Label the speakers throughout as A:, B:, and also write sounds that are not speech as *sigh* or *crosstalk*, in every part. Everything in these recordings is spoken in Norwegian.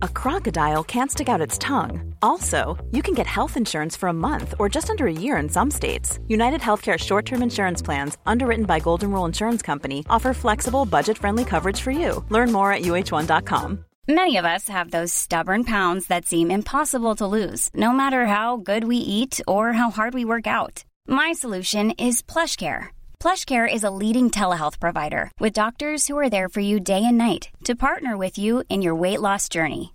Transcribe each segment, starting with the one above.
A: a crocodile can't stick out its tongue. Also, you can get health insurance for a month or just under a year in some states. United Healthcare short term insurance plans, underwritten by Golden Rule Insurance Company, offer flexible, budget friendly coverage for you. Learn more at uh1.com.
B: Many of us have those stubborn pounds that seem impossible to lose, no matter how good we eat or how hard we work out. My solution is PlushCare. PlushCare is a leading telehealth provider with doctors who are there for you day and night to partner with you in your weight loss journey.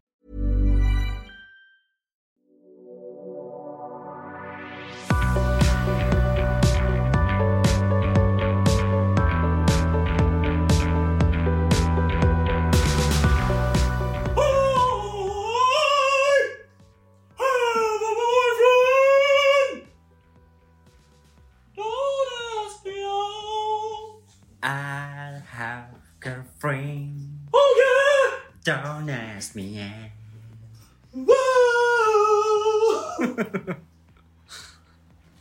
C: I have a friend. Don't ask me out.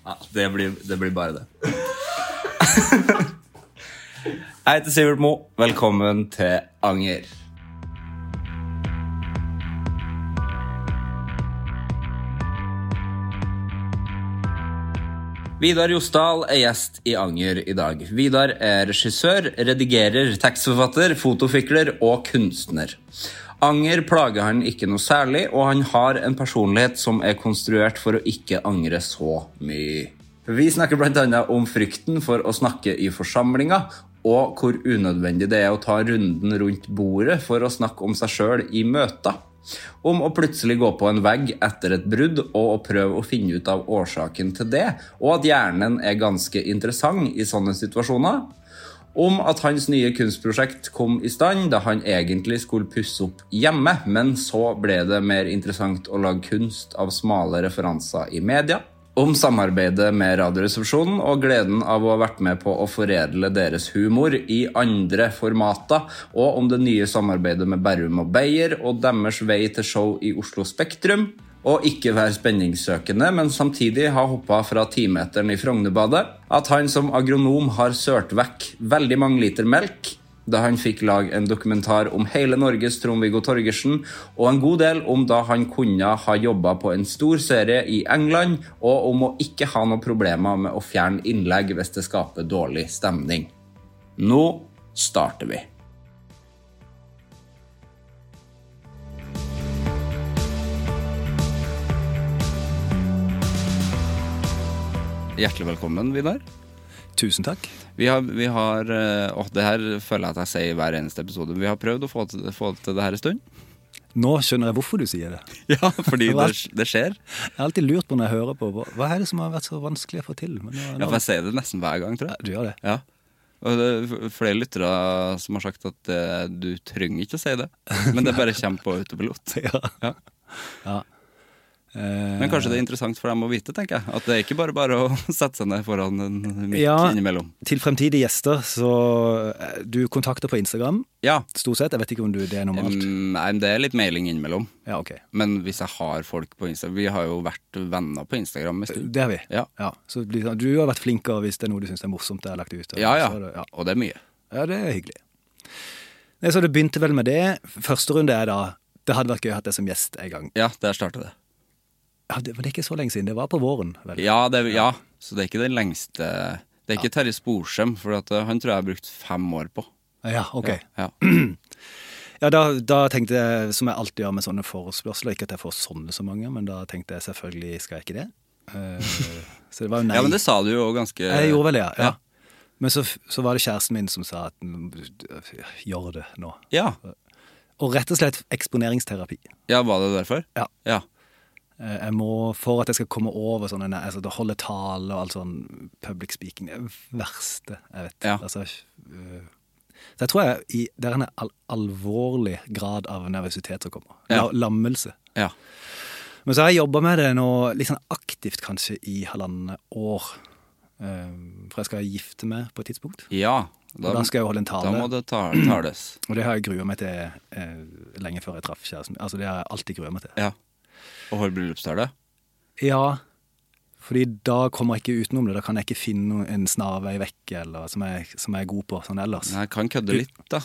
D: Ja, det blir, det blir bare det. *laughs* Jeg heter Sivert Mo. Velkommen til Anger. Vidar Josdal er gjest i Anger i dag. Vidar er regissør, redigerer, tekstforfatter, fotofikler og kunstner. Anger plager han ikke noe særlig, og han har en personlighet som er konstruert for å ikke angre så mye. Vi snakker bl.a. om frykten for å snakke i forsamlinger, og hvor unødvendig det er å ta runden rundt bordet for å snakke om seg sjøl i møter. Om å plutselig gå på en vegg etter et brudd og å prøve å finne ut av årsaken til det, og at hjernen er ganske interessant i sånne situasjoner. Om at hans nye kunstprosjekt kom i stand da han egentlig skulle pusse opp hjemme, men så ble det mer interessant å lage kunst av smale referanser i media. Om samarbeidet med Radioresepsjonen og gleden av å ha vært med på å foredle deres humor i andre formater, og om det nye samarbeidet med Berrum og Beyer og deres vei til show i Oslo Spektrum. Og ikke være spenningssøkende, men samtidig ha hoppa fra timeteren i Frognerbadet. At han som agronom har sølt vekk veldig mange liter melk da han fikk lage en dokumentar om hele Norges Trond-Viggo Torgersen, og en god del om da han kunne ha jobba på en stor serie i England, og om å ikke ha noen problemer med å fjerne innlegg hvis det skaper dårlig stemning. Nå starter vi. Hjertelig velkommen, Vidar.
E: Tusen takk.
D: Vi har, vi har eh, åh, det her føler jeg at jeg sier i hver eneste episode. Vi har prøvd å få til, få til det her en
E: *laughs*
D: stund.
E: Nå skjønner jeg hvorfor du sier det.
D: Ja, *laughs* fordi det,
E: Hva?
D: det skjer.
E: Jeg har alltid lurt på når jeg hører på hva- Hva er det som har vært så vanskelig å få til? Men nå,
D: Ja,
E: nå,
D: for jeg sier det nesten hver gang, tror jeg.
E: du gjør det. *laughs*
D: Ja. Og det er f- flere lyttere som har sagt at eh, du trenger ikke å
E: *laughs*
D: si det, men det bare kommer på autopilot.
E: Ja.
D: Ja.
E: Ja. Eh,
D: Men kanskje det er interessant for dem å vite, tenker jeg. At det er ikke bare bare å *laughs* sette seg ned foran en mikk
E: Ja.
D: innimellom.
E: Til fremtidige gjester, så eh, Du kontakter på Instagram,
D: Ja.
E: stort sett. Jeg vet ikke om du, det er normalt.
D: Mm, Nei, men det er litt mailing innimellom.
E: Ja, ok.
D: Men hvis jeg har folk på Instagram Vi har jo vært venner på Instagram en stund.
E: Det har vi.
D: Ja.
E: så blir det sånn- du har vært flinkere hvis det er noe du syns er morsomt jeg har lagt ut.
D: Ja, ja.
E: Så er det- ja.
D: Og det er mye.
E: Ja, det er hyggelig. Nei, så det begynte vel med det. Første runde er da Det hadde vært gøy å ha deg som gjest en gang.
D: Ja, der starta det.
E: Ja, det, men det er ikke så lenge siden. Det var på våren, vel?
D: Ja, det, er- ja, så det er ikke den lengste Det er ikke Terje Sporsem, for at eh, han tror jeg har brukt fem år på.
E: Ja, ok.
D: Ja.
E: Ja, da, da tenkte jeg, som jeg alltid gjør med sånne forespørsler, ikke at jeg får sånne så mange, men da tenkte jeg selvfølgelig skal jeg ikke det. Eh, så det var jo
D: *laughs*
E: nei.
D: ja, men det sa du jo ganske
E: Jeg gjorde vel det, ja.
D: Ja.
E: ja. Men så, f- så var det kjæresten min som sa at "Mm, gjør det nå.
D: Ja.
E: Og rett og slett eksponeringsterapi.
D: ja, var det derfor?
E: Ja.
D: Ja.
E: Eh, Jeg må, For at jeg skal komme over sånne nei, altså, det Holde tale og all sånn public speaking. Det er det verste jeg vet.
D: Ja.
E: Altså, eh, Så jeg tror jeg, i, det er en al alvorlig grad av nervøsitet som kommer. La,
D: Ja.
E: Lammelse.
D: Ja.
E: Men så har jeg jobba med det nå litt sånn aktivt kanskje i halvannet år. Eh, For jeg skal gifte meg på et tidspunkt.
D: ja
E: Og da skal jeg jo holde en tale.
D: Da må det ta, tales.
E: Og det har jeg grua meg til eh, lenge før jeg traff kjæresten min. Altså det har jeg alltid grua meg til.
D: Ja. Og holde bryllupstale.
E: Ja, fordi da kommer jeg ikke utenom det. Da kan jeg ikke finne noe- en snarvei vekk eller, som, jeg, som jeg er god på sånn ellers.
D: Men jeg kan kødde litt, da.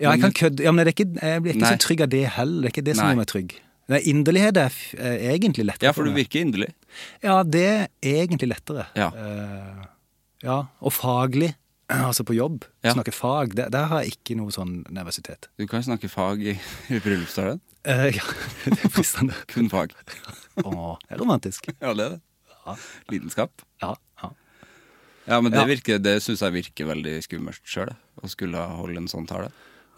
E: Ja, jeg kan kødde. Ja, men det er ikke, jeg blir ikke
D: Nei.
E: så trygg av det heller. Det er ikke det som
D: Nei.
E: gjør meg trygg. Nei, inderlighet er, f- er egentlig lettere.
D: Ja, for du
E: meg.
D: virker inderlig.
E: Ja, det er egentlig lettere.
D: Ja.
E: Eh, ja. Og faglig, *clears throat* altså på jobb,
D: Ja.
E: snakke fag, der, der har jeg ikke noe sånn nervøsitet.
D: Du kan snakke fag i, i bryllupstalen.
E: Eh, *laughs* ja, det er fristende.
D: Kun fag.
E: Å, det er romantisk.
D: Ja, det er det. Lidenskap.
E: Ja, ja.
D: Ja, men det,
E: Ja.
D: virker- det syns jeg virker veldig skummelt sjøl, å skulle holde en sånn tale.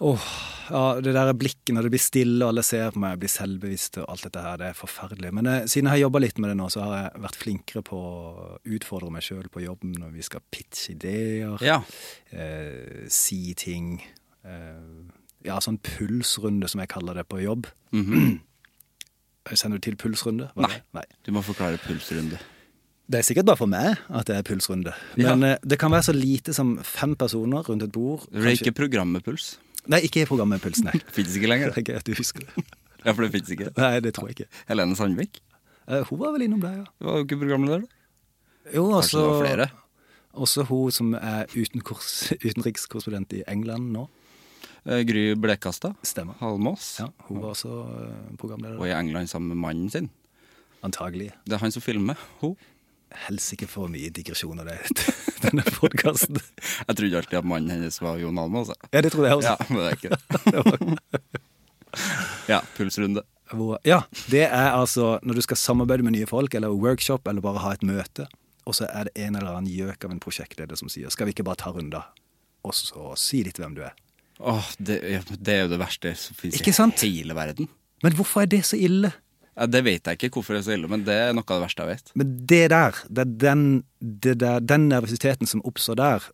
E: Åh, ja, det der blikket når det blir stille og alle ser på meg, jeg blir selvbevisst og alt dette her, det er forferdelig. Men eh, siden jeg har jobba litt med det nå, så har jeg vært flinkere på å utfordre meg sjøl på jobben når vi skal pitche ideer,
D: Ja.
E: eh, si ting. Eh, ja, sånn pulsrunde som jeg kaller det på jobb.
D: Mhm.
E: *clears throat* Kjenner du til pulsrunde? Var det? Nei.
D: Du må forklare pulsrunde.
E: Det er sikkert bare for meg at det er pulsrunde. Men eh, det kan være så lite som fem personer rundt et bord.
D: Det er
E: Kanskje-
D: ikke programmet Puls.
E: Nei, ikke i programmet Puls,
D: *laughs*
E: nei.
D: Fins ikke lenger.
E: *laughs* Det er gøy at du husker det.
D: Ja, for det fins ikke.
E: Nei, det tror jeg ikke.
D: Helene Sandvik
E: Eh, hun var vel innom deg, ja.
D: var jo ikke programleder. da.
E: Jo,
D: Kanskje det var flere?
E: Også hun som er utenkors- *laughs* utenrikskorrespondent i England nå.
D: Eh, Gry Blekastad.
E: Stemmer.
D: Halmås.
E: Ja, hun var også eh, programleder.
D: Og i England sammen med mannen sin.
E: Antagelig.
D: Det er han som filmer. Hun.
E: Helsike for mye digresjon av det *laughs* denne podkasten.
D: Jeg trodde alltid at mannen hennes var Jon Almaas. jeg.
E: Ja, det trodde jeg
D: Ja,
E: også.
D: men det er ikke
E: *laughs*
D: det. *laughs* Ja, pulsrunde.
E: Hvor, ja, det er altså når du skal samarbeide med nye folk, eller workshop, eller bare ha et møte, og så er det en eller annen gjøk av en prosjektleder som sier 'skal vi ikke bare ta runder', og så si litt hvem du er.
D: Åh, det, ja, men det er jo det verste som fins i
E: Ikke sant?
D: hele verden.
E: Men hvorfor er det så ille?
D: Ja, det vet jeg ikke hvorfor det er så ille, men det er noe av det verste jeg vet.
E: Men det der, det er den, det der, den nervøsiteten som oppstår der,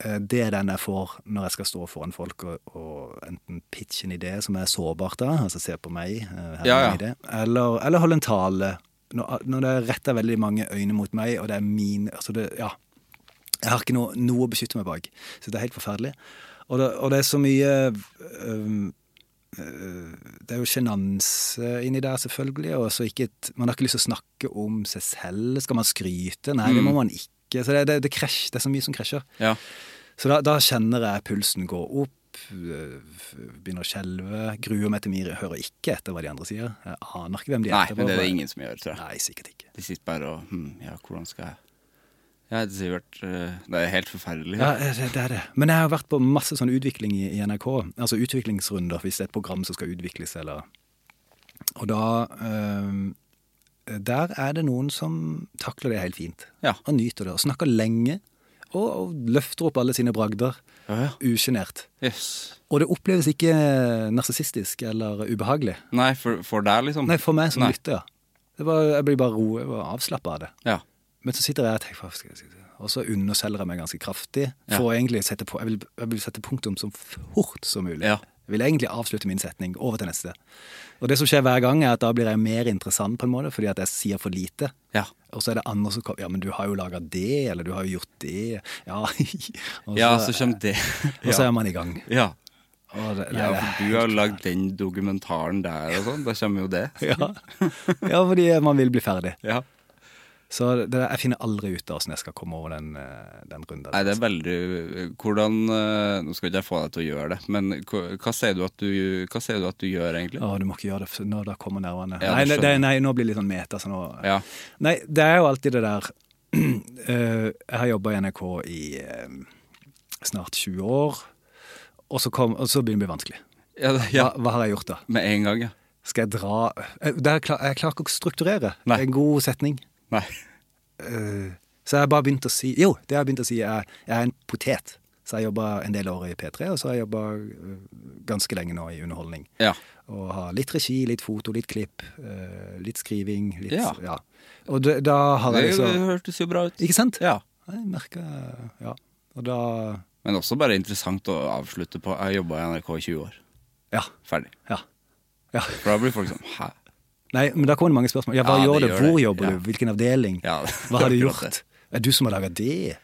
E: eh, det er den jeg får når jeg skal stå foran folk og, og enten pitche en idé som er sårbart da, altså se på meg, eh, her er
D: Ja, ja.
E: en idé, eller, eller holde en tale. Når, når det er rettet veldig mange øyne mot meg, og det er min altså det, ja, Jeg har ikke noe, noe å beskytte meg bak. Så det er helt forferdelig. Og det, og det er så mye øhm, øh, det er jo sjenanse inni der, selvfølgelig. Og så ikke et, man har ikke lyst til å snakke om seg selv. Skal man skryte? Nei, det må man ikke. Så det, det, det, krasj, det er så mye som krasjer.
D: Mm. Ja.
E: Så da, da kjenner jeg pulsen gå opp, øh, begynner å skjelve, gruer meg til mye, hører ikke etter hva de andre sier. Jeg aner ikke hvem de
D: Nei,
E: etterpå-
D: men det er det ingen som gjør, tror jeg.
E: Nei, sikkert ikke.
D: De sitter bare og hm, Ja, hvordan skal jeg Ja, det er Sivert eh, Det er helt forferdelig.
E: Ja, eh, det, det er det. Men jeg har vært på masse sånn utvikling i, i NRK. Altså utviklingsrunder, hvis det er et program som skal utvikles, eller Og da øhm, Der er det noen som takler det helt fint.
D: Ja.
E: Og nyter det. Og snakker lenge. Og, og løfter opp alle sine bragder.
D: Ja, ja.
E: Usjenert.
D: Jøss.
E: Og det oppleves ikke narsissistisk eller ubehagelig.
D: Nei, for, for deg, liksom?
E: Nei, for meg som
D: Nei.
E: lytter, ja. Det var, jeg blir bare roet og avslappa av det.
D: Ja.
E: Men så sitter jeg og tenker, hva skal jeg si? Og så underselger jeg meg ganske kraftig.
D: Ja.
E: For å egentlig sette på, jeg, vil, jeg vil sette punktum så fort som mulig.
D: Ja.
E: Jeg vil egentlig avslutte min setning over til neste. Og det som skjer hver gang, er at da blir jeg mer interessant på en måte, fordi at jeg sier for lite.
D: Ja.
E: Og så er det andre som kommer Ja, men du har jo laga det, eller du har jo gjort det. *laughs* Ja, og så,
D: ja, så kommer det.
E: *laughs* og så er man i gang.
D: Ja.
E: Og det,
D: ja,
E: nei, det- *laughs*
D: for du har lagd den dokumentaren der og sånn. Da kommer jo det.
E: *laughs* ja. ja, fordi man vil bli ferdig.
D: Ja.
E: Så det, der- jeg finner aldri ut av hvordan jeg skal komme over den, eh, den runden.
D: Nei, det er veldig Hvordan eh, Nå skal ikke jeg få deg til å gjøre det, men hva, hva sier du at du Hva sier du at du gjør, egentlig?
E: Å, du må ikke gjøre det, for nå, da kommer nervene.
D: Ja,
E: nei,
D: det
E: det, nei, nå blir det litt sånn meta. Så nå,
D: Ja.
E: Nei, det er jo alltid det der *clears throat* Eh, Jeg har jobba i NRK i eh, snart 20 år, og så, kom, og så begynner det å bli vanskelig.
D: Ja, det- ja.
E: Hva, hva har jeg gjort da?
D: Med en gang, ja.
E: Skal jeg dra Eh, det er klar, Jeg klarer ikke å strukturere
D: Nei.
E: en god setning.
D: Nei.
E: Eh, så jeg har bare begynt å si Jo, det jeg har begynt å si, er jeg er en potet. Så jeg jobba en del år i P3, og så har jeg jobba ganske lenge nå i underholdning.
D: Ja.
E: Og ha litt regi, litt foto, litt klipp, eh, litt skriving. Litt,
D: Ja.
E: ja. Og det, da har
D: Det, det
E: jeg liksom
D: hørtes jo bra ut.
E: Ikke sant?
D: Ja.
E: Jeg merker Ja. Og da
D: Men også bare interessant å avslutte på. Jeg jobba i NRK i 20 år.
E: Ja.
D: Ferdig.
E: ja. ja.
D: For da blir folk sånn Hæ?
E: Nei, men da kommer det mange spørsmål. Ja, hva
D: Ja,
E: gjør du?
D: det gjør
E: Hvor
D: det.
E: jobber
D: Ja.
E: du? Hvilken avdeling?
D: Ja, det-
E: hva
D: *laughs*
E: har du
D: akkurat
E: gjort? Er du som har laga det?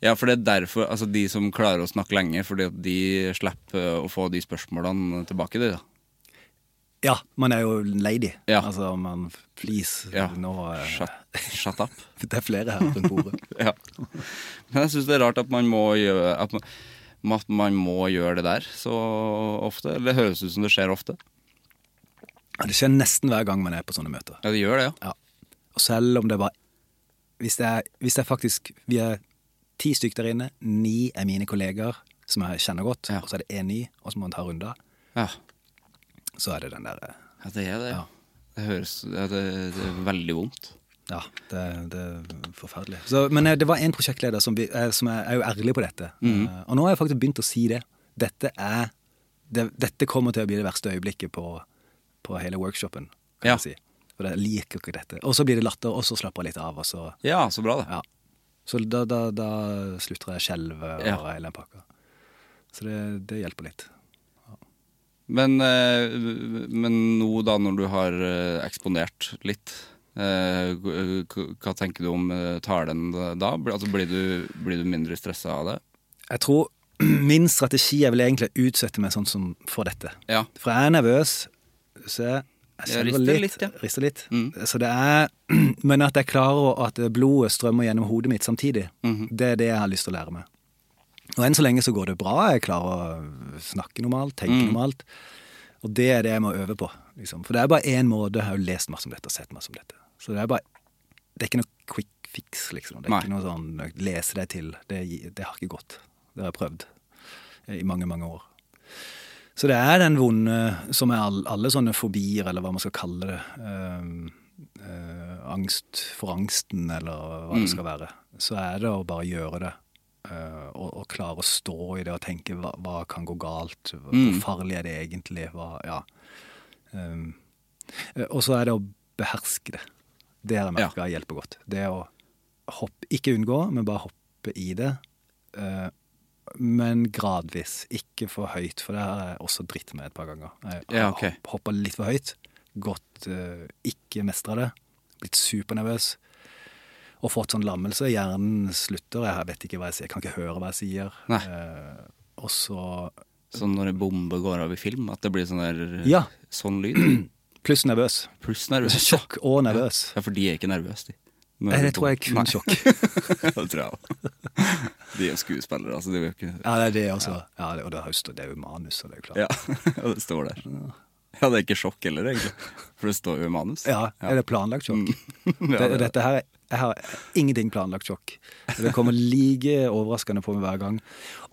D: Ja, for det er derfor Altså, de som klarer å snakke lenge, fordi at de slipper eh, å få de spørsmålene tilbake, de, da.
E: Ja, man er jo en lady.
D: Ja.
E: Altså, man Please,
D: Ja.
E: nå eh,
D: Shut, shut up.
E: *laughs* Det er flere her rundt bordet.
D: Ja. Men jeg syns det er rart at man må gjøre at man, at man må gjøre det der så ofte. Det høres ut som det skjer ofte.
E: Ja, Det skjer nesten hver gang man er på sånne møter.
D: Ja, det gjør det, ja.
E: Ja. Og selv om det var Hvis det er, hvis det er faktisk Vi er ti stykk der inne. Ni er mine kolleger som jeg kjenner godt.
D: Ja.
E: Og så er det én ny, og så må man ta runder.
D: Ja,
E: Så er det den eh, derre
D: ja det er det.
E: Ja.
D: Det høres ja, det, det er veldig vondt.
E: Ja, det, det er forferdelig. Så, men eh, det var en prosjektleder som, vi, eh, som er, er jo ærlig på dette.
D: Mhm.
E: Eh, Og nå har jeg faktisk begynt å si det. Dette er det, Dette kommer til å bli det verste øyeblikket på, på hele workshopen, kan
D: Ja.
E: jeg si. For jeg liker ikke dette. Og så blir det latter, og så slapper jeg litt av, og så
D: Ja, så bra, det.
E: Ja. Så da, da, da slutter jeg å skjelve over
D: Ja.
E: hele den pakka. Så det, det hjelper litt.
D: Men, eh, men nå da når du har eh, eksponert litt eh, k- k- hva tenker du om eh, talen da? Blir- Altså, blir, du, blir du mindre stressa av det?
E: Jeg tror *clears throat* min strategi er vel egentlig å utsette meg sånn som for dette.
D: Ja.
E: For jeg er nervøs, så jeg, jeg
D: Ja,
E: skjelver
D: rister
E: litt.
D: litt, ja. Mm.
E: Rister litt. Så det er, *clears throat* men at jeg klarer å- at blodet strømmer gjennom hodet mitt samtidig,
D: Mhm.
E: det er det jeg har lyst til å lære meg. Og enn så lenge så går det bra. Jeg klarer å snakke normalt, tenke
D: Mm.
E: normalt. Og det er det jeg må øve på. Liksom. For det er bare én måte. Jeg har jo lest masse om dette og sett masse om dette. Så det er bare Det er ikke noe quick fix, liksom. Det er
D: Nei.
E: ikke noe sånn lese deg til. Det, det har ikke gått. Det har jeg prøvd i mange, mange år. Så det er den vonde som er all, alle sånne fobier, eller hva man skal kalle det. ehm, eh, angst for angsten, eller hva det skal være. Så er det å bare gjøre det. eh, og, og klare å stå i det og tenke hva, hva kan gå galt? Hvor farlig er det egentlig? Hva, ja. Ehm, eh, og så er det å beherske det. Det har jeg merka hjelper godt. Det å hoppe, ikke unngå, men bare hoppe i det. Eh, men gradvis. Ikke for høyt, for det har jeg også dritt med et par ganger. Jeg har
D: Ja, ok.
E: hopp- hoppa litt for høyt, gått eh, ikke mestra det, blitt supernervøs. Og fått sånn lammelse. Hjernen slutter, jeg vet ikke hva jeg sier, jeg kan ikke høre hva jeg sier.
D: Nei.
E: Eh, og så
D: Sånn når en bombe går av i film, at det blir sånn der
E: Ja.
D: sånn lyd. *clears throat*
E: Pluss
D: *laughs*
E: nervøs.
D: Pluss nervøs.
E: *clears throat* Sjokk og nervøs.
D: Ja, for de er ikke nervøse, de. Når
E: Nei,
D: de
E: Eh, det tror jeg er kun
D: Nei.
E: sjokk.
D: *laughs* det tror jeg også. *laughs* De er skuespillere, altså. De er jo ikke
E: Ja, det er det også. Ja, det, og det, er jo stå- det er jo manus, og det er jo klart.
D: Ja, *laughs* og det står der. Ja, det er ikke sjokk heller, egentlig. For det står jo i manus.
E: Ja, er det planlagt sjokk?
D: *laughs* Ja,
E: det,
D: Mm. *laughs* det-
E: dette her, jeg har ingenting planlagt sjokk. Det kommer like overraskende på meg hver gang.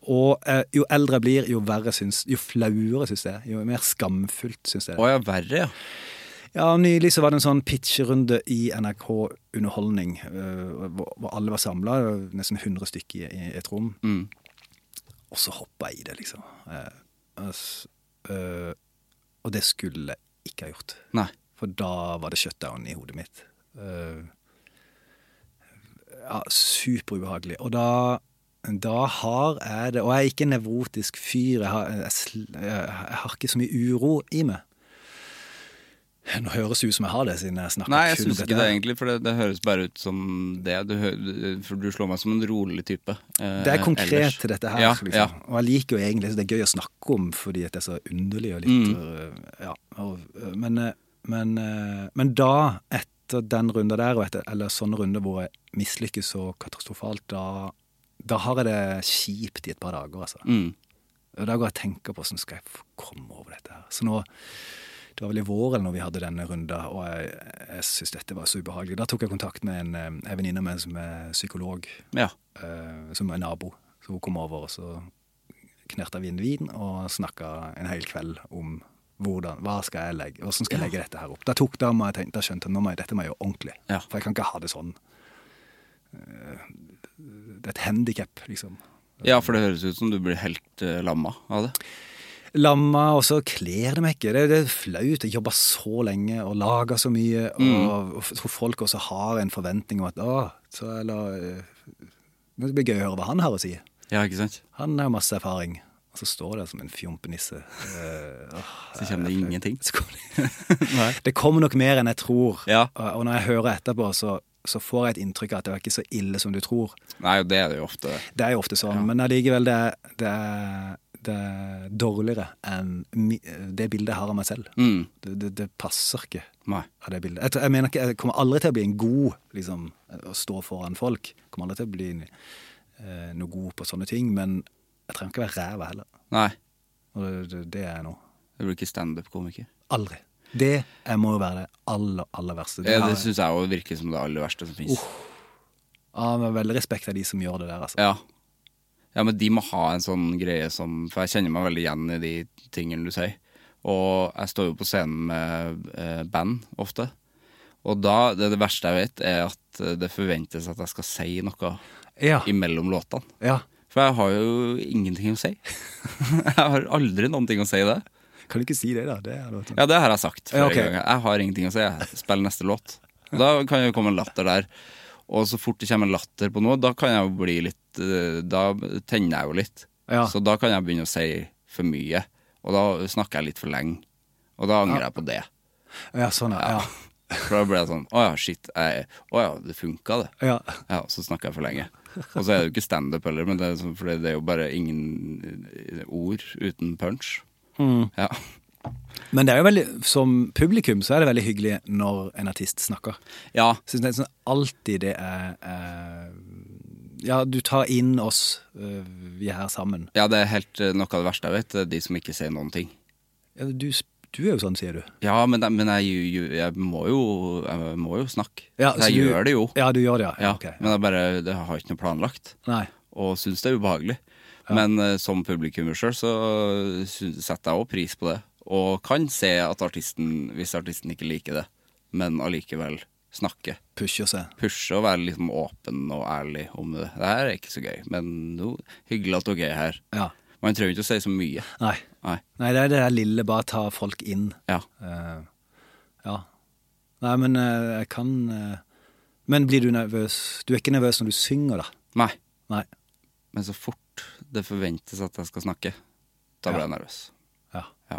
E: Og eh, jo eldre jeg blir, jo verre syns Jo flauere syns jeg. Jo mer skamfullt syns jeg.
D: Å ja, verre, ja.
E: Ja, Nylig så var det en sånn pitcherunde i NRK Underholdning, eh, hvor, hvor alle var samla, nesten 100 stykker i, i et rom. Og så hoppa jeg i det, liksom. Eh, ass, eh, og det skulle jeg ikke ha gjort.
D: Nei.
E: For da var det shutdown i hodet mitt. Eh, ja, superubehagelig. Og da, da har jeg det Og jeg er ikke en nevrotisk fyr. Jeg har, jeg, sl- jeg, jeg har ikke så mye uro i meg. Nå høres det ut som jeg har det, siden jeg snakker
D: Nei, jeg
E: kun om
D: syns ikke
E: dette
D: det,
E: her.
D: egentlig. For det, det høres bare ut som det. Du, hø- for du slår meg som en rolig type. eh,
E: Det er konkret
D: ellers.
E: til dette her.
D: Ja,
E: liksom.
D: ja.
E: Og jeg liker jo egentlig så det er gøy å snakke om fordi at det er så underlig og litt
D: Mm.
E: øh, ja, og, øh, men, øh, men, øh, men da, etter den runda der, og etter, eller sånne runder hvor jeg mislykkes så katastrofalt, da, da har jeg det kjipt i et par dager, altså.
D: Mm.
E: Og da går jeg og tenker på hvordan skal jeg få komme over dette her. Så nå, det var vel i vår eller når vi hadde denne runda, og jeg, jeg syntes dette var så ubehagelig. Da tok jeg kontakt med en, eh, en venninne av meg som er psykolog
D: Ja.
E: eh, som er nabo. Så hun kom over, og så knerta vi en vin og snakka en hel kveld om hvordan, hva skal jeg legge, hvordan skal jeg legge dette her opp. Da, tok, da, må jeg tenke, da skjønte jeg nå må jeg, dette må jeg gjøre ordentlig,
D: Ja.
E: for jeg kan ikke ha det sånn. Eh, Det er et handikap, liksom.
D: ja, for det høres ut som du blir helt eh, lamma av det.
E: Lamma, og så kler det meg ikke. Det, det er flaut. Jeg jobber så lenge og lager så mye. Og, og tror folk også har en forventning om at Å, så eller, eh, Det blir gøy å høre hva han har å si.
D: Ja, ikke sant?
E: Han har jo masse erfaring. Og så står det som en
D: *laughs*
E: fjompenisse. Eh, åh,
D: Så kommer det ingenting.
E: så kommer det- det kommer nok mer enn jeg tror.
D: Ja.
E: Og og når jeg hører etterpå, så, så får jeg et inntrykk av at det var ikke så ille som du tror.
D: Nei, det er det jo ofte.
E: Det er jo ofte sånn, men allikevel, det, er- det, er- det er dårligere enn mi- det bildet jeg har av meg selv.
D: Mm.
E: Det, det, det passer ikke
D: Nei.
E: av det bildet. Jeg, tror- jeg mener ikke, jeg kommer aldri til å bli en god liksom, å stå foran folk. Jeg kommer aldri til å bli en, eh, noe god på sånne ting, men jeg trenger ikke være ræva heller.
D: Nei.
E: Og det, det, det er jeg nå.
D: Jeg blir ikke standup-komiker.
E: Aldri. Det jeg må jo være det aller, aller verste. Det
D: Det,
E: har
D: Eh, det
E: jeg
D: syns jeg jo virker som det aller verste som fins.
E: ah, men veldig respekt av de som gjør det der, altså.
D: Ja. ja, men de må ha en sånn greie som For jeg kjenner meg veldig igjen i de tingene du sier. Og jeg står jo på scenen med eh, band ofte. Og da, det, det verste jeg vet, er at eh, det forventes at jeg skal si noe
E: Ja.
D: imellom låtene.
E: ja.
D: For jeg har jo ingenting å si. *laughs* jeg har aldri noen ting å si i det.
E: Kan du ikke si det, da? Det er det.
D: Ja, det har jeg sagt flere
E: Ja, ok.
D: ganger. Jeg har ingenting å si. Jeg spiller neste låt. Og Da kan jo komme en latter der. Og så fort det kommer en latter på noe, da kan jeg jo bli litt eh, Da tenner jeg jo litt.
E: Ja.
D: Så da kan jeg begynne å si for mye. Og da snakker jeg litt for lenge. Og da angrer jeg på det.
E: ja sånn, ja.
D: For da blir jeg sånn Å ja, shit. jeg- Å ja, det funka, det.
E: ja.
D: Ja, så snakker jeg for lenge. Og så er det jo ikke standup heller, men det er, sånn, for det er jo bare ingen eh, ord uten punch.
E: Mm.
D: Ja.
E: Men det er jo veldig, som publikum så er det veldig hyggelig når en artist snakker.
D: ja.
E: Jeg synes nesten sånn alltid det er eh, Ja, du tar inn oss, eh, vi er her sammen.
D: Ja, det er helt eh, noe av det verste jeg vet. det er De som ikke sier noen ting.
E: Ja, Du, du er jo sånn, sier du.
D: Ja, men, det- men jeg, jeg, jeg, må jo, jeg må jo snakke.
E: Ja,
D: jeg
E: så du-
D: gjør det jo.
E: Ja, du gjør det, ja. ja.
D: Ja,
E: ok, ja.
D: Men jeg bare det har ikke noe planlagt,
E: Nei.
D: og syns det er ubehagelig. Men eh, som publikummer sjøl så syns- setter jeg òg pris på det, og kan se at artisten, hvis artisten ikke liker det, men allikevel snakke.
E: Pusher seg.
D: Pushe og være liksom åpen og ærlig om det. Det her er ikke så gøy, men no, hyggelig at dere er her.
E: Ja.
D: Man trenger ikke å si så mye.
E: Nei.
D: Nei.
E: Nei, det er det der lille, bare ta folk inn.
D: Ja.
E: Eh, ja. Nei, men eh, jeg kan eh, Men blir du nervøs? Du er ikke nervøs når du synger, da?
D: Nei.
E: Nei.
D: Men så fort det forventes at jeg skal snakke, da blir jeg nervøs.
E: Ja.
D: Ja.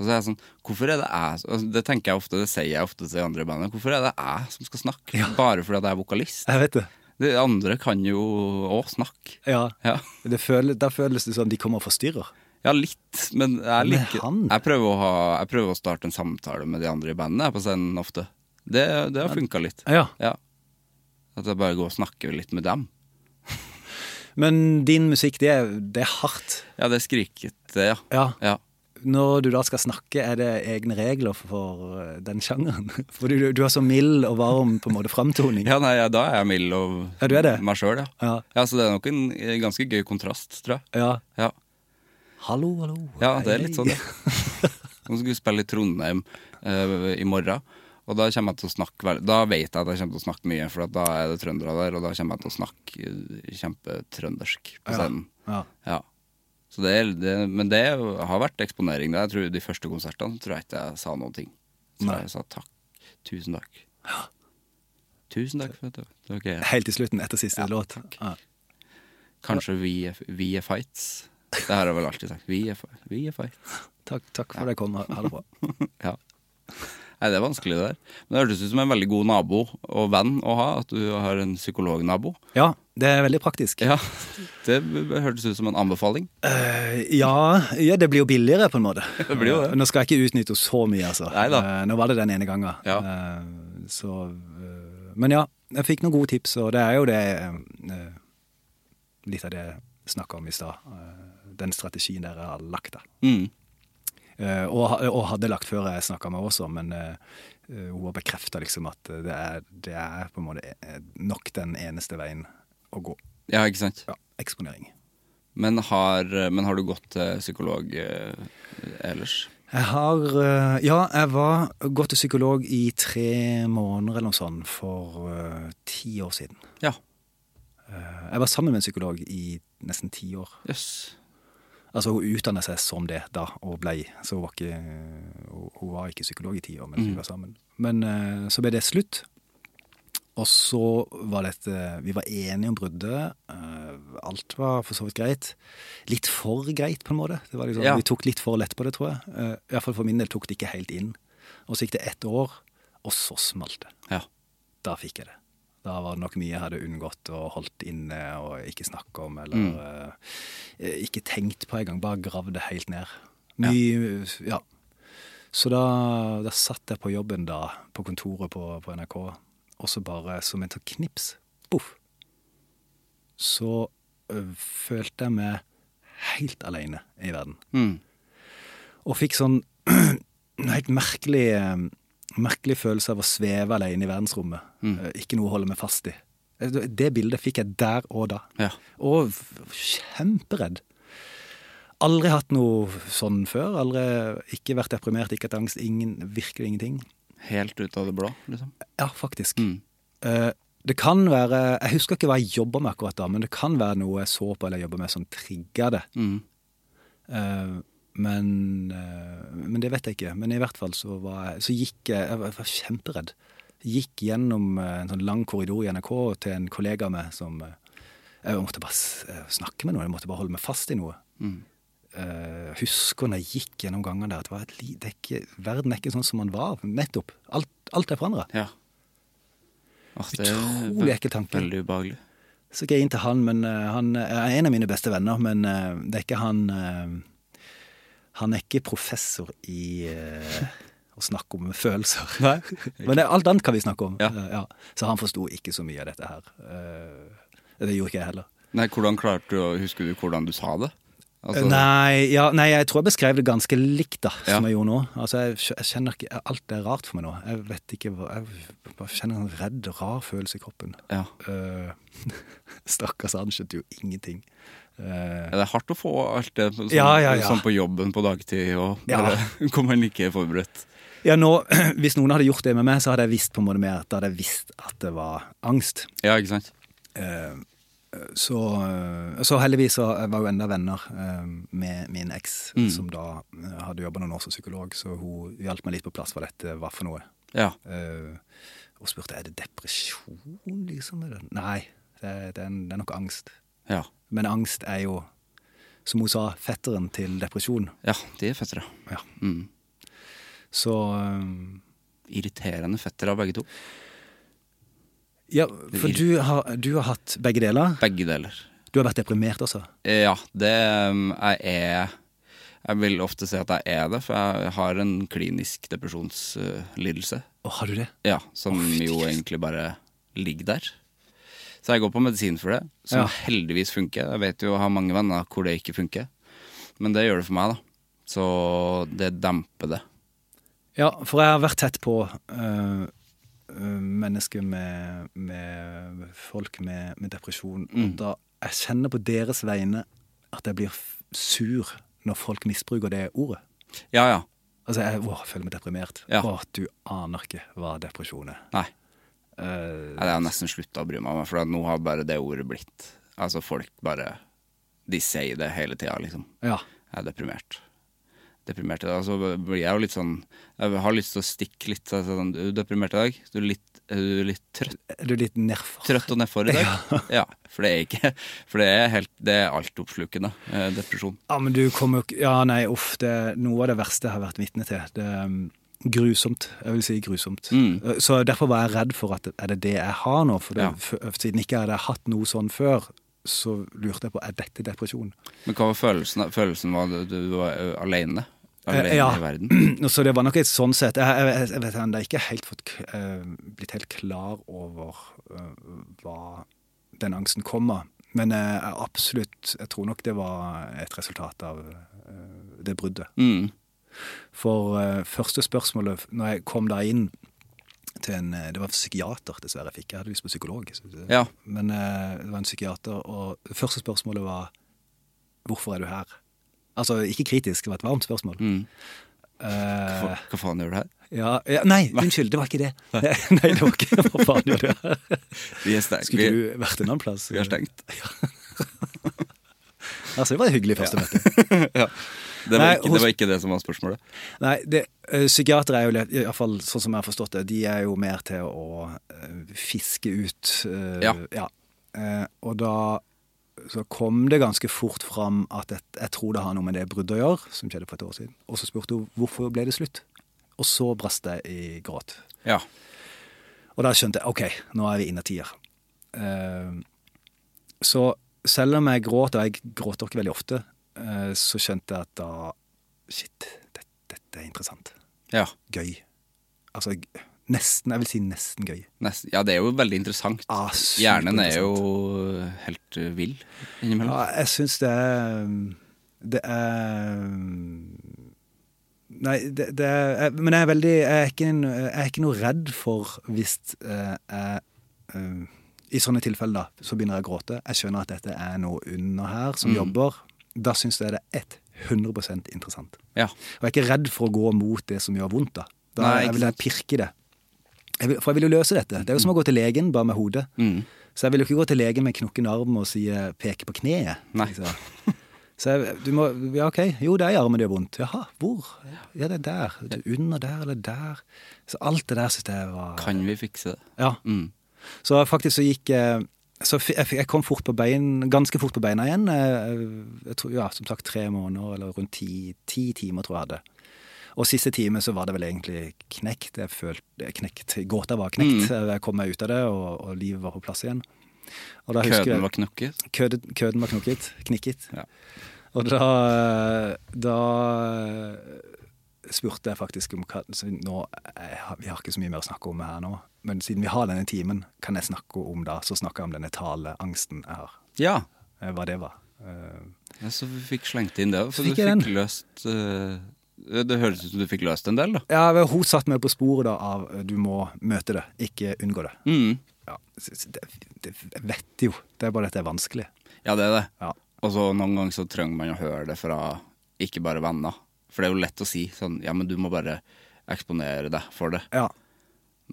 D: Og så er jeg sånn Hvorfor er det jeg som- altså, Det tenker jeg ofte, det sier jeg ofte til andre i bandet. Hvorfor er det jeg som skal snakke? Bare fordi at jeg er vokalist?
E: Jeg vet det.
D: De andre kan jo òg snakke.
E: Ja.
D: Ja.
E: Det føle- da føles det som de kommer og forstyrrer.
D: ja, litt, men jeg
E: Men
D: liker
E: han-
D: jeg prøver, å ha, jeg prøver å starte en samtale med de andre i bandet jeg, på scenen ofte. Det, det har funka litt.
E: Ja.
D: Ja. At jeg bare går og snakker litt med dem.
E: Men din musikk, det er, det er hardt.
D: Ja, det er skrikete, ja.
E: Ja.
D: ja.
E: Når du da skal snakke, er det egne regler for eh, den sjangeren? *laughs* For du, du har så mild og varm på en måte framtoning.
D: Ja, nei, ja, da er jeg mild og
E: Ja, du er det.
D: meg sjøl, ja.
E: Ja.
D: Så det er nok en eh, ganske gøy kontrast, tror jeg.
E: Ja.
D: Ja,
E: Hallo, hallo.
D: ja det er litt sånn.
E: Hei.
D: Nå skal vi spille i Trondheim eh, i morgen. Og da kommer jeg til å snakke vel- Da vet jeg at jeg kommer til å snakke mye, for at da er det trøndere der, og da kommer jeg til å snakke eh, kjempetrøndersk på scenen.
E: Ja.
D: Ja. Så det, er- det, men det har vært eksponering. der. Jeg tror De første konsertene tror jeg ikke jeg sa noen ting. Så
E: Nei.
D: jeg sa takk. Tusen takk. Tusen takk for at dere dere er her.
E: Helt til slutten, etter siste låt. Ja.
D: Kanskje vi er, vi er fights. Det har jeg vel alltid sagt. Vi er, fi- vi er
E: *laughs*
D: fights.
E: Takk, takk for at jeg kom. Ha det bra.
D: Ja. Nei, det er vanskelig, det der. Men det hørtes ut som en veldig god nabo og venn å ha. At du har en psykolognabo.
E: Ja, det er veldig praktisk.
D: Ja, Det hørtes ut som en anbefaling.
E: Eh, Ja, ja, det blir jo billigere, på en måte.
D: *laughs*
E: Eh,
D: Det blir jo det.
E: Nå skal jeg ikke utnytte henne så mye, altså.
D: Neida.
E: Eh, Nå var det den ene gangen.
D: Ja.
E: Eh, Så eh, Men ja, jeg fikk noen gode tips, og det er jo det eh, Litt av det jeg snakka om i stad. eh, Den strategien dere har lagt, da.
D: Mm.
E: Eh, Og, ha- og hadde lagt før jeg snakka med henne også, men eh, eh, hun har bekrefta liksom at det er, det er på en måte eh, nok den eneste veien å gå.
D: Ja, ikke sant.
E: Ja, eksponering.
D: Men har, men har du gått til psykolog eh, ellers?
E: Jeg har eh, Ja, jeg var gått til psykolog i tre måneder eller noe sånt for eh, ti år siden.
D: Ja.
E: Eh, Jeg var sammen med en psykolog i nesten ti år.
D: Jøss.
E: Altså, hun utdannet seg som det da, og blei. Så hun var ikke, hun, hun var ikke psykolog i ti år mens vi var sammen. Men eh, så ble det slutt. Og så var dette Vi var enige om bruddet. eh, Alt var for så vidt greit. Litt for greit, på en måte. Det var liksom,
F: Ja.
E: Vi tok litt for lett på det, tror jeg. Eh, i hvert fall for min del tok det ikke helt inn. Og så gikk det ett år, og så smalt det.
D: Ja.
E: Da fikk jeg det. Da var det nok mye jeg hadde unngått og holdt inne og ikke snakket om, eller eh, ikke tenkt på engang. Bare gravd det helt ned. Mye, ja. Så da, da satt jeg på jobben da, på kontoret på, på NRK, og så bare som en sånn knips, boff, så ø, følte jeg meg helt alene i verden.
D: Mm.
E: Og fikk sånn *clears throat* en helt merkelig, eh, merkelig følelse av å sveve alene i verdensrommet. Eh, Ikke noe å holde meg fast i. Eh, Det bildet fikk jeg der og da.
D: Ja.
E: Og f- kjemperedd. Aldri hatt noe sånn før. Aldri, ikke vært deprimert, ikke hatt angst. Ingen, virkelig ingenting.
D: Helt ut av det blå, liksom.
E: Ja, faktisk. Eh, det kan være Jeg husker ikke hva jeg jobba med akkurat da, men det kan være noe jeg så på eller jobba med som trigga det. Eh, men, eh, men det vet jeg ikke. Men i hvert fall så, var jeg, så gikk jeg Jeg var, jeg var kjemperedd. Gikk gjennom eh, en sånn lang korridor i NRK til en kollega av meg som eh, Jeg måtte bare s- eh, snakke med noen, jeg måtte bare holde meg fast i noe. Eh, husker når jeg gikk gjennom gangene der, at det var et li, det er ikke, verden er ikke sånn som man var. Nettopp. Alt, alt er forandra.
D: Ja. Åh, det er
E: Utrolig ekkel tanke.
D: Veldig ubehagelig.
E: Så gikk jeg inn til han, men eh, han er en av mine beste venner, men eh, det er ikke han eh, Han er ikke professor i eh, å snakke om følelser. *laughs* men det, alt annet kan vi snakke om.
D: Ja.
E: Eh, ja. Så han forsto ikke så mye av dette her. Eh, det gjorde ikke jeg heller.
D: Nei, hvordan klarte du å Husker du hvordan du sa det? Altså,
E: Nei, ja, nei, jeg tror jeg beskrev det ganske likt da, som
D: Ja.
E: jeg gjorde nå. Altså, jeg, skj- jeg kjenner ikke, Alt er rart for meg nå. Jeg vet ikke hva Jeg bare kjenner en sånn redd, rar følelse i kroppen.
D: Ja.
E: Eh, *laughs* stakkars, han skjønte jo ingenting. Eh,
D: Ja, Det er hardt å få alt det sånn,
E: Ja, ja, ja.
D: sånn på jobben på dagtid, og
E: Ja.
D: bare *laughs* kommer en ikke forberedt.
E: ja, nå, *clears throat* hvis noen hadde gjort det med meg, så hadde jeg visst på en måte mer at da hadde jeg visst at det var angst. Eh,
D: Ja, ikke sant?
E: Så, eh, så heldigvis så jeg var jo enda venner eh, med min eks, som da eh, hadde jobba noen år som psykolog, så hun hjalp meg litt på plass hva dette var for noe.
D: Ja.
E: Eh, og spurte er det depresjon, liksom. Er det? Nei, det, det, er, det er nok angst.
D: Ja.
E: Men angst er jo, som hun sa, fetteren til depresjon.
D: ja de er fettere.
E: Ja.
D: Mm.
E: Så eh,
D: Irriterende fettere av begge to.
E: Ja, for du har, du har hatt begge deler.
D: Begge deler.
E: Du har vært deprimert altså. også.
D: Eh, Ja, det um, jeg er Jeg vil ofte si at jeg er det, for jeg har en klinisk depresjonslidelse.
E: Å, har du det?
D: Ja, som jo egentlig bare ligger der. Så jeg går på medisin for det, som
E: Ja.
D: heldigvis funker. Jeg vet jo jeg har mange venner hvor det ikke funker, men det gjør det for meg, da. Så det demper det.
E: Ja, for jeg har vært tett på øh, øh, mennesker med, med folk med, med depresjon. Og da jeg kjenner på deres vegne at jeg blir f- sur når folk misbruker det ordet.
D: Ja ja.
E: Altså, jeg, åh, jeg føler meg deprimert.
D: Ja.
E: Åh, du aner ikke hva depresjon er.
D: Nei.
E: Eh,
D: Nei, det har jeg nesten slutta å bry meg om, for at nå har bare det ordet blitt Altså, folk bare De sier det hele tida, liksom.
E: ja.
D: Jeg er deprimert. Deprimert i dag. Så blir jeg jo litt sånn Jeg har lyst til å stikke litt. så er det Sånn, du er deprimert i dag? Du er litt, er du litt trøtt,
E: Er du litt nedfor?
D: trøtt og nedfor i dag?
E: *laughs*
D: Ja. For det er ikke For det er, helt, det er altoppslukende eh, depresjon.
E: Ja, men du kommer jo ikke Ja, nei, uff. Det er noe av det verste jeg har vært vitne til. Det er mm, grusomt. Jeg vil si grusomt. Eh,
D: Mm.
E: Så derfor var jeg redd for at er det det jeg har nå? For det,
D: Ja.
E: f- eh, siden ikke jeg hadde hatt noe sånn før, så lurte jeg på er dette depresjon.
D: Men hva var følelsen? da? Følelsen var at du var eh, alene? Alene
E: Eh, ja.
D: i verden?
E: *clears throat* Så det var nok et sånn sett Jeg, jeg, jeg vet ennå ikke helt fått, k- eh, blitt helt klar over eh, hva den angsten kommer. Men eh, jeg er absolutt Jeg tror nok det var et resultat av eh, det bruddet.
D: Mm.
E: For eh, første spørsmålet f- når jeg kom da inn til en eh, Det var en psykiater, dessverre. Jeg fikk Jeg hadde lyst på psykolog. så det-
D: Ja.
E: Men eh, det var en psykiater, og det første spørsmålet var Hvorfor er du her? Altså ikke kritisk, det var et varmt spørsmål.
D: Mm.
E: Eh,
D: Hva, hva faen gjør du her?
E: ja, ja, nei, unnskyld, det var
D: *laughs*
E: ikke det. *laughs* Nei, det var ikke Hva faen gjør du her?
D: Vi er stengt.
E: Skulle
D: Vi,
E: ikke du vært en annen plass?
D: vi er stengt. *laughs*
E: Altså, det var et hyggelig første møte.
D: ja. Det var,
E: Nei,
D: ikke,
E: hos-
D: det var ikke det som var spørsmålet.
E: Nei, det, ø, psykiatere er jo litt- i hvert fall sånn som jeg har forstått det, de er jo mer til å ø, fiske ut ø,
D: Ja.
E: Eh, og da så kom det ganske fort fram at jeg, jeg tror det har noe med det bruddet å gjøre, som skjedde for et år siden. Og så spurte hun hvorfor ble det slutt. Og så brast jeg i gråt.
D: Ja.
E: Og da skjønte jeg OK, nå er vi innertier. Eh, så selv om jeg gråt, og jeg gråter ikke veldig ofte, eh, så skjønte jeg at da Shit, det, dette er interessant
D: Ja.
E: gøy. Altså g- nesten, jeg vil si nesten gøy.
D: Nest, ja, det er jo veldig interessant.
E: Ah, superinteressant.
D: Hjernen er jo helt eh, vill innimellom.
E: Ja, jeg syns det er mm, Det er mm, Nei, det, det er jeg- Men jeg er veldig Jeg er ikke, en, jeg er ikke noe redd for hvis eh, jeg eh, I sånne tilfeller, da, så begynner jeg å gråte. Jeg skjønner at dette er noe under her som jobber. Da syns jeg det er 100 interessant.
D: Ja.
E: Og jeg er ikke redd for å gå mot det som gjør vondt. da. da
D: Nei, ikke
E: jeg vil jeg pirke i det. Jeg vil, for jeg vil jo løse dette. Det er jo som å gå til legen, bare med hodet.
D: Mm.
E: Så jeg vil jo ikke gå til legen med knukken arm og si, eh, peke på kneet.
D: Nei.
E: liksom. Så jeg, du må, ja ok, jo det er i armen det gjør vondt. Jaha, hvor? Ja, det er der. Det er under der, eller der. Så alt det der synes jeg var...
D: Kan vi fikse det?
E: Ja.
D: Mm.
E: Så faktisk så gikk eh, så fi- jeg, fikk- jeg kom fort på bein, ganske fort på beina igjen. eh, Jeg tror, ja, som sagt tre måneder, eller rundt ti, ti timer, tror jeg hadde. Og siste time så var det vel egentlig knekt. Jeg følte jeg knekt, Gåta var
D: Mm.
E: knekt. eh, Jeg kom meg ut av det, og, og livet var på plass igjen. Og da husker jeg-
D: Køden var knukket?
E: køden, køden var knokket, knikket.
D: Ja.
E: Og da, da eh, spurte jeg faktisk om hva så nå, jeg, har- Vi har ikke så mye mer å snakke om her nå, men siden vi har denne timen, kan jeg snakke om da, så snakker jeg om denne taleangsten jeg har.
D: Ja.
E: eh, Hva det var. Eh,
D: Ja, Så vi fikk slengt inn det. For
E: Fikk
D: du
E: jeg
D: fikk løst eh, Det høres ut som du fikk løst en del, da.
E: Ja, men Hun satte meg på sporet da av eh, du må møte det, ikke unngå det.
D: Mm.
E: Ja, så- så det, det jeg vet jo. Det er bare at det er vanskelig.
D: Ja, det er det.
E: Ja.
D: Og så noen ganger så trenger man å høre det fra ikke bare venner. For det er jo lett å si sånn Ja, men du må bare eksponere deg for det.
E: Ja,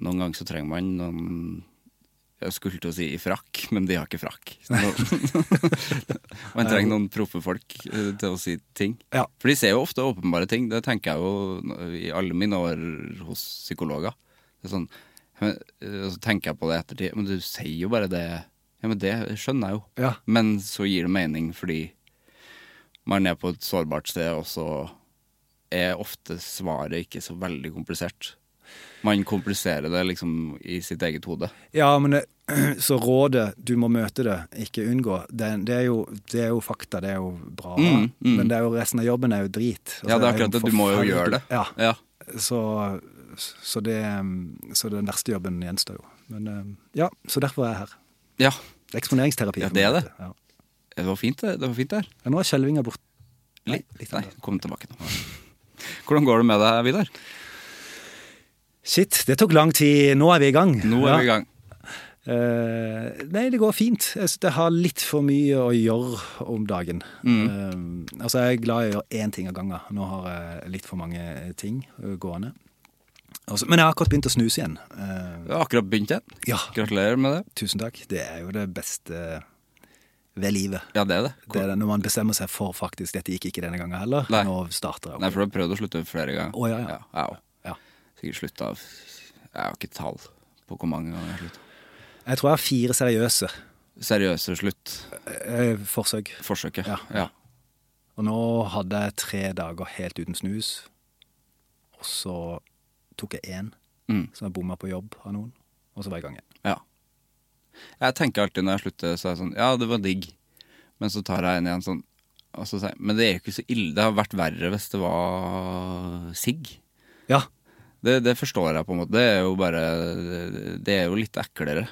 D: Noen ganger så trenger man noen Jeg skulle til å si i frakk, men de har ikke frakk. Så nå- man trenger noen proffe folk eh, til å si ting.
E: Ja.
D: For de ser jo ofte åpenbare ting. Det tenker jeg jo i alle mine år hos psykologer. Det er sånn, men, eh, og så tenker jeg på det i ettertid. Men du sier jo bare det. Ja, men det skjønner jeg jo.
E: Ja.
D: Men så gir det mening fordi man er på et sårbart sted, og så er ofte svaret ikke så veldig komplisert. Man kompliserer det liksom i sitt eget hode.
E: Ja, men det, *clears throat* så rådet 'du må møte det, ikke unngå', det, det, er, jo, det er jo fakta, det er jo bra.
D: Mm, mm.
E: Men det er jo resten av jobben er jo drit. Altså,
D: Ja, det er
E: jo
D: akkurat det. Du må jo
E: forferdelig-
D: gjøre det.
E: Ja,
D: Ja.
E: så, så, det, så den verste jobben gjenstår jo. Men eh, ja, så derfor er jeg her.
D: ja.
E: Det er Eksponeringsterapi.
D: Ja,
E: for
D: det er
E: meg,
D: det.
E: dette. Ja.
D: Det var fint, det. det, var fint der.
E: Ja, nå er skjelvinga borte.
D: Nei,
E: litt
D: nei,
E: annet.
D: kom tilbake nå. Hvordan går det med deg, Vidar?
E: Shit, det tok lang tid. Nå er vi i gang.
D: Nå er
E: Ja.
D: vi i gang.
E: Eh, nei, det går fint. Jeg synes jeg har litt for mye å gjøre om dagen.
D: Mm.
E: Eh, altså, jeg er glad i å gjøre én ting av gangen. Nå har jeg litt for mange eh, ting eh, gående. Altså, men jeg har akkurat begynt å snuse igjen. Eh,
D: Du har akkurat begynt igjen.
E: ja,
D: Gratulerer med det.
E: tusen takk. Det er jo det beste ved livet.
D: Ja, det er det.
E: Det er det når man bestemmer seg for faktisk dette gikk ikke denne gangen heller.
D: Nei.
E: Nå starter jeg.
D: Nei, for du har prøvd å slutte flere ganger.
E: Å, ja, ja.
D: ja, jeg
E: Ja.
D: har Sikkert slutta av Jeg har ikke tall på hvor mange ganger jeg har slutta.
E: Jeg tror jeg har fire seriøse
D: Seriøse slutt.
E: eh, forsøk.
D: Forsøket.
E: Ja.
D: ja.
E: Og nå hadde jeg tre dager helt uten snus. Og så tok jeg én
D: Mm.
E: som jeg bomma på jobb av noen. Og så var jeg i gang igjen.
D: Ja. Jeg tenker alltid når jeg slutter, så er jeg sånn Ja, det var digg. Men så tar jeg en igjen sånn og så sier jeg, Men det er jo ikke så ille. Det har vært verre hvis det var sigg.
E: Ja,
D: Det, det forstår jeg på en måte. Det er jo bare Det er jo litt eklere.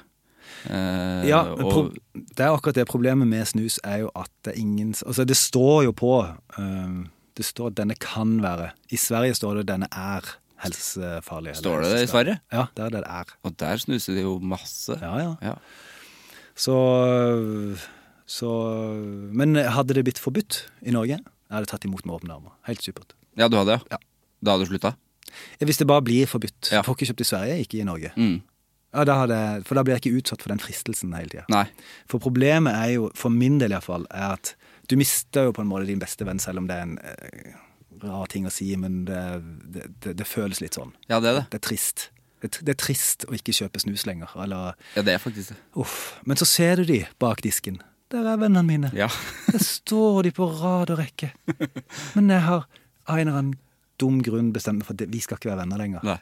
D: Eh,
E: ja
D: og-
E: pro det er akkurat det problemet med snus er jo at det er ingen Altså, det står jo på eh, Det står 'denne kan være'. I Sverige står det 'denne er helsefarlig'. eller
D: Står det det i
E: helseskadelig.
D: Sverige?
E: Ja, der er det det er.
D: og der snuser de jo masse.
E: Ja, ja.
D: Ja.
E: Så, så Men hadde det blitt forbudt i Norge, jeg hadde tatt imot med åpne armer. Helt supert.
D: Ja, du hadde ja. Da hadde du slutta?
E: Hvis det bare blir forbudt.
D: Ja.
E: Jeg Får ikke kjøpt i Sverige, ikke i Norge.
D: Mm.
E: Ja, da hadde, jeg- for da blir jeg ikke utsatt for den fristelsen hele tida.
D: Nei.
E: For problemet er jo, for min del iallfall, er at du mister jo på en måte din beste venn, selv om det er en eh, rar ting å si, men det, det, det, det føles litt sånn.
D: Ja, det er det.
E: Det er trist. Det, er tr- det er trist å ikke kjøpe snus lenger. Eller
D: Ja, det er faktisk det.
E: uff. Men så ser du de bak disken. Der er vennene mine.
D: Ja.
E: Der står de på rad og rekke.
D: *laughs*
E: Men jeg har av en eller annen dum grunn bestemt meg for at vi skal ikke være venner lenger.
D: Nei.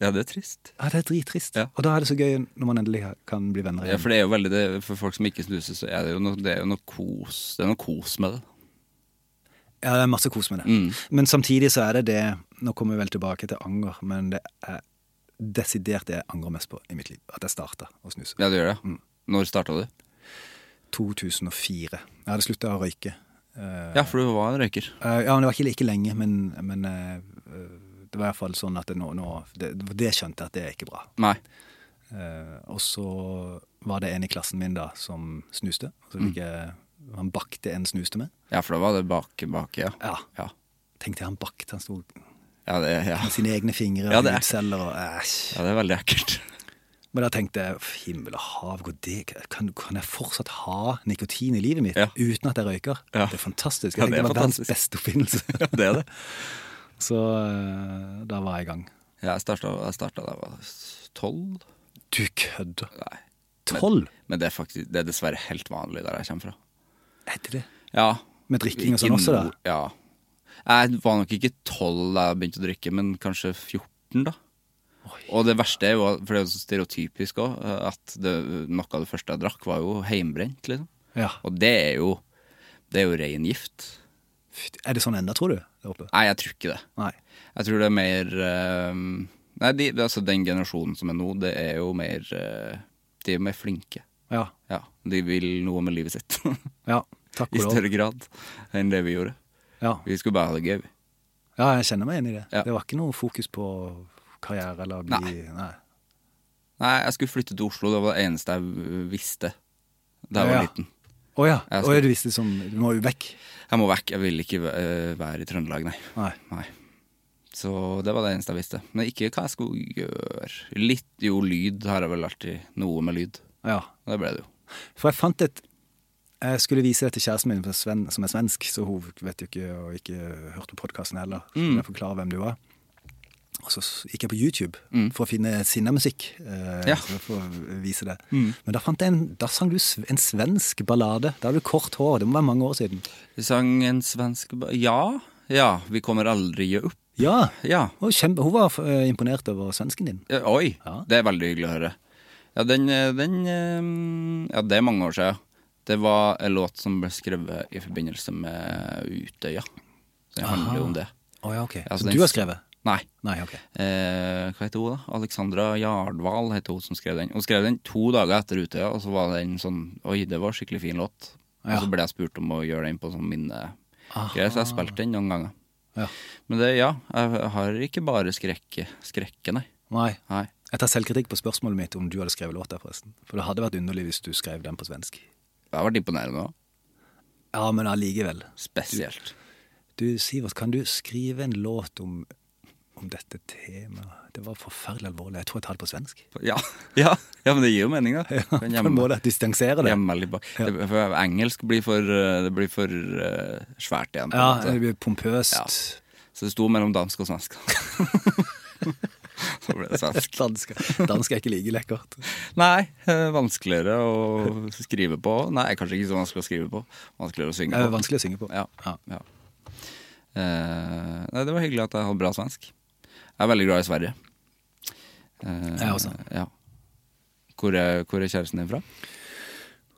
D: Ja, det er trist.
E: Ja, Det er drittrist.
D: Ja.
E: Og da er det så gøy når man endelig kan bli venner
D: Ja,
E: igjen.
D: for det er jo veldig det, For folk som ikke snuser, så er det jo noe, det er jo noe kos Det er noe kos med det.
E: Ja, det er masse kos med det.
D: Mm.
E: Men samtidig så er det det Nå kommer vi vel tilbake til anger, men det er desidert det jeg angrer mest på i mitt liv. At jeg starta å snuse.
D: Ja, du gjør det.
E: Mm.
D: Når starta du?
E: Eh. 2004. Jeg hadde slutta å røyke. Eh,
D: Ja, for du var en røyker.
E: eh, ja, men det var ikke like lenge, men, men eh, eh, det var i hvert fall sånn at det, nå, nå det, det skjønte jeg at det er ikke bra.
D: Nei.
E: Eh, og så var det en i klassen min da som snuste.
D: Mm.
E: Og så fikk jeg, han bakte en snus til meg.
D: Ja, for da var det bake, bake, ja.
E: Ja.
D: Ja,
E: Tenkte jeg han bakte, han sto
D: ja, det, *laughs* ja.
E: med sine egne fingre
D: Ja,
E: og
D: det er-
E: hudceller og æsj.
D: ja det er veldig ekkelt.
E: Men da tenkte jeg "F- himmel og hav, går det? Kan, kan jeg fortsatt ha nikotin i livet mitt
D: Ja.
E: uten at jeg røyker?
D: Ja.
E: Det er fantastisk.
D: Ja,
E: Jeg tenkte
D: det er
E: det var verdens
D: fantastisk.
E: beste oppfinnelse.
D: *laughs* Ja, det er det.
E: *laughs* Så eh, da var jeg i gang.
D: Jeg starta jeg starta da jeg var tolv.
E: Du kødder.
D: Nei.
E: Tolv?
D: Men det er, faktisk, det er dessverre helt vanlig der jeg kommer fra.
E: Er det det?
D: Ja.
E: Med drikking og
D: Ikke
E: sånn også, da?
D: no- Ja. Jeg var nok ikke tolv da jeg begynte å drikke, men kanskje 14, da. Og det verste er jo, for det er jo så stereotypisk òg, at det, noe av det første jeg drakk, var jo heimbrent, liksom.
E: Ja.
D: Og det er jo Det er jo ren gift.
E: Fy, Er det sånn enda, tror du? Der oppe?
D: Nei, jeg tror ikke det.
E: Nei.
D: Jeg tror det er mer eh, Nei, de, altså den generasjonen som er nå, det er jo mer eh, De er mer flinke.
E: Ja.
D: Ja. De vil noe med livet sitt. *laughs*
E: ja. Takk
D: I
E: og lov.
D: større grad enn det vi gjorde.
E: Ja.
D: Vi skulle bare ha det gøy. vi.
E: ja, jeg kjenner meg igjen i det.
D: Ja.
E: Det var ikke noe fokus på karriere eller å bli Nei.
D: Nei, jeg skulle flytte til Oslo, det var det eneste jeg visste da jeg
E: Ja,
D: var
E: ja.
D: liten.
E: Å
D: Jeg
E: ja. Å,
D: skal-
E: ja, du visste som Du må jo vekk.
D: Jeg må vekk, jeg vil ikke eh, være i Trøndelag, nei.
E: Nei.
D: nei. Så det var det eneste jeg visste. Men ikke hva jeg skulle gjøre. Litt jo, lyd har jeg vel alltid. Noe med lyd.
E: Ja.
D: Og Det ble det jo.
E: For jeg fant et Jeg skulle vise det til kjæresten min som er sven- som er svensk, så hun vet jo ikke og ikke hørt på podkasten heller. Så
D: Mm.
E: jeg forklarer hvem du var. Og så s- gikk jeg på YouTube for å finne sinnamusikk. Eh,
D: Mm. Ja. Mm.
E: så For å vise det. Men da fant jeg en, da sang du sv- en svensk ballade. Da hadde du kort hår. Det må være mange år siden.
D: Vi sang en svensk ba- Ja. Ja, vi kommer aldri gi opp.
E: Ja!
D: Ja.
E: Og kjempe, hun var eh, imponert over svensken din.
D: Eh, Oi,
E: Ja.
D: det er veldig hyggelig å høre. Ja, den, eh, den eh, Ja, det er mange år siden. Det var en låt som ble skrevet i forbindelse med Utøya. Så Den handler jo om det.
E: Å ja, ok.
D: Ja, så
E: så
D: den-
E: du har skrevet?
D: Nei.
E: Nei, ok.
D: Eh, hva heter hun, da? Alexandra Jardval heter hun som skrev den. Hun skrev den to dager etter Utøya, og så var den sånn Oi, det var skikkelig fin låt. Og
E: Ja.
D: så ble jeg spurt om å gjøre den på sånn minne...
E: Aha.
D: Greier, så jeg spilte den noen ganger.
E: Ja.
D: Men det, ja, jeg har ikke bare skrekke, skrekke nei.
E: Nei.
D: nei.
E: Jeg tar selvkritikk på spørsmålet mitt om du hadde skrevet låta, forresten. For det hadde vært underlig hvis du skrev den på svensk.
D: Det har vært imponerende òg.
E: Ja, men allikevel.
D: Spesielt.
E: Du, Sivert, kan du skrive en låt om, om dette temaet? Det var forferdelig alvorlig. Jeg tror jeg tar det på svensk. *laughs*
D: Ja, *laughs* ja, ja, men det gir jo mening, da.
E: På
D: Kan
E: en måte at distansere det.
D: gjemme meg litt bak. Det- for Engelsk blir for, eh, det blir for eh, svært igjen. på
E: Ja,
D: en måte.
E: det blir pompøst. *laughs*
D: Ja. Så det sto mellom dansk og svensk. Så ble det svensk.
E: Dansk, dansk er ikke like lekkert.
D: Nei, eh, vanskeligere å skrive på. Nei, kanskje ikke så vanskelig å skrive på. Vanskeligere å synge
E: Det er
D: på.
E: vanskelig å synge på.
D: Ja.
E: Ja.
D: ja. Eh, nei, det var hyggelig at jeg hadde bra svensk. Jeg er veldig glad i Sverige. Eh,
E: Jeg også.
D: Ja. Hvor, er, hvor er kjæresten din fra?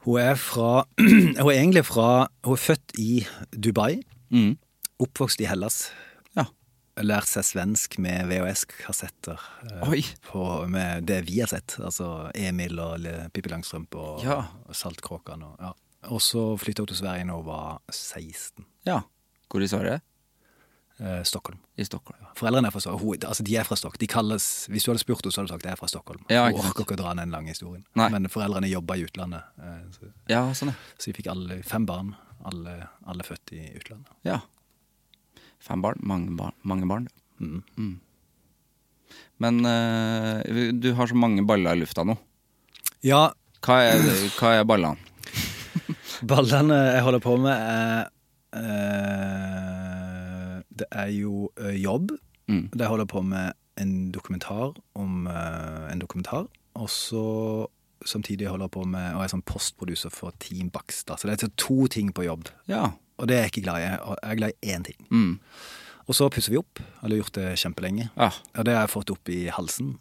E: Hun er fra *clears throat* Hun er egentlig fra Hun er født i Dubai,
D: Mm.
E: oppvokst i Hellas.
D: Ja.
E: Lært seg svensk med VHS-kassetter. eh,
D: Oi!
E: på, med det vi har sett. Altså Emil og Le- Pippi Langstrømpe og,
D: Ja.
E: og Saltkråkene. Og, ja. og så flytta hun til Sverige når hun var 16.
D: Ja. Hvor i Sverige?
E: Eh, Stockholm.
D: I Stockholm.
E: Foreldrene er fra Stockholm. Hun, altså, de er fra Stockholm. De kalles, hvis du hadde spurt henne, så hadde hun sagt jeg er fra Stockholm.
D: Ja,
E: hun
D: ikke sant.
E: orker ikke å dra den lange historien.
D: Nei.
E: Men foreldrene jobba i utlandet, eh, så,
D: Ja, sånn, ja.
E: så vi fikk alle, fem barn. Alle, alle født i utlandet.
D: ja. Fem barn. Mange barn. Mange barn.
E: Mm.
D: Mm. Men eh, du har så mange baller i lufta nå.
E: Ja,
D: Hva er, hva er ballene?
E: ballene jeg holder på med, er eh, Det er jo eh, jobb.
D: Mm.
E: Der holder jeg på med en dokumentar om eh, en dokumentar. Og så samtidig holder jeg på med og er sånn postproducer for Team Bakstad. Så det er altså to ting på jobb.
D: *clears throat* Ja.
E: Og det er jeg ikke glad i. Jeg er- jeg er glad i én ting.
D: Mm.
E: Og så pusser vi opp. Eller gjort det kjempelenge.
D: ja.
E: Og det har jeg fått opp i halsen.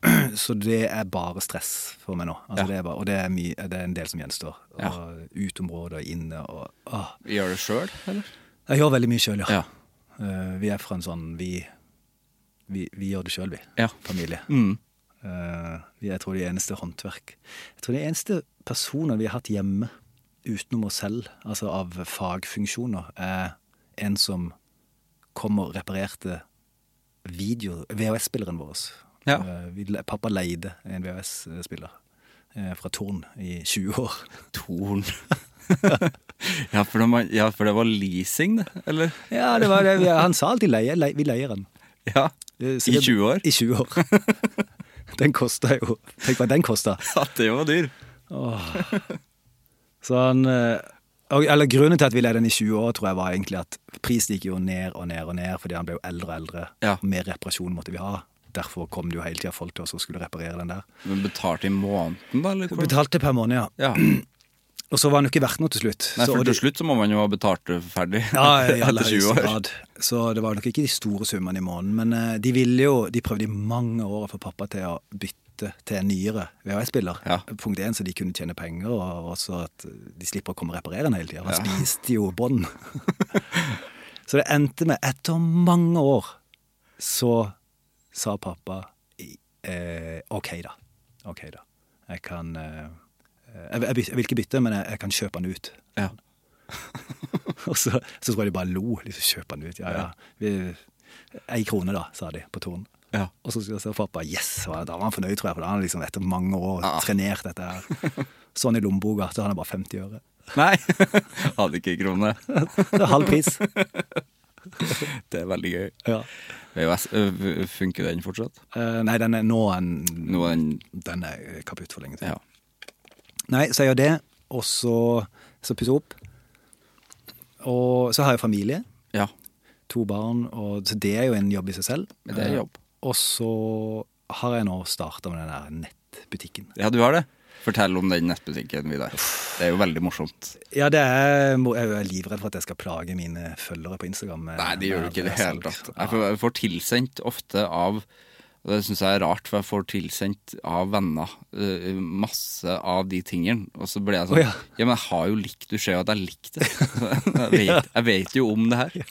E: *clears throat* Så det er bare stress for meg nå. Altså,
D: Ja.
E: det er bare, og det er, mye, det er en del som gjenstår. Og
D: Ja.
E: Uteområder, inne og åh.
D: Gjør det sjøl, eller?
E: Jeg gjør veldig mye sjøl, ja.
D: Ja.
E: Eh, vi er fra en sånn Vi, vi, vi gjør det sjøl, vi.
D: Ja.
E: Familie.
D: Mm.
E: Eh, vi er, jeg tror, de eneste håndverk. Jeg tror de eneste personer vi har hatt hjemme utenom oss selv, altså av fagfunksjoner, er en som kom og reparerte video, VHS-spilleren vår.
D: Ja.
E: Eh, vi, le- pappa leide en VHS-spiller eh, fra Torn i 20 år.
D: Torn. *laughs* ja, for det, var- ja, for det var leasing, det? Eller?
E: ja, det var det. vi- *laughs* Han sa alltid leie, leie, vi leier den.
D: Ja.
E: Eh,
D: I
E: sikkert-
D: 20 år?
E: I 20 år. *laughs* den kosta jo Tenk hva den kosta.
D: Ja, det var dyr.
E: Så han eh, og, Eller grunnen til at vi leide den i 20 år, tror jeg var egentlig at prisen gikk jo ned og ned og ned fordi han ble jo eldre og eldre.
D: Ja.
E: Mer reparasjon måtte vi ha. Derfor kom det jo hele tida folk til oss og skulle reparere den der.
D: Men betalte i måneden, da? Eller? hvordan?
E: Betalte per måned, ja.
D: Ja.
E: Og så var han jo ikke verdt noe til slutt.
D: Nei,
E: Så-
D: for
E: og
D: til
E: det-
D: slutt så må man jo ha betalt det ferdig *laughs*
E: Ja, i aller
D: etter 20
E: høyeste
D: år.
E: grad. Så det var nok ikke de store summene i måneden. Men eh, de ville jo, de prøvde i mange år å få pappa til å bytte til en nyere VHS-spiller.
D: Ja.
E: Punkt én, så de kunne tjene penger, og også at de slipper å komme og reparere den hele tida. Han spiste jo bånd. *laughs* så det endte med, etter mange år, så sa pappa i- eh, OK, da. OK, da. Jeg kan eh, jeg, jeg, jeg vil ikke bytte, men jeg, jeg kan kjøpe den ut.
D: Ja.
E: *laughs* Og så, så tror jeg de bare lo. Liksom, kjøp den ut. Ja, ja. Vi, ei krone, da, sa de på Torn.
D: Ja.
E: Og så sa pappa yes, og da var han fornøyd, tror jeg. For da har han liksom etter mange år trenert dette
D: *laughs*
E: her. Sånn i lommeboka, så har han bare 50 øre.
D: Nei, *laughs* hadde ikke krone.
E: Det er halv
D: *laughs*
E: pris.
D: Det er veldig gøy.
E: Ja.
D: VHS, ø, f- funker den fortsatt?
E: Eh, nei, den er nå en,
D: Nå er den
E: Den er eh, kaputt for lenge siden.
D: Ja.
E: Nei, så jeg gjør det, og så, så pusser jeg opp. Og så har jeg familie.
D: ja.
E: to barn, og så det er jo en jobb i seg selv.
D: Men det er jobb.
E: Eh, Og så har jeg nå starta med den der nettbutikken.
D: Ja, du har det. Fortell om den nettbutikken, Vidar. Det er jo veldig morsomt.
E: Ja, det er, mo- jeg er livredd for at jeg skal plage mine følgere på Instagram. med-
D: Nei, det gjør du
E: med-
D: ikke i det
E: med
D: hele
E: salg.
D: tatt. Jeg får, jeg får tilsendt ofte av og Det syns jeg er rart, for jeg får tilsendt av venner eh, masse av de tingene. Og så blir jeg sånn
E: Å,
D: ja.
E: ja.
D: men jeg har jo likt Du ser jo at jeg likte *laughs* det. Jeg vet, jeg vet jo om det her. *laughs*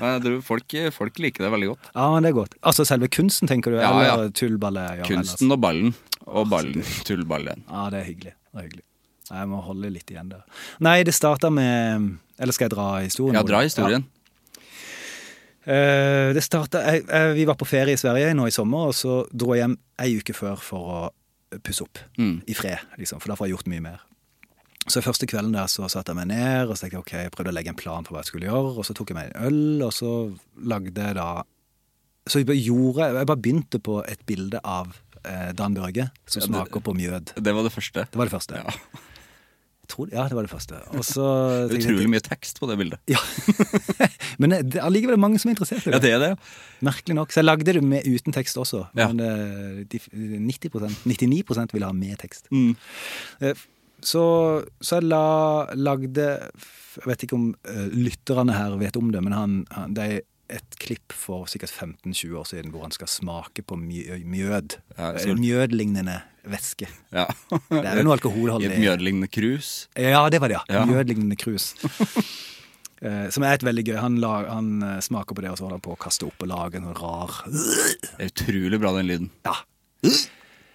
D: Men jeg tror folk, folk liker det veldig godt.
E: Ja, men det er godt. Altså selve kunsten, tenker du?
D: Ja,
E: eller
D: ja. altså.
E: tullballet? Ja, altså.
D: Kunsten og ballen. Og ballen. Tullballen.
E: Ja, det er hyggelig. Det er hyggelig. Nei, Jeg må holde litt igjen der. Nei, det starta med Eller skal jeg dra historien?
D: Ja,
E: Ole?
D: dra historien.
E: Eh, det startet, jeg, jeg, vi var på ferie i Sverige nå i sommer, og så dro jeg hjem ei uke før for å pusse opp.
D: Mm.
E: I fred, liksom, for da får jeg gjort mye mer. Så første kvelden der så satte jeg meg ned og så tenkte jeg, ok, jeg prøvde å legge en plan for hva jeg skulle gjøre. Og så tok jeg meg en øl, og så lagde jeg da Så jeg bare gjorde Jeg bare begynte på et bilde av eh, Dan Børge som smaker på mjød.
D: Det var det første.
E: Det var det første.
D: Ja.
E: Jeg tror, ja, det var det første. Og så
D: *laughs*
E: tenkte jeg-
D: Utrolig mye tekst på det bildet.
E: Ja. *laughs* Men eh, det er allikevel mange som er interessert i
D: Ja, det er det. ja.
E: Merkelig nok. Så jeg lagde det med, uten tekst også.
D: Ja.
E: Men eh, de, 90 99 ville ha med tekst.
D: Mm.
E: Eh, Så, så jeg la, lagde Jeg vet ikke om eh, lytterne her vet om det, men han, han, det er et klipp for sikkert 15-20 år siden hvor han skal smake på mjø- mjød.
D: Ja,
E: Eh,
D: så-
E: Mjødlignende væske.
D: Ja.
E: Det er jo
D: I
E: noe alkoholholdig
D: et mjødlignende krus.
E: ja, det var det, ja.
D: Ja.
E: Mjødlignende krus. *laughs* Eh, som er et veldig gøy. Han, la, han eh, smaker på det, og så holder han på å kaste opp og lage en sånn rar
D: Det er utrolig bra, den lyden.
E: Ja.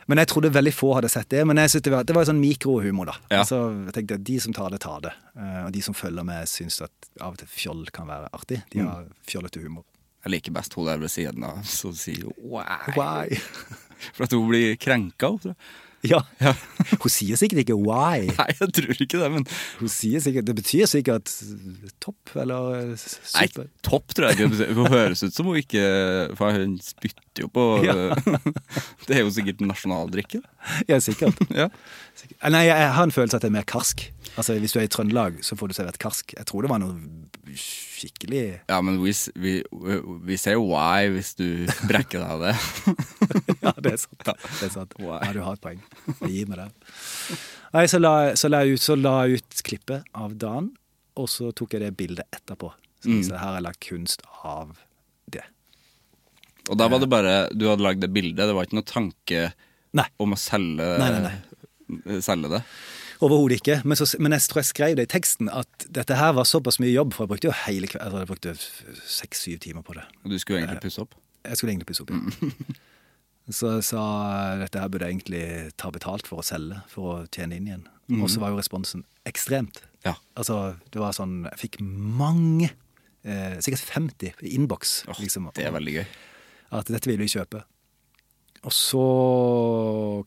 E: Men jeg trodde veldig få hadde sett det. Men jeg synes det var, det var sånn mikrohumor, da.
D: Ja.
E: Altså, jeg tenkte at De som tar det, tar det. Eh, og de som følger med, syns at av og til fjoll kan være artig. De
D: Mm.
E: har fjollete humor.
D: Jeg liker best hun der ved siden av som sier jo, wow,
E: Why? *laughs*
D: For at hun blir krenka. hun, tror jeg. *laughs*
E: Ja. *laughs* Hun sier sikkert ikke 'why'.
D: Nei, jeg tror ikke det, men
E: Hun sier sikkert, Det betyr sikkert topp eller eh,
D: Nei,
E: super.
D: topp tror jeg ikke det betyr. Hun høres ut som hun ikke For hun spytter jo på
E: *laughs*
D: *laughs* Det er jo sikkert nasjonaldrikken.
E: Ja, sikkert.
D: Ja.
E: sikkert. Eh, Nei, jeg jeg har en følelse at det er mer karsk. Altså, Hvis du er i Trøndelag, så får du servert karsk. Jeg tror det var noe skikkelig
D: Ja, men vi, s- vi, vi ser jo why hvis du brekker deg av det.
E: *laughs*
D: *laughs*
E: Ja, det er sant. Det er sant. Ja, du har et poeng. Jeg gir meg det. Nei, så la, så la, jeg ut, så la jeg ut klippet av dagen, og så tok jeg det bildet etterpå. Så viser jeg, her har jeg lagt kunst av det.
D: Og da var det bare Du hadde lagd det bildet, det var ikke noe tanke
E: Nei.
D: om å selge,
E: Nei, nei, nei.
D: selge det.
E: Overhodet ikke. Men, så, men jeg tror jeg skrev det i teksten at dette her var såpass mye jobb, for jeg brukte jo hele kvelden altså Jeg brukte seks-syv timer på det.
D: Og du skulle jo egentlig pusse opp.
E: Jeg skulle egentlig pusse opp igjen.
D: Mm. *laughs*
E: Så jeg sa dette her burde jeg egentlig ta betalt for å selge, for å tjene inn igjen. Og så var jo responsen ekstremt.
D: Mm. Ja.
E: Altså, det var sånn Jeg fikk mange, eh, sikkert 50 i innboks.
D: Åh,
E: liksom,
D: det er veldig gøy.
E: at dette vil vi kjøpe. Og så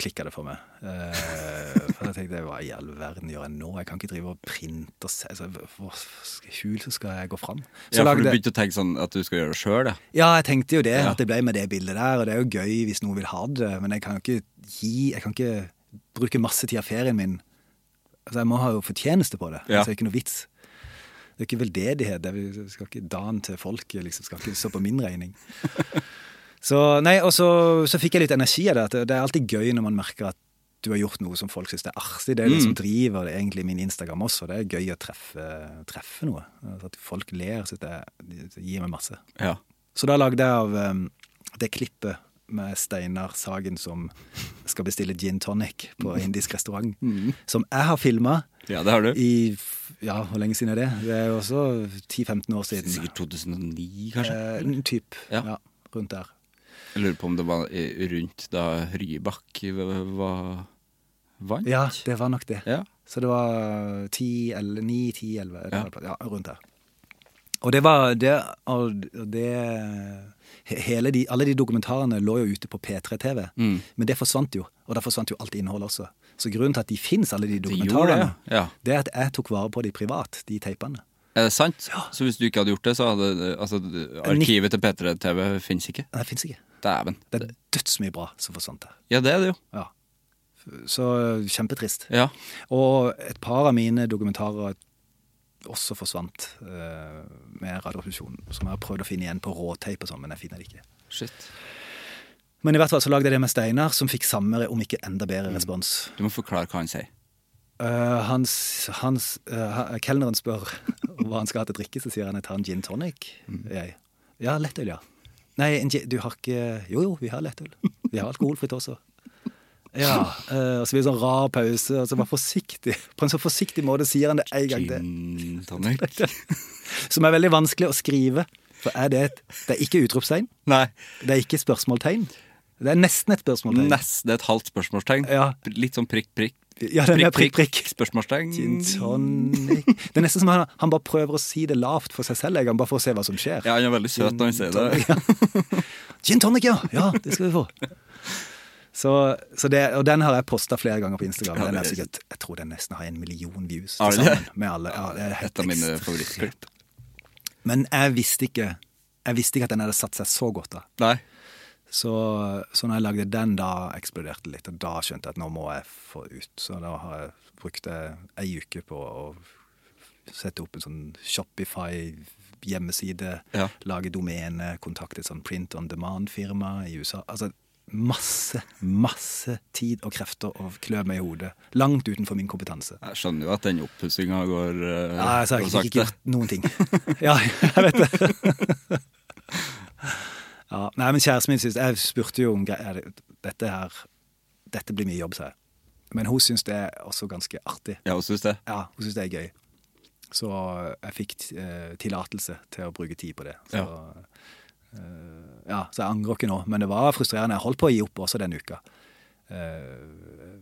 E: klikka det for meg. Eh, for jeg tenkte hva i all verden gjør jeg nå? Jeg kan ikke drive og printe og se. Altså, hvor hul så skal jeg gå fram? Så
D: Ja, for du
E: lagde-
D: begynte å tenke sånn at du skal gjøre det sjøl, ja.
E: ja, jeg tenkte jo det,
D: Ja.
E: at det ble med det bildet der. Og det er jo gøy hvis noen vil ha det, men jeg kan jo ikke gi Jeg kan ikke bruke masse tid av ferien min. Altså, jeg må ha jo fortjeneste på det.
D: Ja.
E: Altså, det er ikke noe vits. Det er ikke veldedighet. Det er, vi skal ikke dagen til folket, liksom. Skal ikke stå på min
D: *laughs*
E: regning. Så, nei, og så, så fikk jeg litt energi av det. At det- det er alltid gøy når man merker at du har gjort noe som folk syns er artig. Det er
D: Mm.
E: det som driver det egentlig min Instagram også. Det er gøy å treffe, treffe noe. Altså, At folk ler, syns jeg det gir meg masse.
D: ja.
E: Så da lagde jeg av em, det klippet med Steinar Sagen som skal bestille gin tonic på indisk restaurant. Som jeg har filma
D: Mm. Ja, det har du.
E: i f- Ja, hvor lenge siden er det? Det er jo også 10-15 år siden.
D: Sikkert 2009, kanskje.
E: Eh, en typ.
D: Ja.
E: Ja. rundt der.
D: Jeg lurer på om det var i- rundt da Rybak v- var vant.
E: Ja, det var nok det.
D: Ja.
E: Så det var 10, eller 9, 10, 11 det
D: Ja.
E: var- ja, rundt der. Og det var det, og det he- hele de, Alle de dokumentarene lå jo ute på P3-TV,
D: Mm.
E: men det forsvant jo. Og da forsvant jo alt innholdet også. Så grunnen til at de fins, alle de
D: gjorde det,
E: dokumentarene,
D: ja.
E: det er at jeg tok vare på de privat, de teipene.
D: Er det sant? Så hvis du ikke hadde gjort det, så hadde det- altså, arkivet til P3TV fins ikke?
E: Nei, det fins ikke.
D: Dæven.
E: Det er dødsmye bra som forsvant der.
D: Ja, det er det jo.
E: Ja. Så kjempetrist.
D: Ja.
E: Og et par av mine dokumentarer også forsvant eh, med Radioresepsjonen. Som jeg har prøvd å finne igjen på råteip og sånn, men jeg finner det ikke.
D: Shit.
E: Men i hvert fall så lagde jeg det med Steinar, som fikk samme, om ikke enda bedre, respons.
D: Du må forklare hva han sier.
E: Eh, hans, hans, eh, ha- kelneren spør *laughs* hva han skal ha til drikke, så sier han jeg tar en gin tonic. Jeg. Ja, lettøl, ja. Nei, en, gin- du har ikke Jo jo, vi har lettøl. Vi har alkoholfritt også. Ja, eh, og så blir det sånn rar pause, og så bare forsiktig. På en så forsiktig måte sier han det en gang til.
D: Gin
E: *laughs*
D: tonic.
E: Som er veldig vanskelig å skrive. For er det et Det er ikke utropstegn.
D: Nei.
E: Det er ikke spørsmålstegn. Det er nesten et spørsmålstegn.
D: Nesten et halvt spørsmålstegn.
E: Ja.
D: Litt sånn prikk, prikk.
E: Ja, det er mer prikk, prikk.
D: Spørsmålstegn.
E: Gin tonic Det er nesten som han, han bare prøver å si det lavt for seg selv, jeg, han bare for å se hva som skjer.
D: Ja, han er veldig søt når han sier det.
E: Gin tonic, ja! *laughs* Ja, det skal vi få. Så, så det, og den har jeg posta flere ganger på Instagram. Den er sikkert, jeg tror den nesten har en million views.
D: Har
E: Til
D: den det?
E: sammen, med alle. Ja, det er helt
D: Et av mine
E: ekstremt.
D: favorittklipp.
E: Men jeg visste ikke Jeg visste ikke at den hadde satt seg så godt. da
D: Nei.
E: Så, så når jeg lagde den, da eksploderte det litt. Og da skjønte jeg at nå må jeg få ut. Så da har jeg brukt eh, ei uke på å sette opp en sånn Shopify-hjemmeside.
D: Ja.
E: Lage domene, kontakte et sånn print on demand-firma i USA. Altså masse, masse tid og krefter og klø meg i hodet. Langt utenfor min kompetanse.
D: Jeg skjønner jo at den oppussinga går eh,
E: Ja, altså,
D: går
E: jeg har ikke, ikke gjort noen ting. Ja, jeg vet det. Ja, nei, men kjæresten min synes, Jeg spurte jo om gre- er det- dette her Dette blir mye jobb, sa jeg. Men hun syns det er også ganske artig.
D: Ja, hun syns det.
E: Ja, Hun syns det er gøy. Så jeg fikk eh, tillatelse til å bruke tid på det. Så,
D: Ja.
E: eh, ja, så jeg angrer ikke nå, men det var frustrerende. Jeg holdt på å gi opp også den uka. Eh,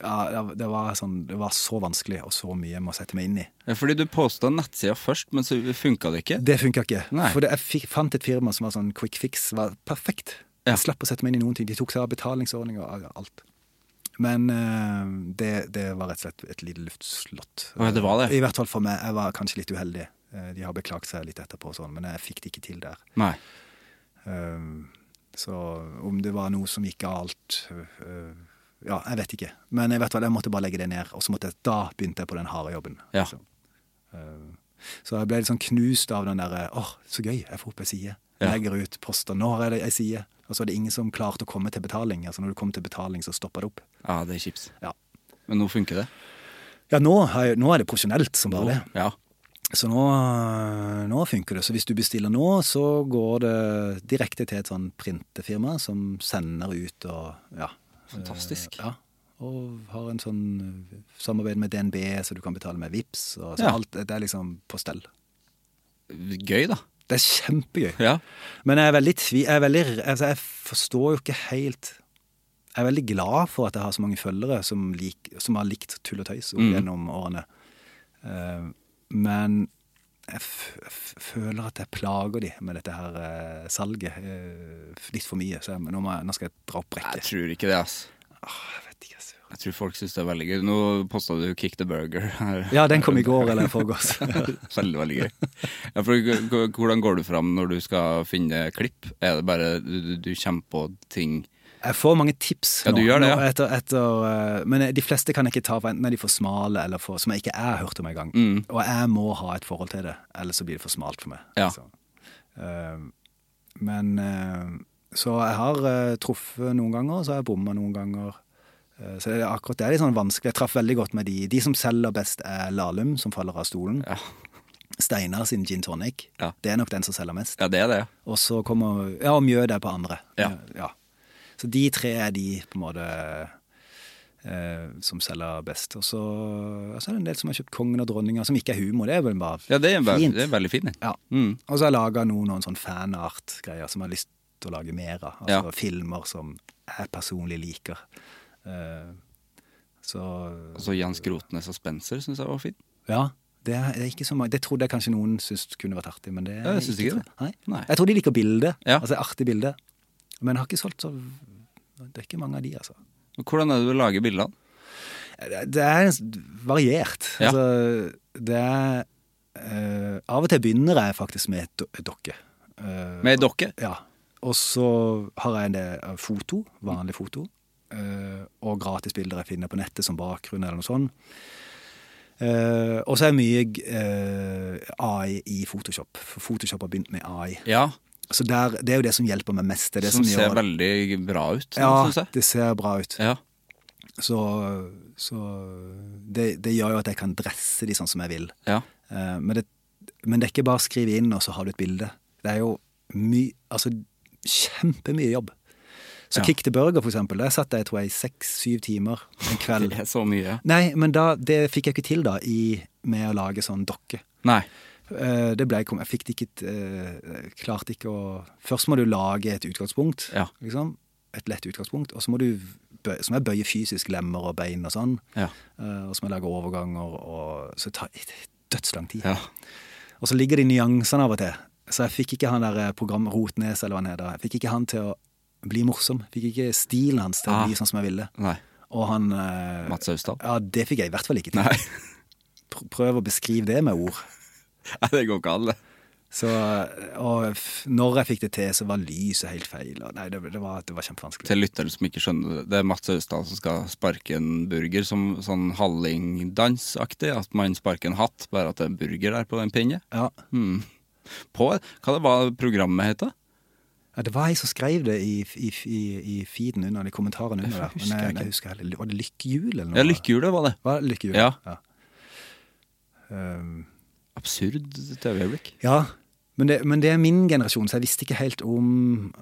E: ja, det- det var, sånn, det var så vanskelig og så mye jeg må sette meg inn i.
D: Ja, Fordi du påstod nettsida først, men så funka det ikke.
E: Det funka ikke.
D: Nei.
E: For det, jeg fikk, fant et firma som var sånn quick fix. var perfekt.
D: Ja.
E: Jeg slapp å sette meg inn i noen ting. De tok seg av betalingsordninger og alt. Men eh, det, det var rett og slett et lite luftslott.
D: Å ja, det var det?
E: I hvert fall for meg. Jeg var kanskje litt uheldig. Eh, De har beklaget seg litt etterpå, og sånn, men jeg fikk det ikke til der.
D: Nei.
E: Eh, Så om det var noe som gikk galt eh, Ja, jeg vet ikke. Men jeg vet hva, jeg måtte bare legge det ned. Og så måtte jeg, da begynte jeg på den harde jobben.
D: Ja.
E: liksom. Eh, Så jeg ble litt sånn knust av den derre Åh, så gøy, jeg får opp ei side.
D: Ja.
E: Legger ut poster. Nå har jeg ei side. Og så er det ingen som klarte å komme til betaling. Altså når du kom til betaling, så stoppa det opp.
D: Ja, det er kjipt.
E: Ja,
D: Men nå funker det.
E: ja nå, har jeg, nå er det profesjonelt som bare det.
D: Ja.
E: Så nå, eh, nå funker det. Så hvis du bestiller nå, så går det direkte til et sånn printefirma som sender ut og ja.
D: Fantastisk.
E: Eh, Ja. Og har en sånn eh, samarbeid med DNB, så du kan betale med Vipps. Og, så
D: Ja.
E: alt, det er liksom på stell.
D: Gøy, da.
E: Det er kjempegøy.
D: Ja.
E: Men jeg er veldig tvi... Jeg, er veldig, altså jeg forstår jo ikke helt Jeg er veldig glad for at jeg har så mange følgere som, lik, som har likt tull og tøys opp gjennom årene. Eh, men jeg, f jeg f føler at jeg plager de med dette her eh, salget eh, litt for mye. Så jeg, nå, må jeg, nå skal jeg dra opp
D: Jeg
E: brekket.
D: tror ikke det, ass.
E: Åh, jeg vet ikke, jeg søren.
D: Jeg tror folk syns det er veldig gøy. Nå posta du 'Kick the Burger'. her.
E: Ja, den kom i går eller i forgårs. *laughs*
D: *laughs* veldig, veldig gøy. Ja, for, g- g- hvordan går du fram når du skal finne klipp? Er det bare du, du- du kommer på ting
E: Jeg får mange tips
D: Ja, du
E: nå,
D: gjør det,
E: nå
D: ja.
E: etter, etter, eh, men de fleste kan jeg ikke ta for enten er de for smale eller for, som jeg ikke er hørt om engang. gang
D: Mm.
E: Og jeg må ha et forhold til det, ellers så blir det for smalt for meg.
D: Ja.
E: Så, eh, men eh, Så jeg har eh, truffet noen ganger, og så har jeg bomma noen ganger. Eh, så det er akkurat det er litt sånn vanskelig. Jeg traff veldig godt med de. De som selger best, er Lahlum, som faller av stolen.
D: Ja.
E: Steinar sin gin tonic.
D: Ja.
E: Det er nok den som selger mest.
D: Ja, det er det.
E: Og så kommer Ja, og Mjød er på andre.
D: Ja.
E: Så de tre er de på en måte eh, som selger best. Og så, og så er det en del som har kjøpt Kongen og dronninga, som ikke er humor. Det er vel bare
D: Ja, det er, ve
E: fint.
D: det er veldig fint. det.
E: Ja.
D: Mm.
E: Og så har jeg laga noen, noen sånn fanart-greier som jeg har lyst til å lage mer av. Altså
D: Ja.
E: filmer som jeg personlig liker. Eh, så
D: Altså Jens Grotnes og Spencer syns jeg var fint.
E: Ja. Det er, det er ikke så mange Det trodde jeg kanskje noen syntes kunne vært artig, men det
D: Ja, jeg syns ikke det.
E: Nei.
D: Nei.
E: Jeg tror de liker bildet.
D: Ja.
E: Altså artig bilde. Men jeg har ikke solgt så Det er ikke mange av de, altså.
D: Men Hvordan er det du lager bildene?
E: Det er variert.
D: Ja.
E: Altså, det er eh, Av og til begynner jeg faktisk med et do- et dokke. Eh,
D: Med ei dokke?
E: Ja. Og så har jeg en del eh, foto, vanlig foto, eh, og gratisbilder jeg finner på nettet som bakgrunn eller noe sånt. Eh, og så er det mye eh, AI i Photoshop, for Photoshop har begynt med AI.
D: Ja.
E: Så der, det er jo det som hjelper meg mest. Det er det
D: som,
E: som,
D: ser
E: gjør,
D: veldig bra ut,
E: ja,
D: syns jeg.
E: det ser bra ut.
D: Ja.
E: Så, så det, det gjør jo at jeg kan dresse de sånn som jeg vil.
D: ja.
E: Eh, Men det, men det er ikke bare å skrive inn, og så har du et bilde. Det er jo my, altså, kjempemye jobb. Så
D: Ja.
E: Kick the Burger, for eksempel, der satt jeg tror jeg i seks-syv timer en
D: *laughs*
E: kveld.
D: Det er så mye.
E: Nei, men da, det fikk jeg ikke til da, i, med å lage sånn dokke.
D: Nei.
E: Eh, Det ble, kom- jeg fikk det ikke eh, Klarte ikke å Først må du lage et utgangspunkt.
D: Ja.
E: Liksom, et lett utgangspunkt. Og så må du bø- så må jeg bøye fysisk lemmer og bein og sånn.
D: Ja.
E: Eh, Og så må jeg lage overganger, og så det tar det dødslang tid.
D: Ja.
E: Og så ligger det i nyansene av og til. Så jeg fikk ikke han der eh, program Rotnes eller hva han heter. Jeg fikk ikke han til å bli morsom. Fikk ikke stilen hans til å
D: Ah.
E: bli sånn som jeg ville.
D: Nei.
E: Og han eh,
D: Mats *laughs* Austdal?
E: Ja, det fikk jeg i hvert fall ikke til.
D: Nei.
E: *laughs* Pr- Prøv å beskrive det med ord.
D: Nei, det går ikke an, det.
E: Så, og f- når jeg fikk det til, så var lyset helt feil. Og nei, det, det, var, det var kjempevanskelig.
D: Til lytteren som ikke skjønner det, det er Mats Austdal som skal sparke en burger som sånn hallingdansaktig. At man sparker en hatt, bare at det er en burger der på den pinne.
E: Ja.
D: Hmm. På Hva det var programmet het? da?
E: Ja, det var jeg som skrev det i, i, i, i feeden under, eller i kommentaren under der. Men
D: husker jeg
E: jeg,
D: ikke.
E: jeg husker heller, Var det Lykkehjul eller noe?
D: Ja, Lykkehjulet var det.
E: Var det lykkehjul?
D: Ja.
E: Um,
D: Absurd TV-øyeblikk.
E: ja. Men, det, men det er min generasjon, så jeg visste ikke helt om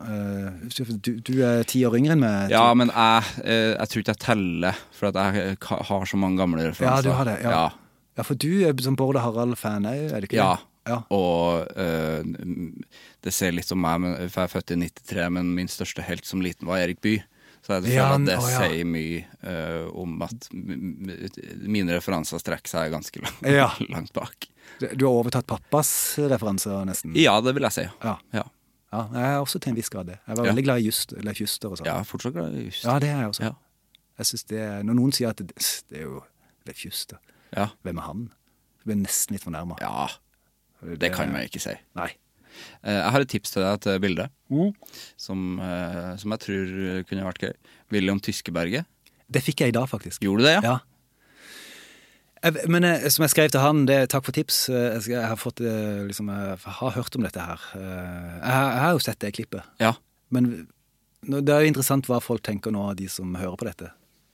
E: eh, du, du er ti år yngre enn meg?
D: Ja,
E: Tor.
D: men jeg, eh, jeg tror ikke jeg teller, for at jeg eh, ka- har så mange gamle
E: ja,
D: referanser.
E: du har det. Ja.
D: altså. ja.
E: Ja, for du er som Bård og Harald-fan òg, er du ikke
D: Ja.
E: det? Ja.
D: Og eh, det ser litt som meg, men, for jeg er født i 93, men min største helt som liten var Erik Bye. Så jeg føler
E: Ja,
D: at det
E: å, ja.
D: sier mye eh, om at m- m- mine referanser strekker seg ganske *laughs* langt,
E: Ja.
D: langt bak.
E: Du har overtatt pappas referanser, nesten?
D: Ja, det vil jeg si.
E: Ja.
D: Ja,
E: Ja, jeg er også til en viss grad det. Jeg var
D: Ja.
E: veldig glad i Just, Leif Juster og sånn.
D: jeg er fortsatt glad i Just.
E: Ja, det er jeg også.
D: Ja.
E: Jeg synes det, Når noen sier at det, det er jo Leif Juster,
D: Ja.
E: hvem er han? Jeg blir nesten litt fornærma.
D: ja. Det kan man ikke si.
E: Nei.
D: Eh, Jeg har et tips til deg til bilde,
E: Mm.
D: som, eh, som jeg tror kunne vært gøy. William Tyskeberget.
E: Det fikk jeg i dag, faktisk.
D: Gjorde du det, ja?
E: Ja. Jeg, men eh, som jeg skrev til han, det er takk for tips. Eh, Jeg, skal, jeg har fått eh, liksom, jeg har hørt om dette her. Eh, Jeg, har- jeg har jo sett det klippet.
D: Ja.
E: Men nå- det er jo interessant hva folk tenker nå, de som hører på dette.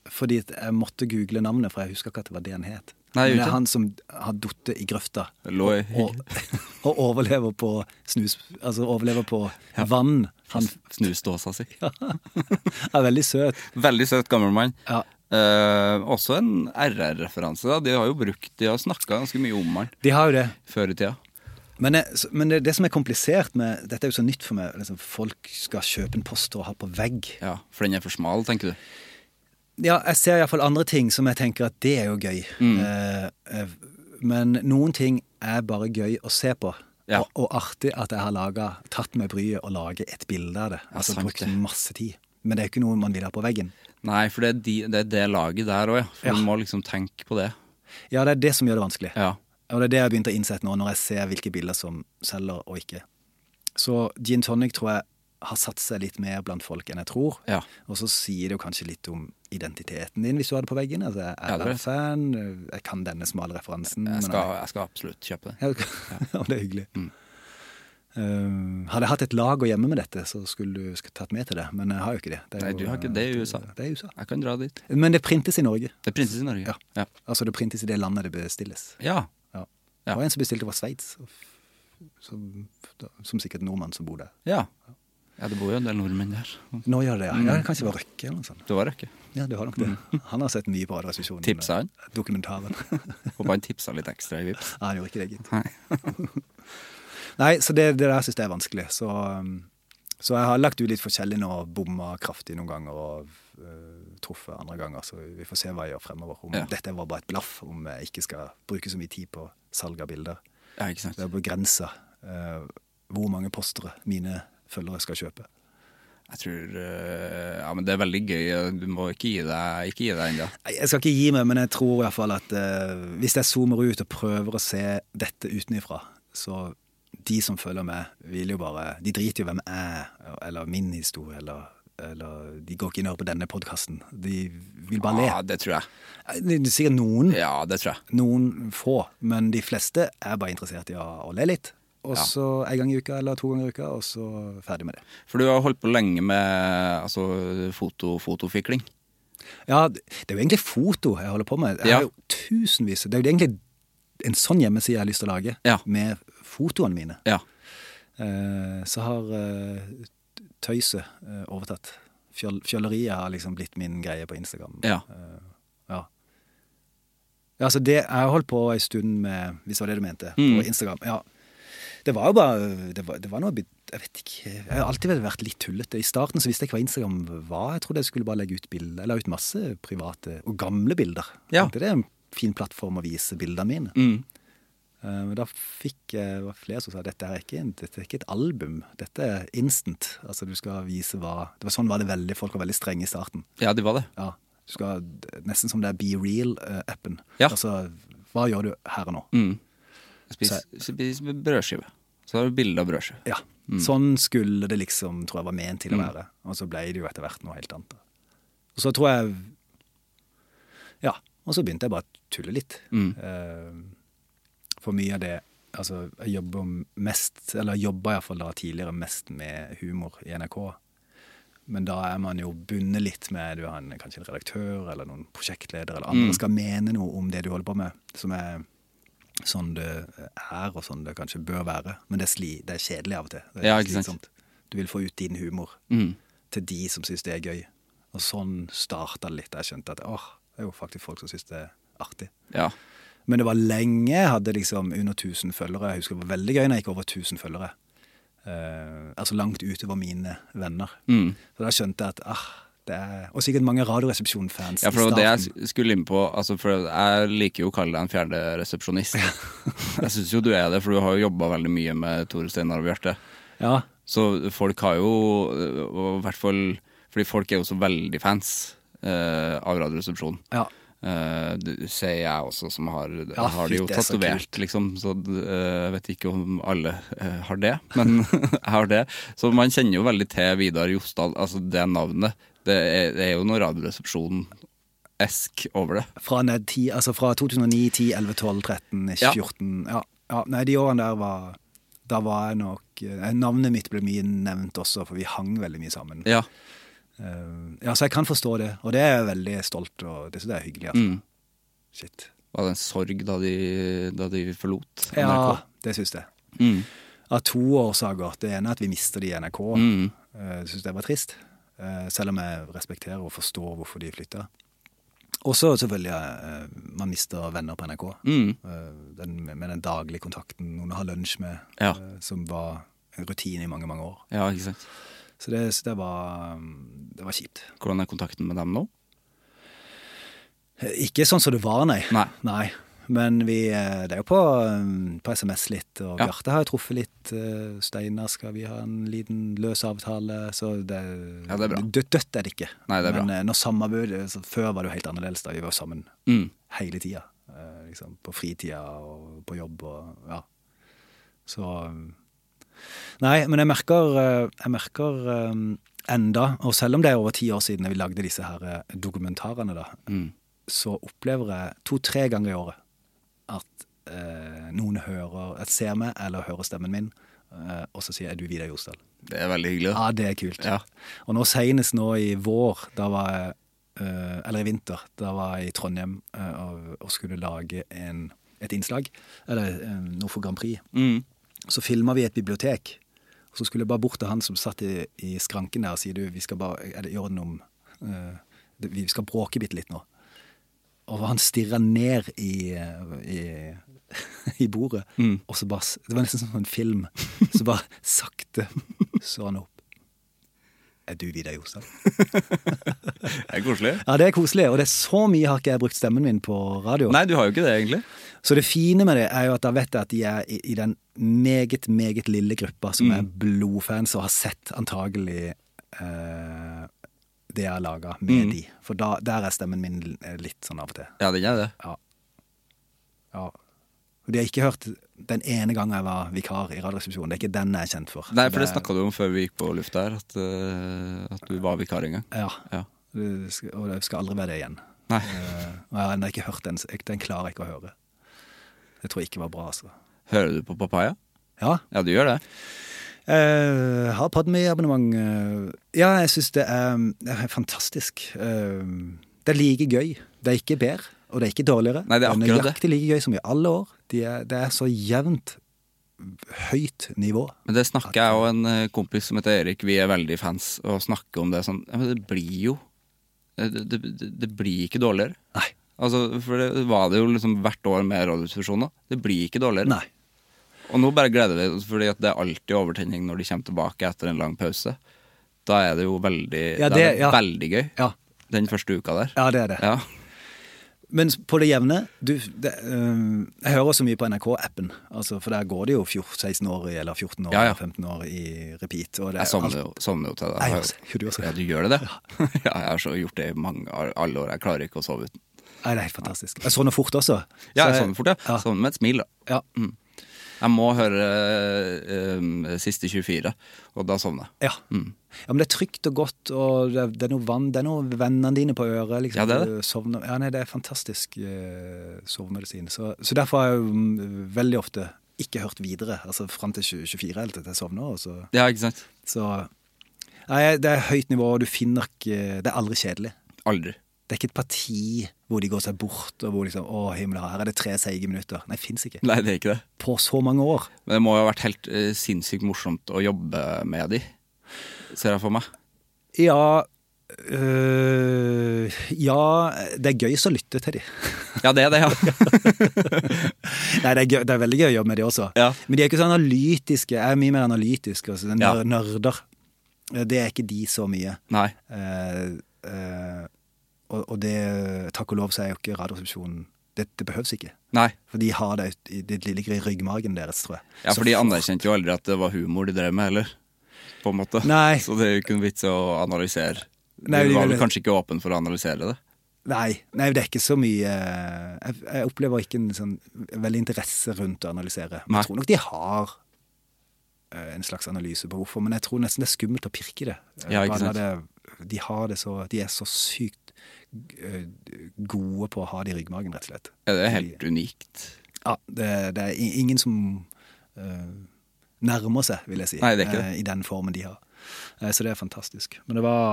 E: Fordi at jeg måtte google navnet, for jeg husker ikke at det var det han het.
D: Nei,
E: men
D: gjorde
E: det
D: ikke.
E: er han som har datt i grøfta.
D: Lå i-
E: og, *laughs* og overlever på snus Altså overlever på vann. Han
D: Snusdåsa si.
E: *laughs* er veldig søt.
D: Veldig søt gammel mann.
E: Ja.
D: Eh, også en RR-referanse. da. De har jo brukt, de har snakka ganske mye om han
E: De har jo det.
D: før i tida.
E: Men, jeg- så- men det, det som er komplisert med Dette er jo så nytt for meg. Liksom, folk skal kjøpe en poster og ha på vegg.
D: Ja, For den er for smal, tenker du.
E: Ja, jeg ser iallfall andre ting som jeg tenker at det er jo gøy.
D: Mm.
E: Eh, eh, men noen ting er bare gøy å se på.
D: Ja.
E: Og, og artig at jeg har laget, tatt meg bryet og laget et bilde av det. altså
D: sant
E: brukt
D: det.
E: masse tid. Men det er jo ikke noe man vil ha på veggen.
D: Nei, for det er, de, det, er det laget der òg, ja. For
E: Ja.
D: Du må liksom tenke på det.
E: Ja, det er det som gjør det vanskelig.
D: Ja.
E: Og det er det jeg har begynt å innsette nå, når jeg ser hvilke bilder som selger og ikke. Så gin tonic tror jeg har satt seg litt mer blant folk enn jeg tror.
D: Ja.
E: Og så sier det jo kanskje litt om identiteten din, hvis du har det på veggen. Altså, jeg
D: Ja, det
E: er
D: er det.
E: fan, jeg kan denne smale referansen. men
D: Jeg skal, Mm. jeg skal absolutt kjøpe den.
E: *laughs* Ja, og det er hyggelig. Um, hadde jeg hatt et lag å gjemme med dette, så skulle du sk- tatt med til det. Men jeg har jo ikke det. det er
D: Nei,
E: jo- eh,
D: du har ikke det i USA.
E: Det er i USA.
D: Jeg kan dra dit.
E: Men det printes i Norge.
D: Det er prinses i Norge.
E: Ja.
D: Ja.
E: Altså det printes i det landet det bestilles.
D: ja.
E: Ja.
D: Ja.
E: Det var en som bestilte fra Sveits, og f- som, da- som sikkert nordmann som bor der.
D: Ja. ja, det bor jo en del nordmenn der.
E: Nå gjør det, ja.
D: Mm.
E: ja kanskje det var Røkke eller noe sånt.
D: Det var Røkke.
E: Ja, det har nok det. Han har sett mye på Radioresepsjonen.
D: Tipsa Mm. han?
E: Dokumentaren. *laughs*
D: Håper han tipsa litt ekstra i Vipps.
E: Nei, han gjorde ikke det, gitt.
D: Nei.
E: Nei, så det, det der syns jeg er vanskelig. Så, um, så jeg har lagt ut litt forskjellig nå, og bomma kraftig noen ganger og øh, truffet andre ganger. Så vi får se hva jeg gjør fremover. Om
D: Ja.
E: dette var bare et blaff, om jeg ikke skal bruke så mye tid på salg av bilder.
D: Ja, ikke sant.
E: Det er begrensa hvor mange postere mine følgere skal kjøpe.
D: Jeg tror eh, Ja, men det er veldig gøy. Du må ikke gi deg Ikke gi deg ennå.
E: Nei, Jeg skal ikke gi meg, men jeg tror i hvert fall at eh, hvis jeg zoomer ut og prøver å se dette utenifra, så de som følger med, vil jo bare De driter jo i hvem jeg er, eller min historie, eller, eller De går ikke inn og hører på denne podkasten. De vil bare
D: Ja, det tror jeg.
E: le. Det er Sikkert noen,
D: Ah. Ja, det tror jeg.
E: noen få, men de fleste er bare interessert i å, å le litt. Og
D: Ja.
E: så en gang i uka eller to ganger i uka, og så ferdig med det.
D: For du har holdt på lenge med altså, foto, fotofikling.
E: Ja, det er jo egentlig foto jeg holder på med. Jeg
D: Ja.
E: har jo tusenvis. Det er jo egentlig en sånn hjemmeside jeg har lyst til å lage,
D: Ja.
E: med fotoene mine.
D: Ja.
E: Eh, så har eh, tøyset eh, overtatt. Fjoll, fjolleriet har liksom blitt min greie på Instagram.
D: Ja.
E: Eh, ja. Ja, altså det, jeg har holdt på en stund med, hvis det var det du mente, på Instagram. Ja. Det var jo bare det var, det var noe, bit- Jeg vet ikke Jeg har alltid vel vært litt tullete. I starten så visste jeg ikke hva Instagram var. Jeg trodde jeg skulle bare legge ut bilder. Jeg la ut masse private og gamle bilder.
D: Ja.
E: Tenkte det er en fin plattform å vise bildene mine.
D: Mm.
E: Eh, Men da fikk jeg det var flere som sa dette er, ikke, en- dette er ikke et album, dette er instant. Altså du skal vise hva Det var sånn var det veldig, folk var veldig strenge i starten.
D: ja, det var det.
E: Ja, du skal, nesten som det er Be Real-appen.
D: Ja. Mm.
E: Altså, hva gjør du her og nå?
D: Spis, spis brødskive. Så har du bilde av brødskive.
E: Ja. Sånn skulle det liksom, tror jeg, var ment til å være. Og så ble det jo etter hvert noe helt annet. da. Og så tror jeg Ja. Og så begynte jeg bare å tulle litt. Eh, for mye av det Altså, jeg jobber mest, eller jobba iallfall da tidligere mest med humor i NRK. Men da er man jo bundet litt med du har en, kanskje en redaktør eller noen prosjektleder eller
D: Mm.
E: andre skal mene noe om det du holder på med, som er sånn det er og sånn det kanskje bør være. Men det er, sli, det er kjedelig av og til. Det er
D: Ja, ikke sant. Mm.
E: slitsomt. Du vil få ut din humor til de som syns det er gøy. Og sånn starta det litt. da Jeg skjønte at åh, det er jo faktisk folk som syns det er artig.
D: Ja.
E: Men det var lenge jeg hadde liksom under 1000 følgere. Jeg husker det var veldig gøy når jeg gikk over 1000 følgere. Eh, altså langt utover mine venner.
D: Mm.
E: Så da skjønte jeg at ah, det er Og sikkert mange Radioresepsjon-fans.
D: Ja, for det
E: i
D: var det
E: starten.
D: jeg skulle inn på. Altså, for jeg liker jo å kalle deg en fjerde resepsjonist. Jeg syns jo du er det, for du har jo jobba veldig mye med Tore Steinar og Bjarte.
E: ja.
D: Så folk har jo, og i hvert fall fordi folk er jo så veldig fans. eh, av Radioresepsjonen.
E: Ja.
D: Eh, det ser jeg også, som har,
E: Ja,
D: har
E: fy,
D: det jo
E: det er så
D: tatovert, liksom. Så eh, jeg vet ikke om alle eh, har det, men *laughs* jeg har det. Så man kjenner jo veldig til Vidar Jostad, altså det navnet. Det er, det er jo noe Radioresepsjon-esk over det.
E: Fra, ned 10, altså fra 2009, 10, 11, 12, 13,
D: Ja.
E: 14 ja. ja. Nei, de årene der var Da var jeg nok eh, Navnet mitt ble mye nevnt også, for vi hang veldig mye sammen.
D: Ja.
E: Eh, ja, Så jeg kan forstå det, og det er jeg veldig stolt og det, så det er hyggelig. Altså.
D: Mm.
E: Shit.
D: Var det en sorg da de, da de forlot NRK?
E: Ja, det syns jeg.
D: Mm.
E: Av to årsaker. Det ene er at vi mister de i NRK.
D: Mm.
E: Jeg syns det var trist. eh, Selv om jeg respekterer og forstår hvorfor de flytta. Og så selvfølgelig eh, man mister venner på NRK.
D: Mm.
E: Eh, Den, med den daglige kontakten noen har lunsj med,
D: Ja.
E: eh, som var en rutine i mange mange år.
D: ja, ikke sant.
E: Så det, så det, var, um, det var kjipt.
D: Hvordan er kontakten med dem nå?
E: Eh, Ikke sånn som det var, nei.
D: Nei.
E: Men vi, eh, det er jo på, um, på SMS litt, og
D: Ja.
E: Bjarte har jo truffet litt. eh, Steinar skal vi ha en liten løs avtale, så det,
D: Ja, det er bra.
E: Dødt, dødt er det ikke.
D: Nei, det er
E: Men
D: bra.
E: eh, når samarbeidet så Før var det jo helt annerledes, da vi var sammen
D: Mm.
E: hele tida. eh, Liksom, på fritida og på jobb og ja. Så um, Nei, men jeg merker, eh, jeg merker um, enda, og selv om det er over ti år siden vi lagde disse her eh, dokumentarene, da,
D: Mm.
E: så opplever jeg to-tre ganger i året at eh, noen hører, at ser meg eller hører stemmen min, eh, og så sier jeg 'er du Vidar Josdal'?
D: Det er veldig hyggelig. da.
E: Ja, det er kult.
D: Ja.
E: Og nå senest nå i vår, da var jeg eh, Eller i vinter, da var jeg i Trondheim eh, og, og skulle lage en, et innslag, eller eh, noe for Grand Prix.
D: Mm.
E: Så filma vi et bibliotek, og så skulle jeg bare bort til han som satt i, i skranken der og si du, vi skal bare er det, gjøre den om eh, det- Vi skal bråke bitte litt nå. Og han stirra ned i, eh, i, *laughs* i bordet, og så bare s- Det var nesten som en *laughs* film. Så bare sakte så han opp. Er du Vidar Jostad?
D: Det er koselig.
E: Ja, det er koselig. Og det er så mye har ikke jeg brukt stemmen min på radio.
D: Nei, du har jo ikke det, egentlig.
E: Så det fine med det er jo at da vet jeg at de er i, i den meget, meget lille gruppa som
D: Mm.
E: er blodfans og har sett antagelig eh, det jeg har laga med
D: Mm.
E: de. For da, der er stemmen min l- eh, litt sånn av og til.
D: Ja, den er det.
E: Ja. ja. Og de har ikke hørt den ene gangen jeg var vikar i Radioresepsjonen. Det er ikke den jeg er kjent for.
D: Nei, for det snakka du om før vi gikk på lufta her, at, eh, at du var vikar en gang.
E: Ja.
D: Ja.
E: Det skal, og det skal aldri være det igjen.
D: Nei.
E: Eh, og jeg har ennå ikke hørt den, så jeg- den klarer jeg ikke å høre. Det tror jeg ikke var bra, altså.
D: Hører du på Papaya?
E: Ja.
D: Ja, du gjør det.
E: Jeg Eh, har Padme-abonnement. eh, Ja, jeg syns det, er- det er fantastisk. Eh, Det er like gøy. Det er ikke bedre, og det er ikke dårligere.
D: Nei, det er akkurat det.
E: nøyaktig like gøy som i alle år. De er, det er så jevnt høyt nivå.
D: Men det snakker jeg og en eh, kompis som heter Erik, vi er veldig fans, og snakker om det sånn ja, Men det blir jo eh, Det, det, det- det blir ikke dårligere.
E: Nei.
D: Altså, for det var det jo liksom hvert år med radiodiskusjoner. Det blir ikke dårligere.
E: Nei.
D: Og nå bare gleder vi oss, fordi at det er alltid overtenning når de kommer tilbake etter en lang pause. Da er det jo veldig,
E: Ja,
D: da er det
E: det- ja.
D: veldig gøy.
E: Ja.
D: Den første uka der.
E: Ja, det er det.
D: Ja.
E: Men på det jevne du, det, eh, Jeg hører så mye på NRK-appen, altså, for der går det jo 14, 16 år i, eller 14 år,
D: Ja, ja.
E: 15 år i repeat. Og det, er
D: Jeg sovner
E: alt-
D: jo, sovner jo til det.
E: Nei,
D: Jeg har
E: altså,
D: jo-
E: jo, du også.
D: Ja, du gjør det, det? *laughs* Ja, jeg har så gjort det i mange, alle år. Jeg klarer ikke å sove uten.
E: Nei, det er helt fantastisk. Jeg sovner fort også.
D: Ja,
E: Så
D: jeg sovner fort, ja.
E: Ja.
D: Sovner med et smil, da.
E: Ja.
D: Mm. Jeg må høre eh, eh, siste 24, og da sovner jeg.
E: Ja. ja, men det er trygt og godt, og det er, det er noe vann, det er noe vennene dine på øret. Liksom.
D: Ja, det er det.
E: Du Sovner, ja, nei, det er fantastisk eh, sovemedisin. Så, så derfor har jeg jo mm, veldig ofte ikke hørt videre, altså fram til 20, 24 helt til jeg sovner. Og så,
D: Ja, ikke sant?
E: så Nei, det er høyt nivå, og du finner ikke Det er aldri kjedelig.
D: Aldri.
E: Det er ikke et parti hvor de går seg bort, og hvor liksom Å, himmel, her er det tre seige minutter. Nei, fins ikke.
D: Nei, det er ikke det.
E: På så mange år.
D: Men det må jo ha vært helt eh, sinnssykt morsomt å jobbe med de, ser jeg for meg.
E: Ja øh, Ja, det er gøyest å lytte til de.
D: Ja, det er det, ja.
E: *laughs* Nei, det er, gøy, det er veldig gøy å jobbe med de også.
D: Ja.
E: Men de er ikke så analytiske. Jeg er mye mer analytisk. Altså. Den
D: Ja.
E: Nerder. Det er ikke de så mye.
D: *laughs* Nei.
E: Eh, eh, og, og det, takk og lov, så er jo ikke Radioresepsjonen det, det behøves ikke.
D: Nei.
E: For de har det ut- i det ligger i ryggmargen deres, tror jeg.
D: Ja,
E: Så
D: for de anerkjente jo aldri at det var humor de drev med, heller. På en måte.
E: Nei.
D: Så det er jo ikke noen vits i å analysere
E: Nei,
D: du
E: de
D: var vel
E: ville-
D: kanskje ikke åpen for å analysere det?
E: Nei, nei, det er ikke så mye eh, Jeg, jeg opplever ikke en sånn veldig interesse rundt å analysere. Men
D: Nei.
E: jeg tror nok de har eh, en slags analyse på hvorfor, men jeg tror nesten det er skummelt å pirke i det. Eh,
D: Ja, ikke
E: bare
D: sant.
E: Det, de, har det så, de er så sykt eh, gode på å ha det i ryggmagen, rett og slett.
D: Ja, det er helt unikt.
E: Ja, det, det er i- ingen som eh, nærmer seg, vil jeg si,
D: Nei, det er ikke
E: eh, i den formen de har. Eh, så det er fantastisk. Men det var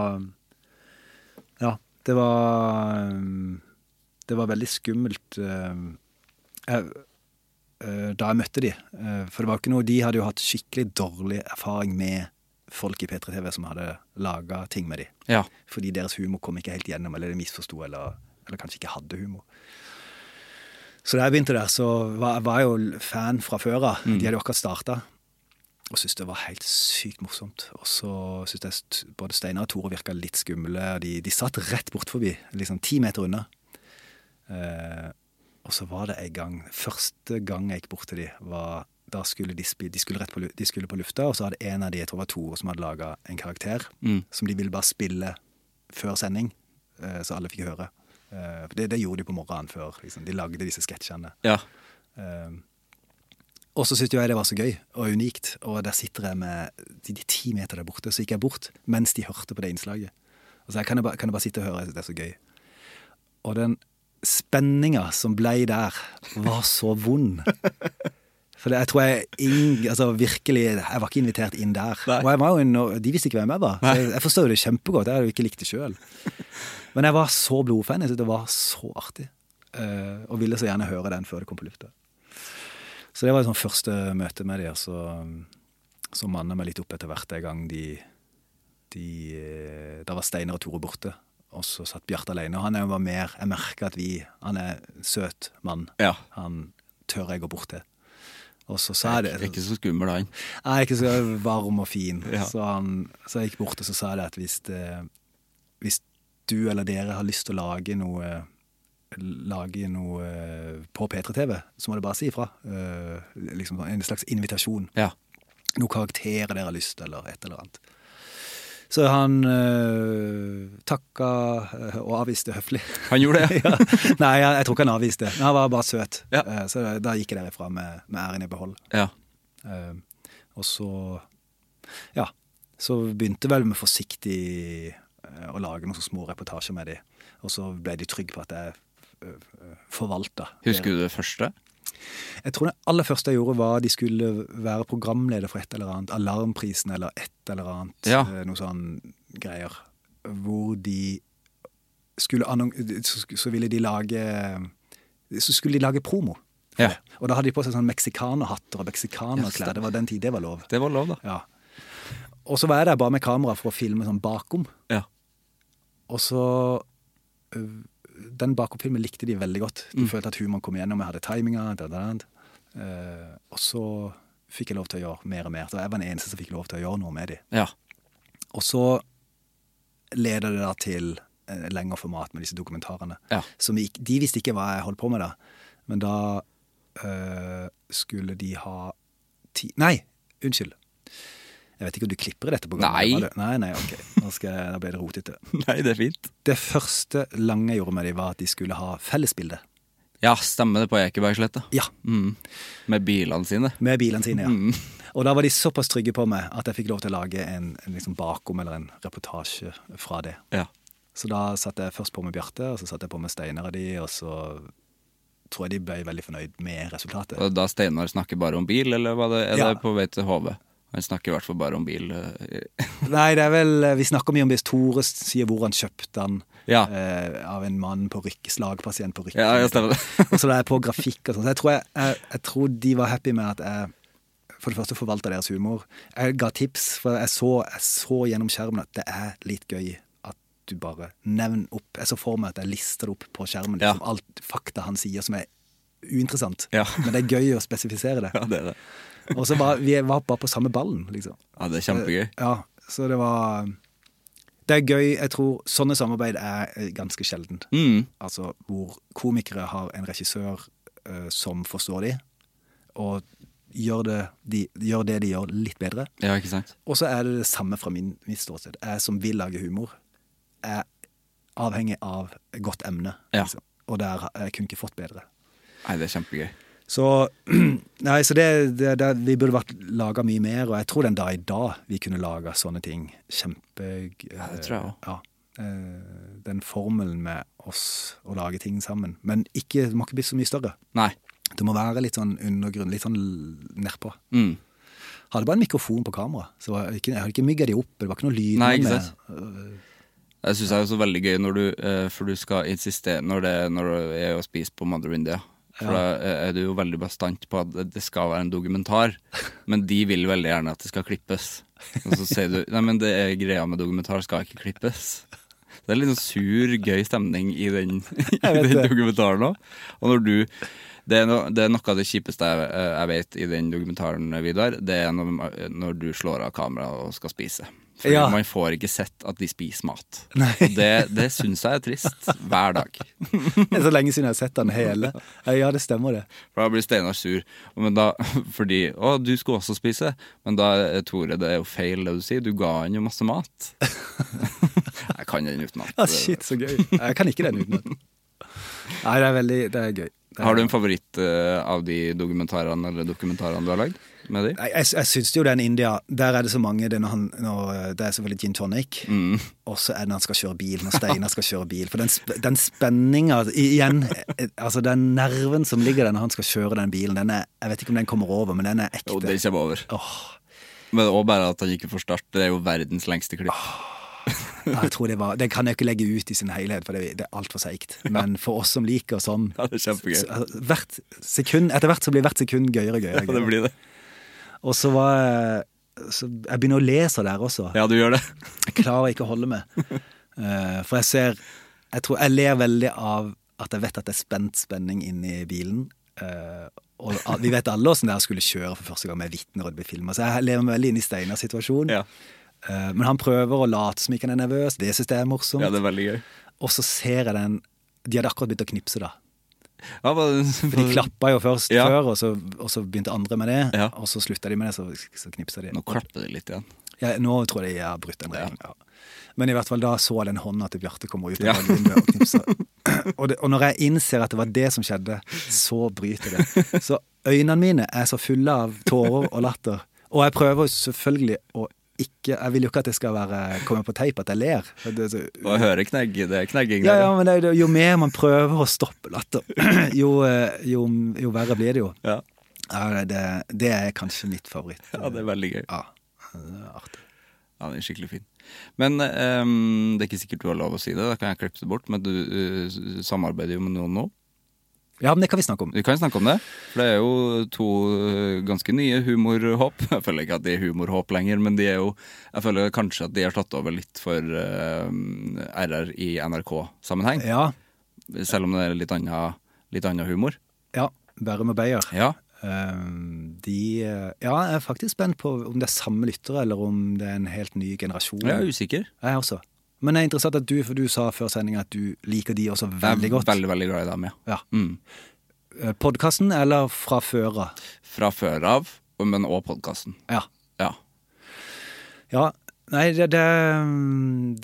E: Ja, det var eh, Det var veldig skummelt eh, jeg, eh, da jeg møtte de. Eh, for det var ikke noe De hadde jo hatt skikkelig dårlig erfaring med folk i P3 TV som hadde laga ting med de
D: Ja.
E: fordi deres humor kom ikke helt gjennom, eller de misforsto, eller, eller kanskje ikke hadde humor. Så da jeg begynte der, så var var jeg jo fan fra før av. De hadde jo akkurat starta. Og syntes det var helt sykt morsomt. Og så syntes jeg st- både Steinar og Tore virka litt skumle. og De, de satt rett bortforbi, liksom ti meter unna. Eh, og så var det en gang Første gang jeg gikk bort til de, var da skulle de, spi- de, skulle rett på, lu- de skulle på lufta, og så hadde en av de, jeg tror det var Tore, som hadde laga en karakter
D: Mm.
E: som de ville bare spille før sending, eh, så alle fikk høre. Eh, for det, det gjorde de på morgenen før. Liksom. De lagde disse sketsjene.
D: ja.
E: Eh, og så syntes jo jeg det var så gøy og unikt, og der sitter jeg med de, de ti meter der borte. Så gikk jeg bort mens de hørte på det innslaget. Og så her kan jeg, bare, kan jeg bare sitte og høre, jeg synes det er så gøy. Og den spenninga som blei der, var så vond. For det, jeg tror jeg ing, altså virkelig Jeg var ikke invitert inn der.
D: Nei.
E: Og jeg var jo en, og de visste ikke hvem jeg var. Så jeg, jeg forstår jo det kjempegodt. Jeg hadde jo ikke likt det sjøl. Men jeg var så blodfan. Jeg syntes det var så artig. Eh, og ville så gjerne høre den før det kom på lufta. Så det var liksom første møte med dem. Så, um, så manna meg litt opp etter hvert en gang de, de eh, Da var Steinar og Tore borte. Og så satt Bjarte alene. Og han er jo bare mer Jeg merker at vi Han er en søt mann.
D: Ja.
E: Han tør jeg gå bort til. Og så sa jeg det.
D: Ikke så skummel, han.
E: Jeg er ikke så varm og fin.
D: Ja.
E: Så, han, så jeg gikk bort og så sa jeg det at hvis, det, hvis du eller dere har lyst til å lage noe Lage noe eh, på P3-TV, så må du bare si ifra. Eh, Liksom en slags invitasjon.
D: Ja.
E: Noen karakterer dere har lyst til, eller et eller annet. Så han øh, takka øh, og avviste høflig.
D: Han gjorde
E: *laughs*
D: det, ja.
E: ja. Nei, jeg, jeg tror ikke han avviste. Men han var bare søt.
D: Ja.
E: Eh, Så da, da gikk jeg derifra med, med æren i behold.
D: Ja.
E: Eh, og så Ja. Så begynte vel med forsiktig eh, å lage noen så små reportasjer med de. Og så ble de trygge på at jeg forvalta.
D: Husker du det første?
E: Jeg tror det aller første jeg gjorde, var at de skulle være programleder for et eller annet. Alarmprisen eller et eller annet.
D: Ja.
E: eh, Noe sånn greier. Hvor de skulle annon... Så, sk- så ville de lage Så skulle de lage promo. for
D: Ja.
E: det. Og da hadde de på seg sånn meksikanerhatter og meksikanerklær. Det var den tid det var lov.
D: Det var lov, da.
E: Ja. Og så var jeg der bare med kamera for å filme sånn bakom.
D: Ja.
E: Og så øh, Den bakom-filmen likte de veldig godt. De følte at humoren kom igjennom, jeg hadde timinga. da, da, da. Eh, og så fikk jeg lov til å gjøre mer og mer. Så jeg var den eneste som fikk lov til å gjøre noe med de.
D: Ja.
E: Og så leder det da til eh, lengre format med disse dokumentarene.
D: Ja.
E: Som vi, ikk- de visste ikke hva jeg holdt på med da, men da eh, skulle de ha ti Nei, unnskyld. Jeg vet ikke om du klipper i dette programmet?
D: Nei.
E: var det? Nei, nei, ok. Nå, skal, jeg- da ble det rotete.
D: *laughs* Nei, det er fint.
E: Det første lange jeg gjorde med dem, var at de skulle ha fellesbilde.
D: Ja, stemmer det på Ekebergsletta.
E: Ja,
D: Mm. Med bilene sine.
E: Med bilene sine, ja.
D: Mm.
E: Og da var de såpass trygge på meg at jeg fikk lov til å lage en, en liksom bakom eller en reportasje fra det.
D: Ja.
E: Så da satte jeg først på med Bjarte, og så satte jeg på med Steinar og de, og så tror jeg de ble veldig fornøyd med resultatet.
D: Og Da Steinar snakker bare om bil, eller var det, er
E: Ja.
D: det på vei til HV? Han snakker i hvert fall bare om bil. eh,
E: Nei, det er vel Vi snakker mye om hvis Tore sier hvor han kjøpte den
D: Ja.
E: eh, av en mann på rykke, slagpasient på rykke.
D: Ja, ja, stemmer det.
E: *laughs* og så da er jeg på grafikk og sånn. Så jeg tror, jeg, jeg, jeg tror de var happy med at jeg for det første forvalta deres humor. Jeg ga tips, for jeg så, jeg så gjennom skjermen at det er litt gøy at du bare nevner opp Jeg så for meg at jeg lister det opp på skjermen,
D: Ja.
E: liksom alt fakta han sier som er uinteressant.
D: Ja.
E: Men det er gøy å spesifisere det.
D: *laughs* *laughs* Ja, det er det.
E: Og så var vi var bare på samme ballen, liksom.
D: Ja, det er kjempegøy.
E: Ja, så det var Det er gøy. Jeg tror sånne samarbeid er eh, ganske sjelden.
D: Mm.
E: Altså hvor komikere har en regissør eh, som forstår de, og gjør det de, gjør det de gjør, litt bedre.
D: Ja, ikke sant?
E: Og så er det det samme fra min, mitt ståsted. Jeg som vil lage humor. er avhengig av godt emne.
D: Ja.
E: liksom. Og der har- jeg kunne ikke fått bedre.
D: Nei, det er kjempegøy.
E: Så, *clears throat* nei, så det, det, det, vi burde vært laga mye mer, og jeg tror den dag i dag vi kunne laga sånne ting. Kjempe... Ja,
D: det tror jeg også.
E: Ja, eh, den formelen med oss å lage ting sammen. Men ikke, det må ikke bli så mye større.
D: Nei.
E: Det må være litt sånn undergrunn, litt sånn l- nedpå.
D: Mm.
E: Hadde bare en mikrofon på kamera. Så var jeg, ikke, jeg hadde ikke mygga de opp, det var ikke noe lyd.
D: Nei, ikke
E: med-
D: sant? Det syns jeg er også veldig gøy når du eh, For du skal insistere når, det, når du er og spiser på Mother India. For da eh, er du jo veldig bastant på at det skal være en dokumentar, men de vil veldig gjerne at det skal klippes. Og så sier du Nei, men det er greia med dokumentar skal ikke klippes. Det er litt sånn sur, gøy stemning i den, i den dokumentaren òg. Og når du det er, no, det er noe av det kjipeste jeg, eh, jeg vet i den dokumentaren, Vidar. Det er når, når du slår av kameraet og skal spise. For
E: Ja.
D: man får ikke sett at de spiser mat.
E: Nei.
D: Og det, det syns jeg er trist hver dag.
E: *laughs* Det er så lenge siden jeg har sett den hele. Ja, det stemmer det.
D: For da blir Steinar sur. Men da, fordi 'Å, du skulle også spise.' Men da, Tore, det er jo feil det du sier. Du ga han jo masse *laughs* mat. jeg kan den utenat.
E: Ja, Ah, shit, så gøy. Jeg kan ikke den
D: *laughs*
E: utenat. Nei, det er veldig Det er gøy. Det er-
D: Har du en favoritt eh, av de dokumentarene eller dokumentarene du har lagd? Med de?
E: Nei, jeg, jeg syns jo den India Der er det så mange Det, er når han, når, eh, det er selvfølgelig gin tonic,
D: Mm.
E: og så er det når han skal kjøre bil, når Steinar skal kjøre bil. For den, sp- den spenninga igjen eh, Altså, den nerven som ligger der når han skal kjøre den bilen, den er Jeg vet ikke om den kommer over, men den er ekte.
D: Jo, den kommer over.
E: Åh,
D: Men òg bare at han ikke får start. Det er jo verdens lengste klipp.
E: ja, jeg tror det var Den kan jeg ikke legge ut i sin helhet, for det, det er altfor seigt. Men for oss som liker sånn
D: Ja, det er kjempegøy.
E: så- altså, hvert sekund, Etter hvert så blir hvert sekund gøyere og gøyere.
D: Ja,
E: og
D: det
E: gøyere.
D: blir det.
E: Og så var jeg så Jeg begynner å lese der også.
D: Ja, du gjør det.
E: Jeg klarer ikke å holde
D: *laughs*
E: meg. Eh, for jeg ser Jeg tror jeg ler veldig av at jeg vet at det er spent spenning inni bilen. Eh, og al- vi vet alle åssen det er å skulle kjøre for første gang med vitner og det blir filma. Så jeg lever meg veldig inn i Steinars situasjon.
D: Ja.
E: Eh, men han prøver å late som ikke han er nervøs. Det syns jeg er morsomt.
D: Ja, det er veldig gøy.
E: Og så ser jeg den De hadde akkurat begynt å knipse, da.
D: Ja, bare,
E: For de klappa jo først
D: Mm. Ja.
E: før, og så, og så begynte andre med det.
D: Ja.
E: Og så slutta de med det, så, så knipsa de.
D: Nå klapper det litt igjen.
E: Ja, nå tror jeg jeg har brutt den regelen. Ja. Men i hvert fall da så jeg den hånda til Bjarte komme ut
D: Ja.
E: av vinduet og knipse. *clears throat* Og, det- og når jeg innser at det var det som skjedde, så bryter det. Så øynene mine er så fulle av tårer og latter. Og jeg prøver jo selvfølgelig å ikke Jeg vil jo ikke at det skal være, komme på teip at jeg ler. For Det, er så,
D: Og jeg hører knegg, det er knegging
E: ja,
D: der.
E: ja, men det, er jo- jo mer man prøver å stoppe latter, *clears throat* jo, eh, jo, jo verre blir det jo.
D: Ja.
E: Ja, det, det er kanskje mitt favoritt.
D: ja, det er veldig gøy.
E: Ja, det er artig.
D: Ja, den er skikkelig fin. Men ehm, det er ikke sikkert du har lov å si det, da kan jeg klippe det bort. Men du eh, s- samarbeider jo med noen nå.
E: Ja, men det kan vi snakke om.
D: Vi kan snakke om det. For det er jo to eh, ganske nye humorhåp. Jeg føler ikke at de er humorhåp lenger, men de er jo Jeg føler kanskje at de har tatt over litt for ehm, RR i NRK-sammenheng.
E: Ja,
D: Selv om det er litt annen, litt annen humor.
E: Ja, Bærum og Beyer.
D: Ja.
E: Ehm, de eh, Ja, jeg er faktisk spent på om det er samme lyttere, eller om det er en helt ny generasjon.
D: Jeg er usikker.
E: Jeg også. Men det er interessant at du, for du sa før sendinga at du liker de også veldig godt.
D: Veldig, veldig glad i dem, ja.
E: Ja.
D: Mm.
E: Podkasten eller fra før av?
D: Fra før av, men òg podkasten.
E: Ja.
D: Ja.
E: ja. Nei, det, det,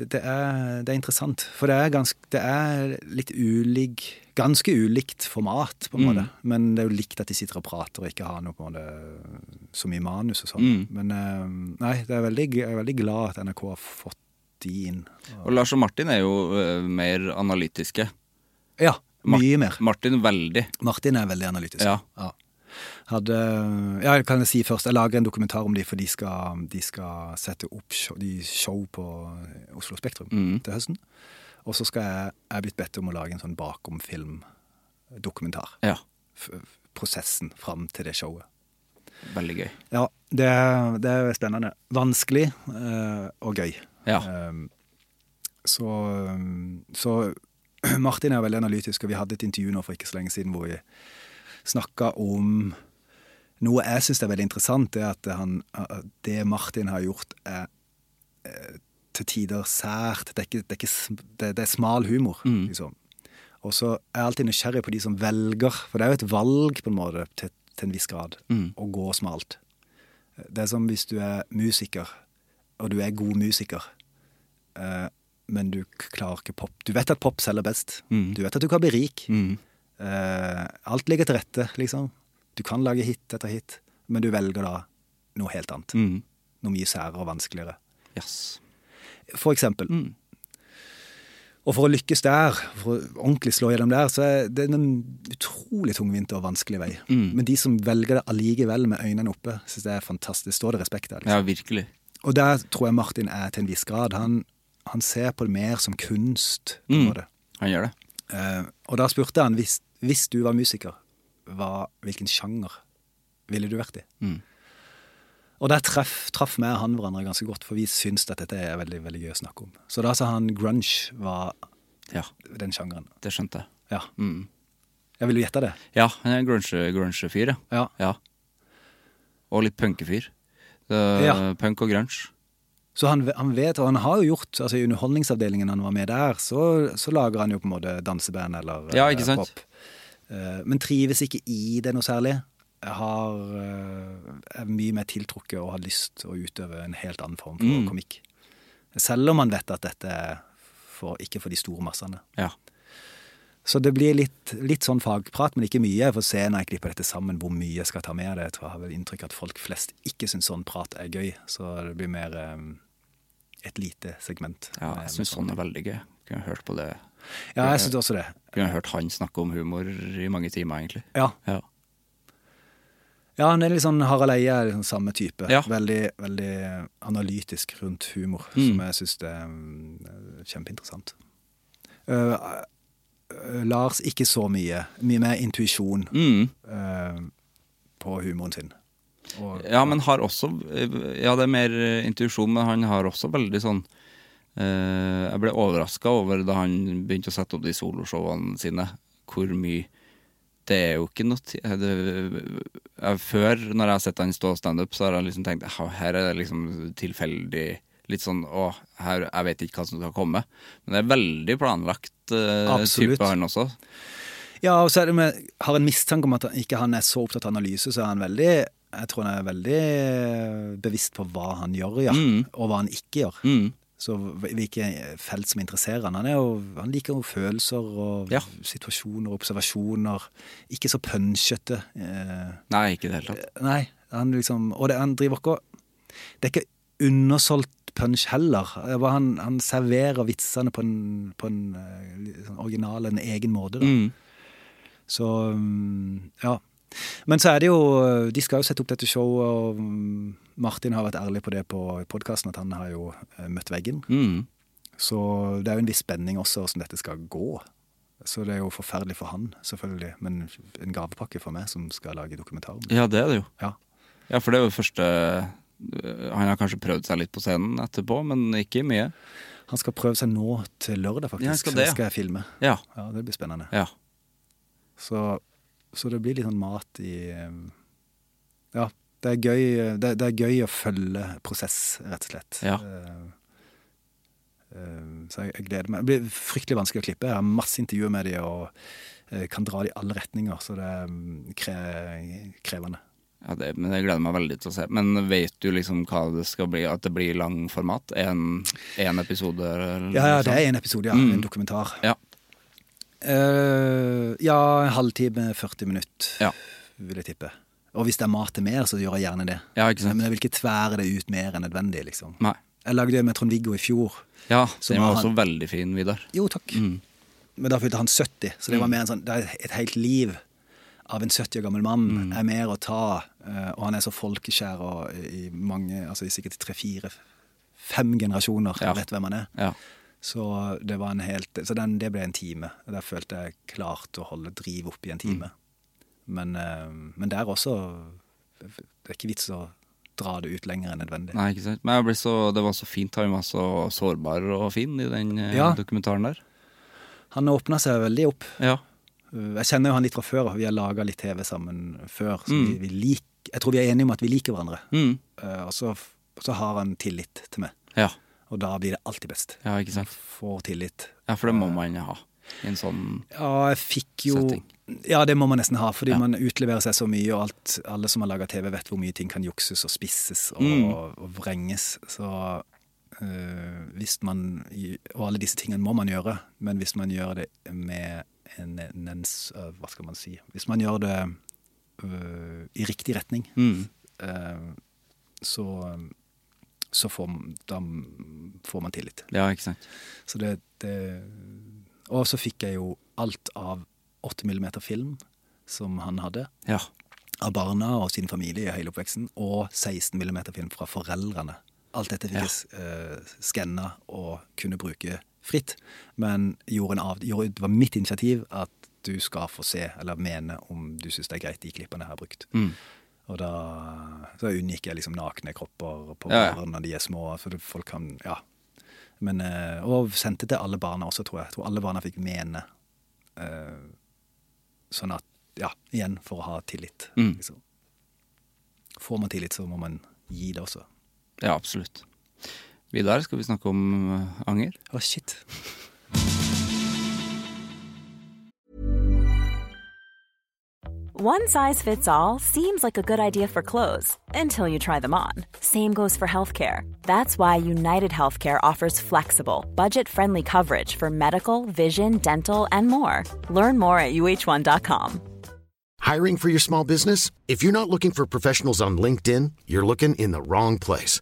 E: det, det, er, det er interessant. For det er, ganske, det er litt ulik Ganske ulikt format, på en måte. Men det er jo likt at de sitter og prater og ikke har noe på en måte så mye manus og sånn. Men eh, nei, det er veldig, jeg er veldig glad at NRK har fått de inn.
D: Og Lars og Martin er jo eh, mer analytiske.
E: Ja,
D: Mar-
E: mye mer.
D: Martin veldig.
E: Martin er veldig analytisk.
D: Ja.
E: Hadde, ja, kan jeg si først, jeg lager en dokumentar om de, for de skal, de skal sette opp show, de show på Oslo Spektrum
D: Mm.
E: til høsten. Og så skal jeg, jeg er blitt bedt om å lage en sånn bakomfilm-dokumentar.
D: Ja.
E: F- f- Prosessen fram til det showet.
D: Veldig gøy.
E: Ja, det, er- det er spennende. Vanskelig eh, og gøy.
D: Ja.
E: Ehm, så, ehm, så *clears throat* Martin er veldig analytisk, og vi hadde et intervju nå for ikke så lenge siden hvor vi snakka om noe jeg syns er veldig interessant, det at han, at det Martin har gjort, er eh, til tider sært. Det er, ikke, det er, ikke, sm- det, det er smal humor, liksom. Og så er jeg alltid nysgjerrig på de som velger, for det er jo et valg på en måte til, til en viss grad å gå smalt. Det er som hvis du er musiker, og du er god musiker, eh, men du k- klarer ikke pop. Du vet at pop selger best. Du vet at du kan bli rik. Eh, alt ligger til rette, liksom. Du kan lage hit etter hit, men du velger da noe helt annet.
D: Mm.
E: Noe mye særere og vanskeligere.
D: Yes.
E: For eksempel. Og for å lykkes der, for å ordentlig slå gjennom der, så er det en utrolig tungvint og vanskelig vei. Men de som velger det allikevel med øynene oppe, syns det er fantastisk. Står det respekt der? liksom.
D: Ja, virkelig.
E: Og der tror jeg Martin er til en viss grad. Han, han ser på det mer som kunst. på en måte.
D: Han gjør det.
E: Eh, og da spurte han, hvis, hvis du var musiker, hva, hvilken sjanger ville du vært i? Og der treff, traff meg og han hverandre ganske godt, for vi syns at dette er veldig, veldig gøy å snakke om. Så da sa han grunge var
D: Ja,
E: den sjangeren.
D: det skjønte jeg. Mm.
E: Ja. Jeg ville gjette det.
D: Ja, han er en grunge- grunge-fyr, ja.
E: Ja.
D: Og litt punkefyr. Det-
E: Ja.
D: Punk og grunge.
E: Så han, han vet, og han har jo gjort altså I Underholdningsavdelingen han var med der, så, så lager han jo på en måte danseband eller
D: Ja,
E: eh,
D: ikke sant?
E: pop. Eh, Men trives ikke i det noe særlig. Jeg har, eh, er mye mer tiltrukket og har lyst til å utøve en helt annen form for
D: Mm.
E: komikk. Selv om man vet at dette er for, ikke for de store massene.
D: Ja.
E: Så det blir litt, litt sånn fagprat, men ikke mye. Jeg får se når jeg klipper dette sammen hvor mye jeg skal ta med det. Jeg tror jeg har vel inntrykk at folk flest ikke syns sånn prat er gøy, så det blir mer eh, et lite segment.
D: ja
E: med-
D: jeg
E: med
D: syns
E: sånn.
D: han er veldig gøy. Kunne hørt på det.
E: Ja, jeg syns også det.
D: Kunne hørt han snakke om humor i mange timer, egentlig.
E: Ja.
D: Ja.
E: ja, han er litt sånn Harald Eie er liksom samme type.
D: Ja.
E: Veldig, veldig analytisk rundt humor, som jeg syns er mm, kjempeinteressant. Eh, eh, Lars ikke så mye. Mye mer intuisjon
D: Mm.
E: eh, på humoren sin. Og
D: Ja, men har også Ja, det er mer eh, intuisjon, men han har også veldig sånn eh, Jeg ble overraska over da han begynte å sette opp de soloshowene sine, hvor mye Det er jo ikke noe ti- eh, det, jeg, Før, når jeg har sett han stå standup, så har jeg liksom tenkt «Ja, her er det liksom tilfeldig Litt sånn å, her, jeg vet ikke hva som skal komme. Men det er veldig planlagt eh,
E: Absolutt.
D: type, han også.
E: Ja, og så er det med, har en mistanke om at han ikke han er så opptatt av analyse, så er han veldig jeg tror han er veldig bevisst på hva han gjør, ja, og hva han ikke gjør.
D: Mm.
E: Så hvilke felt som interesserer han. Han, er jo, han liker jo følelser og
D: Ja.
E: situasjoner, observasjoner. Ikke så punsjete. Eh,
D: Nei, ikke i det hele tatt.
E: nei, han liksom Og det, han driver ikke og Det er ikke undersolgt punch heller. Det er bare Han, han serverer vitsene på en, på en eh, litt sånn original, en egen måte. Da.
D: Mm.
E: Så mm, ja. Men så er det jo De skal jo sette opp dette showet, og mm, Martin har vært ærlig på det på podkasten, at han har jo eh, møtt veggen.
D: Mm.
E: Så det er jo en viss spenning også hvordan dette skal gå. Så det er jo forferdelig for han, selvfølgelig, men en gavepakke for meg som skal lage dokumentar. om det.
D: Ja, det er det jo.
E: Ja.
D: Ja, for det er jo første øh, Han har kanskje prøvd seg litt på scenen etterpå, men ikke mye.
E: Han skal prøve seg nå til lørdag,
D: Ja, han
E: faktisk.
D: skal
E: så
D: det,
E: det
D: ja.
E: skal jeg filme.
D: Ja.
E: Ja, Det blir spennende.
D: ja.
E: Så, så det blir litt sånn mat i um, Ja, det er gøy, det, det er gøy å følge prosess, rett og slett.
D: Ja.
E: Eh, eh, så jeg, jeg gleder meg. Det blir fryktelig vanskelig å klippe. Jeg har masse intervjuer med de og eh, kan dra det i alle retninger, så det er mm, kre, krevende.
D: ja det, men jeg gleder meg veldig til å se. Men vet du liksom hva det skal bli? At det blir lang format? Én episode? Eller
E: Ja, ja,
D: noe
E: det
D: sånt?
E: er en episode, ja. En dokumentar.
D: Ja.
E: Eh, ja, en halvtime, 40 minutter,
D: Ja.
E: vil jeg tippe. Og hvis det er mat til mer, så gjør jeg gjerne det.
D: Ja, ikke sant?
E: Men jeg vil ikke tvære det ut mer enn nødvendig, liksom.
D: Nei.
E: Jeg lagde det med Trond-Viggo i fjor.
D: Ja,
E: Som
D: den var
E: har
D: også
E: han-
D: veldig fin, Vidar.
E: Jo, takk.
D: Mm.
E: Men da fylte han 70, så det var mer en sånn, det er et helt liv av en 70 år gammel mann
D: Mm.
E: er mer å ta, eh, og han er så folkeskjær og i mange, altså i sikkert tre, fire, fem generasjoner
D: Ja.
E: vet hvem han er.
D: Ja.
E: Så det var en helt, så den, det ble en time. Der følte jeg klart å holde driv opp i en time.
D: Mm.
E: Men, eh, men der også, det er ikke vits å dra det ut lenger enn nødvendig.
D: Nei, ikke sant. Men jeg ble så, det var så fint. Han var så sårbar og fin i den eh,
E: Ja.
D: dokumentaren der.
E: Han åpna seg veldig opp.
D: Ja.
E: Uh, Jeg kjenner jo han litt fra før, og vi har laga litt TV sammen før. Så vi, vi lik, jeg tror vi er enige om at vi liker hverandre.
D: Mm.
E: Uh, Og så, f- så har han tillit til meg,
D: ja.
E: og da blir det alltid best.
D: Ja, ikke sant.
E: Får tillit.
D: Ja, for det må man ha i en sånn
E: Ja, jeg fikk jo
D: Setting.
E: Ja, det må man nesten ha, fordi
D: Ja.
E: man utleverer seg så mye, og alt, alle
D: Mm.
E: som har laga TV, vet hvor mye ting kan jukses og spisses og, og vrenges. Så eh, eh, hvis man i- Og alle disse tingene må man gjøre, men hvis man gjør det med en nens av Hva skal man si? Hvis man gjør det eh, i riktig retning,
D: Mm.
E: eh, så, så får, da får man tillit.
D: Ja, ikke sant.
E: Så det, det Og så fikk jeg jo alt av 8 mm film som han hadde,
D: Ja.
E: av barna og sin familie i hele oppveksten, og 16 mm film fra foreldrene. Alt dette fikk jeg uh, skanna og kunne bruke fritt, men gjorde en av, gjorde, det var mitt initiativ at du skal få se, eller mene, om du syns det er greit de klippene jeg har brukt.
D: Mm.
E: Og da så unngikk jeg liksom nakne kropper på
D: Ja, ja.
E: barn når de er små, så det- folk kan Ja. Men, eh, og sendte til alle barna også, tror jeg. Jeg tror alle barna fikk mene. eh, sånn at Ja, igjen, for å ha tillit.
D: Mm.
E: Liksom. Får man tillit, så må man gi det også. Å,
D: ja, absolutt. Vidar, skal vi snakke om eh, anger?
E: shit.
A: One size fits all seems like a good idea for clothes until you try them on. Same goes for healthcare. That's why United Healthcare offers flexible, budget friendly coverage for medical, vision, dental, and more. Learn more at uh1.com.
G: Hiring for your small business? If you're not looking for professionals on LinkedIn, you're looking in the wrong place.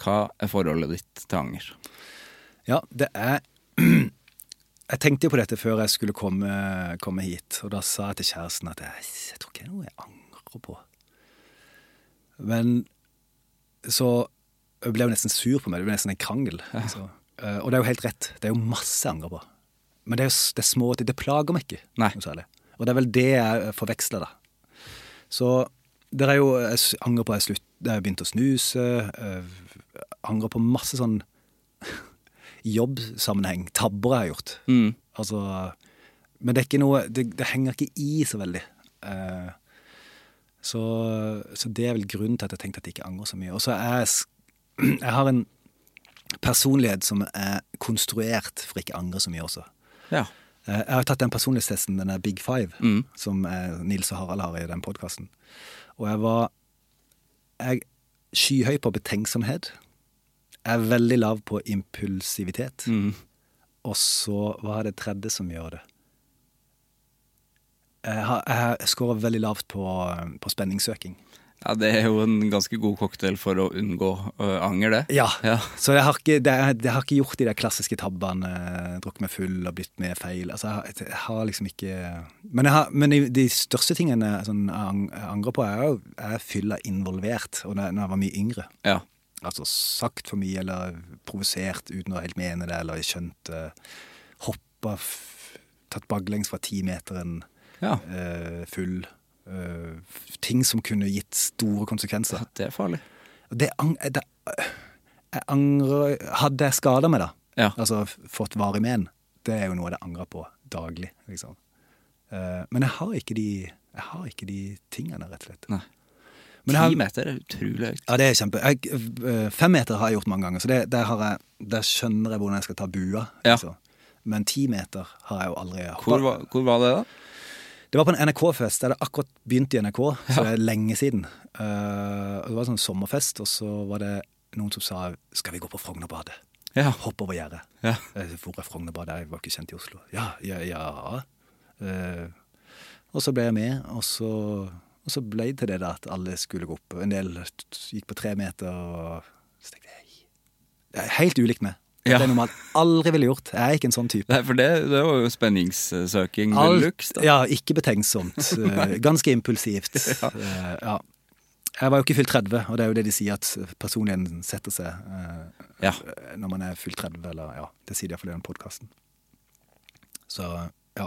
D: Hva er forholdet ditt til anger?
E: Ja, det er *clears throat* Jeg tenkte jo på dette før jeg skulle komme, komme hit, og da sa jeg til kjæresten at jeg, jeg tror ikke det er noe jeg angrer på. Men så jeg ble jo nesten sur på meg, det ble nesten en krangel. Så, eh, og det er jo helt rett, det er jo masse jeg angrer på. Men det er jo s- det er små ting, det plager meg ikke.
D: Nei.
E: noe særlig. Og det er vel det jeg forveksler, da. Så det er jo, jeg s- angrer på at jeg, slutt, jeg begynte å snuse, eh, angrer på masse sånn jobbsammenheng, tabber jeg har gjort. Altså, men det er ikke noe det, det henger ikke i så veldig. Eh, så, så det er vel grunnen til at jeg tenkte at jeg ikke angrer så mye. Og så er jeg s- *clears throat* Jeg har en personlighet som er konstruert for ikke å angre så mye også.
D: Ja.
E: Eh, Jeg har tatt den personlighetstesten, den der Big Five, som eh, Nils og Harald har i den podkasten. Og jeg var jeg, skyhøy på betenksomhet. Jeg er veldig lav på impulsivitet. Og så Hva er det tredje som gjør det? Jeg, har, jeg scorer veldig lavt på, eh, på spenningssøking.
D: ja. Det er jo en ganske god cocktail for å unngå eh, anger, det.
E: Ja.
D: Ja.
E: Så jeg har, ikke, det, er- jeg har ikke gjort de der klassiske tabbene. eh, Drukket meg full og blitt med feil. Altså, jeg, har- jeg har liksom ikke Men, jeg har, men de, de største tingene sånn, jeg ang- jeg angrer på, er jo jeg er fylla involvert. Og da når jeg var mye yngre.
D: ja.
E: Altså sagt for mye, eller provosert uten å helt mene det, eller skjønte Hoppa f Tatt baklengs fra timeteren,
D: Ja.
E: eh, full. eh, f- ting som kunne gitt store konsekvenser.
D: ja. Det er farlig.
E: Og Det, ang- eh, det, jeg angrer Hadde jeg skada meg, da,
D: Ja.
E: altså f- fått varig men, det er jo noe jeg angrer på daglig. liksom. Eh, men jeg har ikke de jeg har ikke de tingene, rett og slett.
D: Nei.
E: Men jeg
D: Ti
E: har,
D: meter er utrolig høyt.
E: ja, det er kjempe jeg, eh, Fem meter har jeg gjort mange ganger, så det, der, har jeg, der skjønner jeg hvordan jeg skal ta bua.
D: Ja.
E: liksom. Men ti meter har jeg jo aldri
D: Hvor, var- hvor var det, da?
E: Det var på en NRK-fest. Jeg hadde akkurat begynt i NRK, så det er lenge siden. Eh, og det var en sånn sommerfest, og så var det noen som sa 'skal vi gå på Frognerbadet'?
D: Ja.
E: Hopp over gjerdet.
D: Ja.
E: Eh, Hvor er Frognerbadet? Jeg var ikke kjent i Oslo. Ja, ja, ja. Eh, og så ble jeg med, og så, og så ble det til det da at alle skulle gå opp. En del t- gikk på tre meter, og så tenkte jeg Det er helt ulikt meg.
D: Ja.
E: Det er noe man aldri ville gjort. Jeg er ikke en sånn type.
D: Nei, for det, det var jo spenningssøking de
E: Alt-
D: luxe. da.
E: Ja,
D: *laughs*
E: ikke betenksomt. eh, Ganske impulsivt. Eh, ja. Jeg var jo ikke fylt 30, og det er jo det de sier at personligheten setter seg eh,
D: Ja.
E: når man er fylt 30, eller ja, det sier de iallfall i den podkasten. Så ja.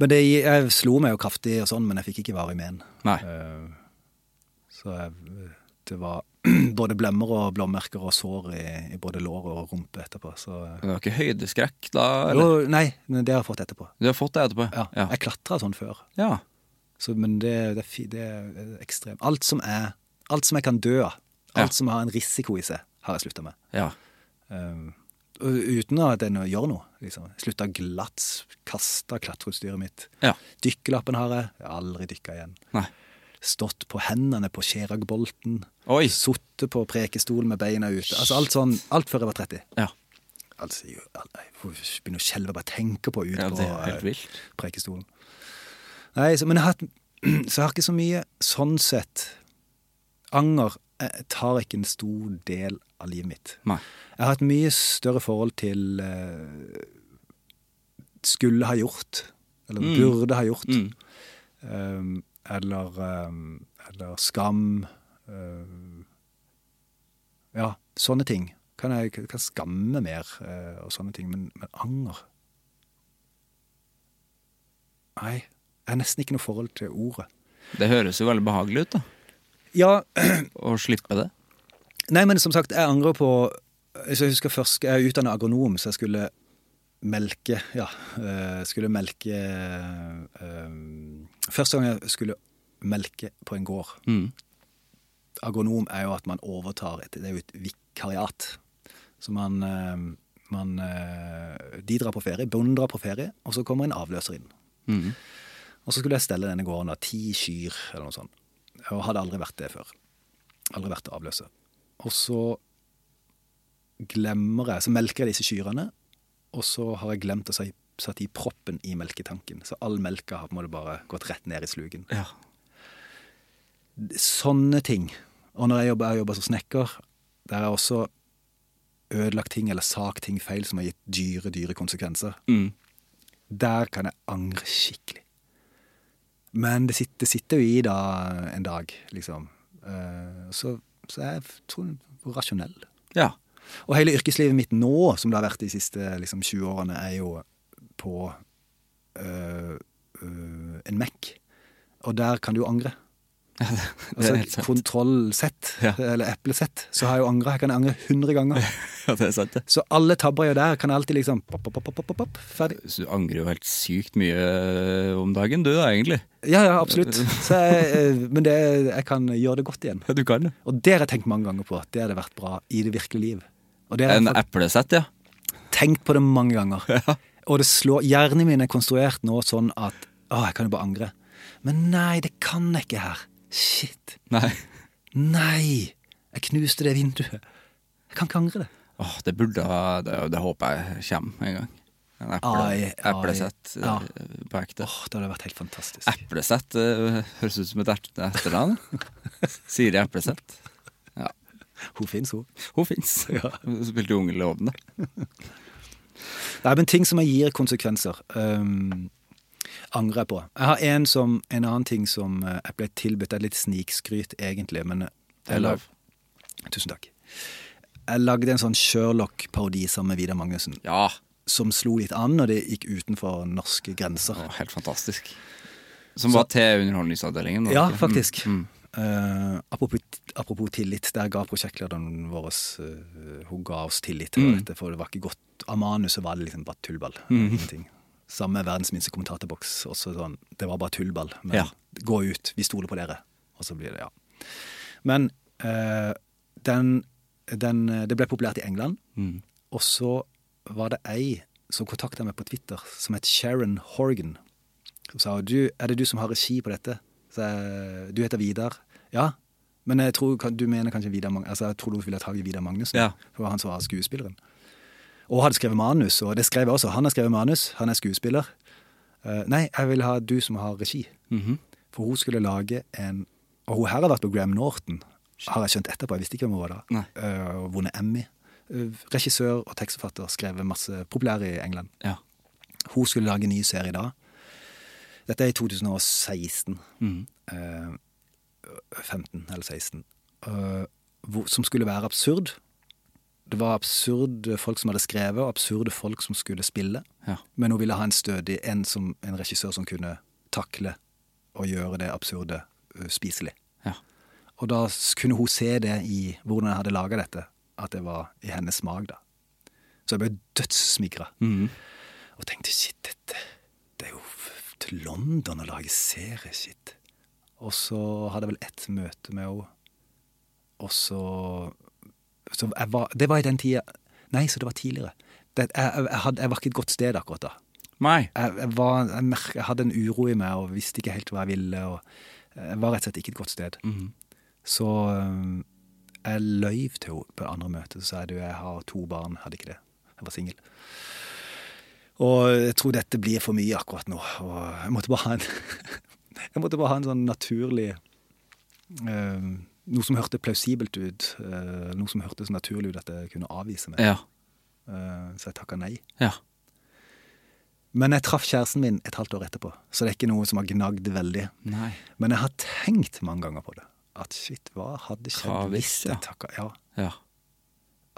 E: Men det, jeg slo meg jo kraftig og sånn, men jeg fikk ikke varig men.
D: Nei.
E: Eh, så jeg, det var *clears throat* både blemmer og blåmerker og sår i, i både lår og rumpe etterpå. Så
D: Du har ikke høydeskrekk da? Eller?
E: jo, Nei, men det har jeg fått etterpå.
D: Du har fått det etterpå?
E: Ja.
D: Ja.
E: Jeg klatra sånn før,
D: ja.
E: så, men det, det, er fi- det er ekstremt. Alt som er Alt som jeg kan dø av, alt
D: Ja.
E: som har en risiko i seg, har jeg slutta med.
D: ja.
E: Um, og uten at en gjør noe. Liksom. Slutta glatt, kasta klatreutstyret mitt.
D: Ja.
E: Dykkerlappen har jeg. jeg har aldri dykka igjen.
D: Nei.
E: Stått på hendene på Skjeragbolten.
D: Oi.
E: Sittet på prekestolen med beina ute. Altså alt sånn, alt før jeg var 30.
D: Ja.
E: Altså, jeg, jeg får begynne å skjelve bare jeg tenker på ut
D: Ja, det
E: på
D: er helt
E: eh,
D: vilt.
E: prekestolen. Nei, så, men jeg har, hatt- *clears throat* så jeg har ikke så mye sånn sett Anger eh, tar ikke en stor del av livet mitt.
D: Nei.
E: Jeg har hatt mye større forhold til eh, skulle ha gjort, eller burde ha gjort, um, eller, um, eller skam. um, ja, sånne ting. Kan jeg kan skamme mer eh, og sånne ting, men, men anger Nei. Jeg har nesten ikke noe forhold til ordet.
D: Det høres jo veldig behagelig ut, da.
E: Ja,
D: Å slippe det.
E: Nei, men som sagt, jeg angrer på så Jeg husker først, jeg er utdannet agronom, så jeg skulle melke Ja, øh, skulle melke øh, Første gang jeg skulle melke på en gård
D: Mm.
E: Agronom er jo at man overtar et, Det er jo et vikariat. Så man, øh, man øh, De drar på ferie, bonden drar på ferie, og så kommer en avløser inn. Og så skulle jeg stelle denne gården av ti kyr, eller noe sånt. Og hadde aldri vært det før. Aldri vært avløser. Og så glemmer jeg, så melker jeg disse kyrene, og så har jeg glemt å si- sette i proppen i melketanken. Så all melka har på en måte bare gått rett ned i slugen.
D: Ja.
E: Sånne ting. Og når jeg jobber, jeg jobber som snekker, der har jeg også ødelagt ting eller sagt ting feil som har gitt dyre, dyre konsekvenser.
D: Mm.
E: Der kan jeg angre skikkelig. Men det sitter, det sitter jo i da en dag, liksom. Eh, Så, så jeg tror jeg er rasjonell.
D: ja.
E: Og hele yrkeslivet mitt nå, som det har vært de siste liksom, 20 årene, er jo på øh, øh, en Mac. Og der kan du jo angre.
D: *laughs* Det
E: Altså
D: er helt sant.
E: kontrollsett,
D: Ja.
E: eller eplesett, så har jeg jo angra. Jeg kan angre 100
D: *laughs*
E: ganger.
D: *laughs* Ja, det er sant, det.
E: Så alle tabber jeg gjør der, kan jeg alltid liksom pop, pop, pop, pop, pop, pop, ferdig.
D: Så du angrer jo helt sykt mye eh, om dagen, du da, egentlig.
E: Ja, ja,
D: *laughs*
E: absolutt. Så jeg, øh, men det, jeg kan gjøre det godt igjen.
D: Ja, Du kan det.
E: Og det har jeg tenkt mange ganger på, at det hadde vært bra i det virkelige liv. Og det har jeg
D: En
E: fakt-
D: eplesett, ja.
E: tenkt på det mange
D: *laughs*
E: ganger. Og det slår, hjernen min er konstruert nå sånn at å, jeg kan jo bare angre. Men nei, det kan jeg ikke her. Shit.
D: Nei.
E: Nei! Jeg knuste det vinduet. Jeg kan ikke angre det.
D: *laughs* Åh, det burde ha Det, det håper jeg kommer en gang. En eple,
E: Ai, ai,
D: eplesett eh,
E: ja.
D: på ekte.
E: Åh, Det hadde vært helt fantastisk.
D: Eplesett eh, høres ut som et ert- etternavn. *laughs* Siri Eplesett. Ja.
E: Hun fins, hun.
D: Hun fins. Hun spilte jo Ungeloven, da.
E: Nei, men ting som jeg gir konsekvenser, øhm, angrer jeg på. Jeg har en, som, en annen ting som eh, jeg ble tilbudt. Det er litt snikskryt, egentlig, men eh, jeg
D: lov.
E: lag- Tusen takk. Jeg lagde en sånn Sherlock-parodi sammen med Vidar Magnussen,
D: Ja.
E: som slo litt an når det gikk utenfor norske grenser.
D: Åh, helt fantastisk. Som var til Underholdningsavdelingen. var det
E: Ja,
D: ikke? Mm.
E: faktisk. Eh, apropos, apropos tillit, der ga prosjektlederen vår oss, eh, Hun ga oss tillit til dette, for det var ikke godt Av manuset var det liksom bare tullball. Ingenting. Samme verdens minste kommentatorboks. Også sånn, det var bare tullball. Men
D: Ja.
E: gå ut, vi stoler på dere. Og så blir det, ja. Men eh, den, den eh, Det ble populært i England.
D: Mm.
E: Og så var det ei som kontakta meg på Twitter, som het Sharon Horgan. Hun sa du, er det du som har regi på dette? Så jeg, du heter Vidar. Ja, men jeg tror kan- du mener kanskje Vidar Mag altså, jeg tror du ville ha tak i Vidar Magnussen.
D: Ja.
E: For det var han som var skuespilleren. Og hadde skrevet manus, og det skrev jeg også. Han har skrevet manus, han er skuespiller. Eh, nei, jeg vil ha du som har regi. For hun skulle lage en Og hun her har vært på Graham Norton, har jeg skjønt etterpå. Jeg visste ikke hvem hun var da.
D: Nei.
E: Eh, og vunnet Emmy. Eh, regissør og tekstforfatter, skrevet masse populær i England.
D: Ja.
E: Hun skulle lage en ny serie da. Dette er i 2016. Eh, 15 eller 16. Eh, hvor, som skulle være absurd. Det var absurde folk som hadde skrevet, og absurde folk som skulle spille.
D: Ja.
E: Men hun ville ha en stødig en, som, en regissør som kunne takle og gjøre det absurde eh, spiselig.
D: Ja.
E: Og da s- kunne hun se det i hvordan jeg hadde laga dette, at det var i hennes smak, da. Så jeg ble dødssmigra. Og tenkte shit, dette Det er jo f- til London å lage serie, shit. Og så hadde jeg vel ett møte med henne, og så, så jeg var, Det var i den tida Nei, så det var tidligere. Det, jeg, jeg, jeg, hadde, jeg var ikke et godt sted akkurat da.
D: Nei.
E: Jeg, jeg, var, jeg, mer- jeg hadde en uro i meg og visste ikke helt hva jeg ville. Og jeg var rett og slett ikke et godt sted.
D: Mhm.
E: Så øhm, jeg løy til henne på det andre møtet. Så sa jeg du, jeg har to barn. Hadde ikke det. Jeg var singel. Og jeg tror dette blir for mye akkurat nå. Og jeg måtte bare ha en, *laughs* jeg måtte bare ha en sånn naturlig øhm, Noe som hørte plausibelt ut. øh, noe som hørtes naturlig ut at jeg kunne avvise meg.
D: Ja.
E: Øh, så jeg takka nei.
D: Ja.
E: Men jeg traff kjæresten min et halvt år etterpå, så det er ikke noe som har gnagd veldig.
D: Nei.
E: Men jeg har tenkt mange ganger på det. At shit, hva hadde skjedd
D: Hva
E: hvis
D: hvis, ja.
E: jeg takka ja?
D: Ja.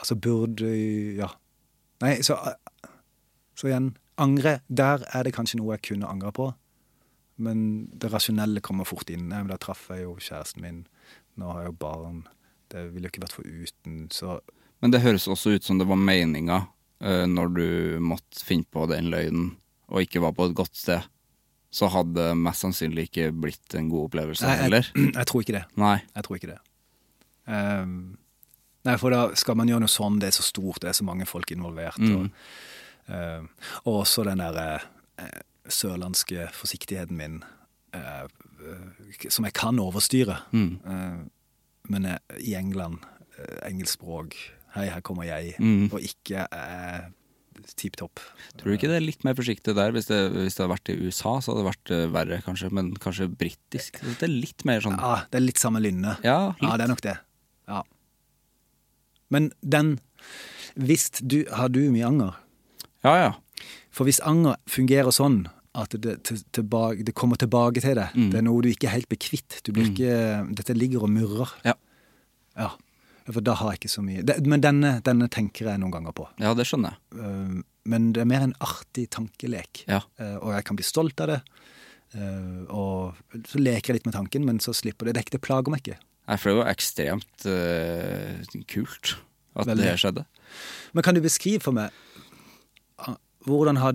E: Altså burde Ja. Nei, så, eh, så igjen Angre. Der er det kanskje noe jeg kunne angra på. Men det rasjonelle kommer fort inn. Nei, men Da traff jeg jo kjæresten min. Nå har jeg jo barn. Det ville jo ikke vært foruten. Så
D: Men det høres også ut som det var meninga eh, når du måtte finne på den løgnen og ikke var på et godt sted. Så hadde det mest sannsynlig ikke blitt en god opplevelse
E: Nei, jeg,
D: heller.
E: *clears throat* jeg tror ikke det.
D: Nei.
E: Jeg tror ikke det. Ehm, nei, for da skal man gjøre noe sånn, det er så stort, det er så mange folk involvert. Og, ehm, og også den der eh, sørlandske forsiktigheten min, eh, eh, som jeg kan overstyre. Eh, men jeg, i England, eh, engelsk språk, hei, her kommer jeg, og ikke eh, tipp topp.
D: Tror du ikke det er litt mer forsiktig der? Hvis det, hvis det hadde vært i USA, så hadde det vært eh, verre, kanskje. Men kanskje britisk. Det er litt mer sånn
E: Ja, det er litt samme lynne.
D: Ja,
E: Ja,
D: litt.
E: det er nok det. Ja. Men den Hvis du Har du mye anger?
D: Ja, ja.
E: For hvis anger fungerer sånn at det, til, tilbake, det kommer tilbake til deg,
D: Mm.
E: det er noe du ikke er helt blir kvitt du blir ikke, Dette ligger og murrer.
D: Ja.
E: Ja. For da har jeg ikke så mye det, Men denne, denne tenker jeg noen ganger på.
D: Ja, det skjønner jeg.
E: Eh, Men det er mer en artig tankelek.
D: Ja.
E: Eh, Og jeg kan bli stolt av det. Eh, Og så leker jeg litt med tanken, men så slipper det. Det, er ikke, det plager meg ikke.
D: Nei, for det var ekstremt eh, kult at
E: Veldig.
D: det skjedde.
E: Men kan du beskrive for meg ah, hvordan har,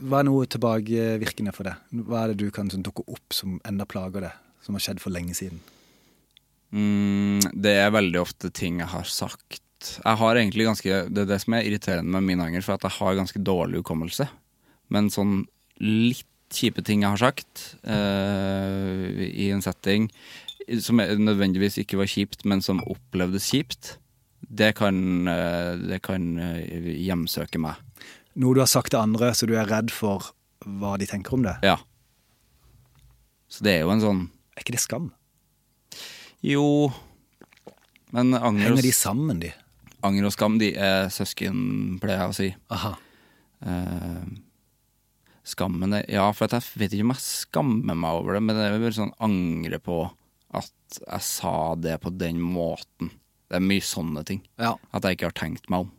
E: Hva er noe tilbakevirkende for deg? Hva er det du kan sånn, dukke opp som enda plager deg, som har skjedd for lenge siden?
D: Mm, det er veldig ofte ting jeg har sagt. Jeg har egentlig ganske Det er det som er irriterende med min anger, for at jeg har ganske dårlig hukommelse. Men sånn litt kjipe ting jeg har sagt eh, i en setting som er- nødvendigvis ikke var kjipt, men som opplevdes kjipt, det kan, eh, det kan eh, hjemsøke meg.
E: Noe du har sagt til andre, så du er redd for hva de tenker om det.
D: Ja. Så det er jo en sånn
E: Er ikke det skam?
D: Jo, men anger og,
E: Henger de sammen, de?
D: anger og skam de er søsken, pleier jeg å si.
E: Aha.
D: Eh, skammen er, Ja, for at jeg vet ikke om jeg skammer meg over det, men jeg vil sånn angre på at jeg sa det på den måten. Det er mye sånne ting.
E: Ja.
D: At jeg ikke har tenkt meg om.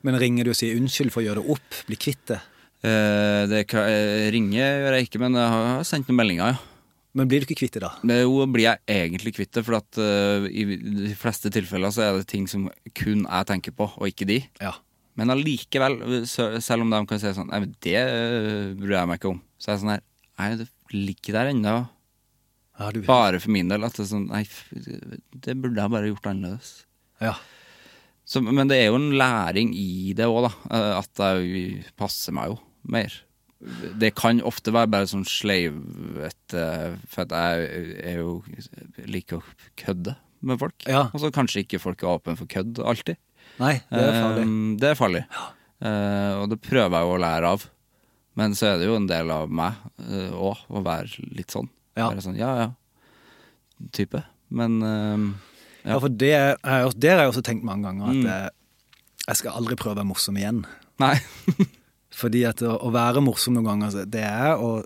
E: Men ringer du og sier unnskyld for å gjøre det opp? Bli kvitt det?
D: Eh, det kan, eh, ringe gjør jeg ikke, men jeg har sendt noen meldinger, ja.
E: Men blir du ikke kvitt det, da?
D: Det er jo blir jeg egentlig kvitt det, for at eh, i de fleste tilfeller så er det ting som kun jeg tenker på, og ikke de.
E: Ja.
D: Men allikevel, så- selv om de kan si sånn Nei, men det øh, bryr jeg meg ikke om. Så er jeg sånn her Nei, det ligger der ennå.
E: Ja, du,
D: Bare for min del. At det er sånn Nei, f- det burde jeg bare gjort annerledes.
E: ja.
D: Så, men det er jo en læring i det òg, da. eh, At jeg passer meg jo mer. Det kan ofte være bare sånn sleivete, for at jeg er jo liker å kødde med folk.
E: Ja.
D: Og så kanskje ikke folk er åpne for kødd alltid.
E: Nei, det er farlig.
D: Um, det er farlig. Eh, og det prøver jeg jo å lære av. Men så er det jo en del av meg òg å være litt sånn.
E: Ja.
D: Være sånn ja, ja. Type. Men um,
E: Ja, Mm. for det, er- jeg har også- det har jeg også tenkt mange ganger, at jeg, jeg skal aldri prøve å være morsom igjen. *laughs*
D: Nei.
E: Fordi at å, å være morsom noen ganger, altså, det er å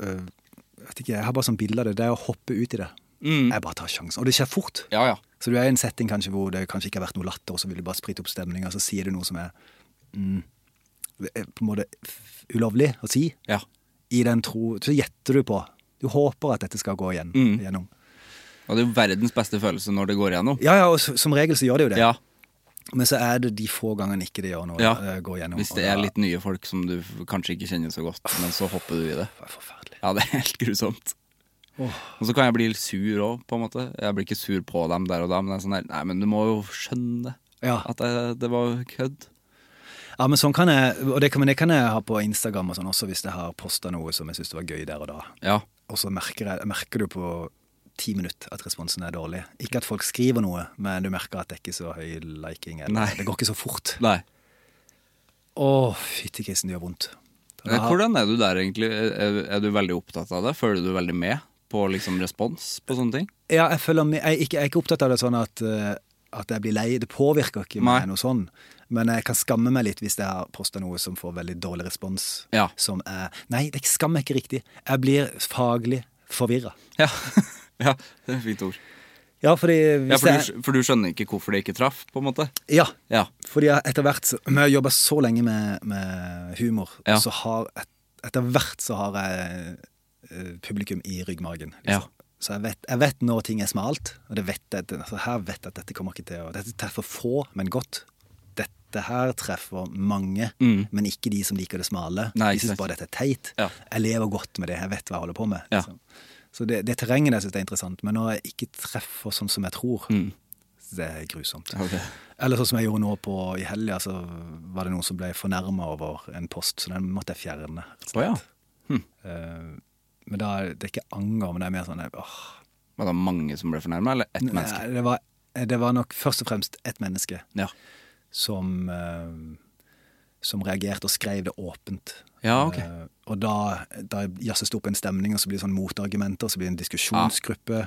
E: øh, jeg vet ikke, Jeg har bare sånn bilde av det. Det er å hoppe ut i det. Jeg bare tar sjansen. Og det skjer fort.
D: Mm. ja, ja.
E: Så du er i en setting kanskje hvor det kanskje ikke har vært noe latter, og så vil du bare sprite opp stemninga, og så sier du noe som er mm, det er på en måte f- ulovlig å si.
D: Ja. Mm.
E: I den tro Så gjetter du på. Du håper at dette skal gå igjen, gjennom.
D: Og Og det er jo verdens beste følelse når det går igjennom.
E: Ja, ja, og s- som regel så gjør det jo det.
D: Ja,
E: Men så er det de få gangene ikke det gjør noe.
D: ja.
E: eh, Går gjennom,
D: Hvis
E: og
D: det er
E: da-
D: litt nye folk som du f- kanskje ikke kjenner så godt, men så hopper du i det.
E: Det er Forferdelig.
D: Ja, det er helt grusomt. Og så kan jeg bli litt sur òg, på en måte. Jeg blir ikke sur på dem der og da, men jeg er sånn der, nei, men du må jo skjønne
E: Ja.
D: at det, det var kødd.
E: ja, men sånn kan jeg, og det kan, men det kan jeg ha på Instagram og sånn også, hvis jeg har posta noe som jeg syns var gøy der og da.
D: Ja.
E: Og så merker, jeg, merker du på ti minutter at responsen er dårlig. Ikke at folk skriver noe, men du merker at det er ikke så høy liking. Eller,
D: Nei.
E: Det går ikke så fort.
D: Nei.
E: Å, fytti grisen, det gjør vondt.
D: Men Eh, Hvordan er du der, egentlig? Er, er du veldig opptatt av det? Føler du veldig med på liksom respons på sånne ting?
E: Ja, jeg, føler, meg- jeg, er ikke, jeg er ikke opptatt av det sånn at, eh, at jeg blir lei. Det påvirker ikke meg
D: Nei.
E: noe sånn. Men jeg kan skamme meg litt hvis jeg har posta noe som får veldig dårlig respons.
D: Ja.
E: Som er Nei, det skammer jeg ikke riktig. Jeg blir faglig forvirra.
D: Ja. *laughs* ja det er et fint ord.
E: Ja, fordi
D: Ja,
E: hvis
D: for, du,
E: jeg
D: skj- for du skjønner ikke hvorfor det ikke traff, på en måte?
E: Ja.
D: Ja.
E: Fordi jeg etter hvert så- Men jeg jobber så lenge med, med humor,
D: Ja.
E: så har et, Etter hvert så har jeg eh, publikum i ryggmargen. liksom.
D: Ja.
E: Så jeg vet, jeg vet når ting er smalt, og det vet jeg, altså her vet jeg at dette kommer ikke til å Dette treffer få, men godt. Dette her treffer mange, men ikke de som liker det smale.
D: Mm. Nei,
E: de
D: ikke
E: syns
D: sant.
E: bare dette er teit.
D: Ja.
E: Jeg lever godt med det, jeg vet hva jeg holder på med.
D: Ja.
E: liksom. Så det, det terrenget der syns jeg er interessant, men når jeg ikke treffer sånn som jeg tror,
D: Mm.
E: det er grusomt.
D: Ja, det-
E: Eller sånn som jeg gjorde nå på, i helga, så var det noen som ble fornærma over en post, så den måtte jeg fjerne. rett og slett.
D: Å ja.
E: Eh, men da, er- det er ikke anger, men det er mer sånn åh,
D: Var det mange som ble fornærma, eller ett menneske?
E: Nei, det, var, det var nok først og fremst et menneske
D: Ja.
E: som, eh, som reagerte og skrev det åpent.
D: Ja, ok.
E: Eh, og da, da jazzes det opp en stemning, og så blir det sånn motargumenter, og så blir det en diskusjonsgruppe,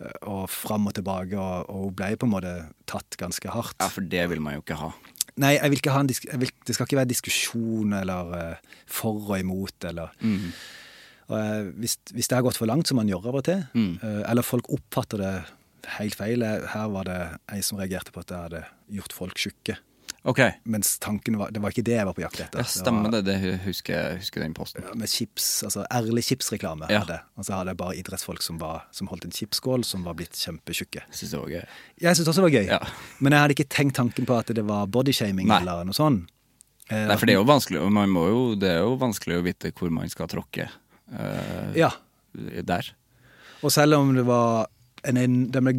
E: eh, og fram og tilbake, og, og hun ble på en måte tatt ganske hardt.
D: ja, for det vil man jo ikke ha.
E: Nei, jeg vil ikke ha en disk jeg vil, det skal ikke være diskusjon eller eh, for og imot eller
D: Mm.
E: og, eh, hvis, hvis det har gått for langt, som man gjør av og til,
D: Mm.
E: eh, eller folk oppfatter det helt feil eh, Her var det ei som reagerte på at jeg hadde gjort folk tjukke.
D: Ok, ja,
E: Mens tanken var Det var ikke det jeg var på jakt etter.
D: stemmer
E: det.
D: det. Det husker jeg husker den posten.
E: var Med chips, altså ærlig chipsreklame.
D: Ja.
E: hadde jeg. Og så hadde jeg bare idrettsfolk som, var, som holdt en chipsskål, som var blitt kjempetjukke.
D: Jeg synes det var gøy.
E: Jeg syntes også det var gøy,
D: Ja.
E: men jeg hadde ikke tenkt tanken på at det var bodyshaming
D: Nei.
E: eller noe sånt. Eh,
D: Nei, for det er jo vanskelig, og man må jo, det er jo vanskelig å vite hvor man skal tråkke eh,
E: Ja.
D: der.
E: Og selv om det var en, en, den ble,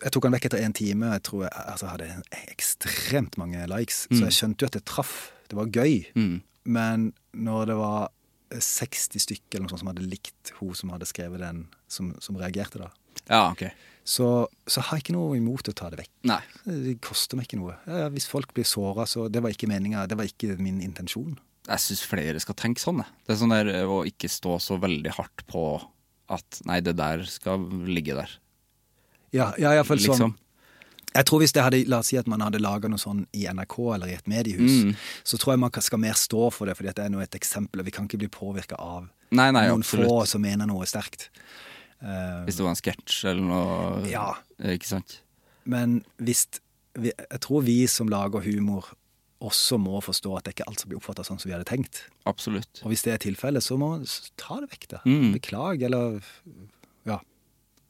E: Jeg tok den vekk etter én time. Jeg tror jeg altså, hadde en- ekstremt mange likes,
D: Mm.
E: så jeg skjønte jo at det traff. Det var gøy. Men når det var 60 stykker eller noe sånt som hadde likt hun som hadde skrevet den, som, som reagerte da,
D: Ja, ok.
E: så, så har jeg ikke noe imot å ta det vekk.
D: Nei.
E: Det koster meg ikke noe. Ja, ja, hvis folk blir såra, så Det var ikke meninga. Det var ikke min intensjon.
D: Jeg syns flere skal tenke sånn. jeg. Det er sånn der eh, å ikke stå så veldig hardt på at nei, det der skal ligge der.
E: Ja, ja iallfall sånn.
D: Liksom.
E: Jeg tror hvis det hadde, La oss si at man hadde laga noe sånn i NRK eller i et mediehus,
D: Mm.
E: så tror jeg man kan- skal mer stå for det, fordi at det er nå et eksempel. og Vi kan ikke bli påvirka av
D: Nei, nei,
E: noen få
D: absolutt.
E: som mener noe sterkt. Eh,
D: Hvis det var en sketsj eller noe.
E: Ja.
D: eh, Ikke sant?
E: men hvis vi, Jeg tror vi som lager humor, også må forstå at det ikke er alt som blir oppfatta sånn som vi hadde tenkt.
D: Absolutt.
E: Og hvis det er tilfellet, så må man s- ta det vekk, da.
D: Mm.
E: Beklag, eller Ja.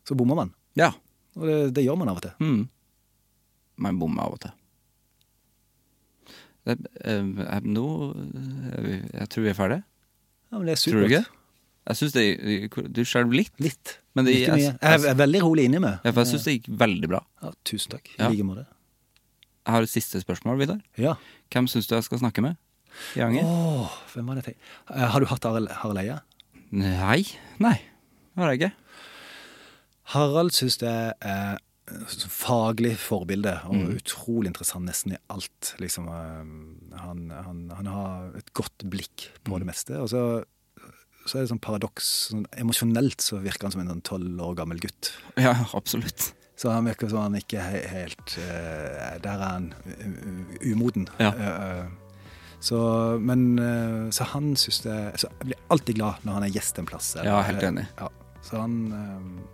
E: Så bommer man.
D: Ja.
E: Og det, det gjør man av og til.
D: Mm. Man bommer av og til. Det, eh, eh, nå er vi, Jeg tror vi er ferdige.
E: Ja, men det er supert.
D: Tror du ikke? Jeg syns det eh, Du skjelver litt.
E: Litt.
D: Men det-
E: ikke mye. Jeg,
D: jeg-
E: er- jeg er veldig rolig inni meg.
D: Ja, for jeg syns det gikk veldig bra.
E: Ja, tusen takk. I
D: Ja.
E: like måte.
D: Jeg har et siste spørsmål, Vidar.
E: Ja.
D: Hvem syns du jeg skal snakke med? I
E: Åh,
D: Anger?
E: hvem var det jeg tenkte? Eh, Har du hatt Harald, Harald Eia?
D: Nei. Nei. Det har jeg ikke.
E: Harald syns jeg er et faglig forbilde og utrolig interessant nesten i alt. Liksom, eh, han, han, han har et godt blikk på det meste. Og så, så er det sånn paradoks sånn, Emosjonelt så virker han som en sånn tolv år gammel gutt.
D: Ja, absolutt.
E: Så han virker som han ikke he helt eh, Der er han u- u- umoden.
D: Ja.
E: Eh, eh, så, men, eh, så han syns det så Jeg blir alltid glad når han er gjest en plass. eller-
D: Ja, helt enig.
E: Ja, så han eh,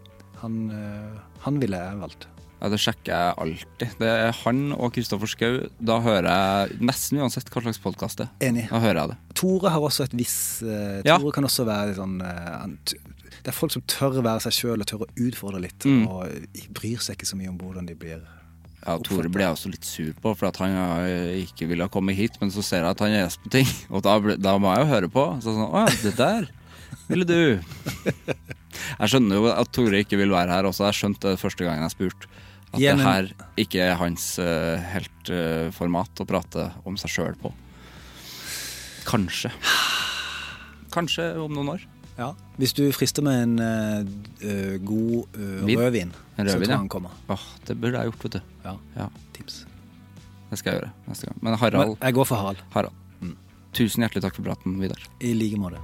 E: han, eh, han ville jeg valgt.
D: Ja, Det sjekker jeg alltid. Det er han og Kristoffer Schou. Da hører jeg nesten uansett hva slags podkast det er.
E: Enig.
D: Da hører jeg det.
E: To Tore har også et viss eh,
D: Ja.
E: Tore kan også være litt sånn eh, han t- Det er folk som tør å være seg sjøl og tør å utfordre litt.
D: Mm.
E: Og bryr seg ikke så mye om hvordan de blir.
D: Ja, Tore ble jeg også litt sur på, for at han eh, ikke ville komme hit. Men så ser jeg at han er gjest på ting, *laughs* og da, ble, da må jeg jo høre på. Så sånn, å ja, det der ville du. Jeg skjønner jo at Tore ikke vil være her også. Jeg skjønte det første gangen jeg spurte. At
E: Ja, men-
D: det her ikke er hans eh, helt eh, format å prate om seg sjøl på. Kanskje. Kanskje om noen år.
E: Ja. Hvis du frister med en eh, eh, god eh,
D: Vin.
E: rødvin,
D: En
E: så
D: rødvin,
E: tror
D: ja.
E: han kommer.
D: Åh, det burde jeg gjort, vet du.
E: Ja.
D: Ja,
E: Tips.
D: Det skal jeg gjøre neste gang. Men
E: Men
D: Harald,
E: jeg går for Harald.
D: Harald. Mm. Tusen hjertelig takk for praten, Vidar.
E: I like måte.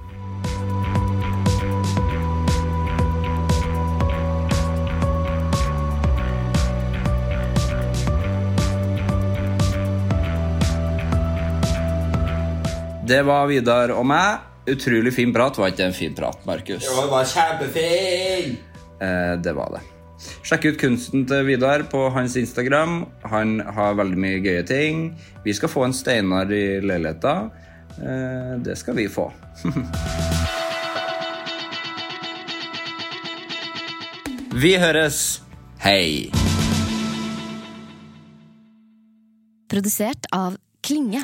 H: Det var Vidar og meg. Utrolig fin prat. Var ikke det en fin prat, Markus?
C: Det var kjempefin!
H: Eh, det var det. Sjekk ut kunsten til Vidar på hans Instagram. Han har veldig mye gøye ting. Vi skal få en Steinar i leiligheta. Eh, det skal vi få. *laughs* vi høres. Hei.
I: Produsert av Klinge.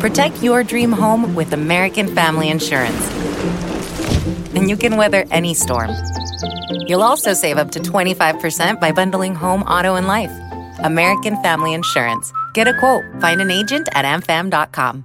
J: Protect your dream home with American Family Insurance. And you can weather any storm. You'll also save up to 25% by bundling home, auto, and life. American Family Insurance. Get a quote, find an agent at amfam.com.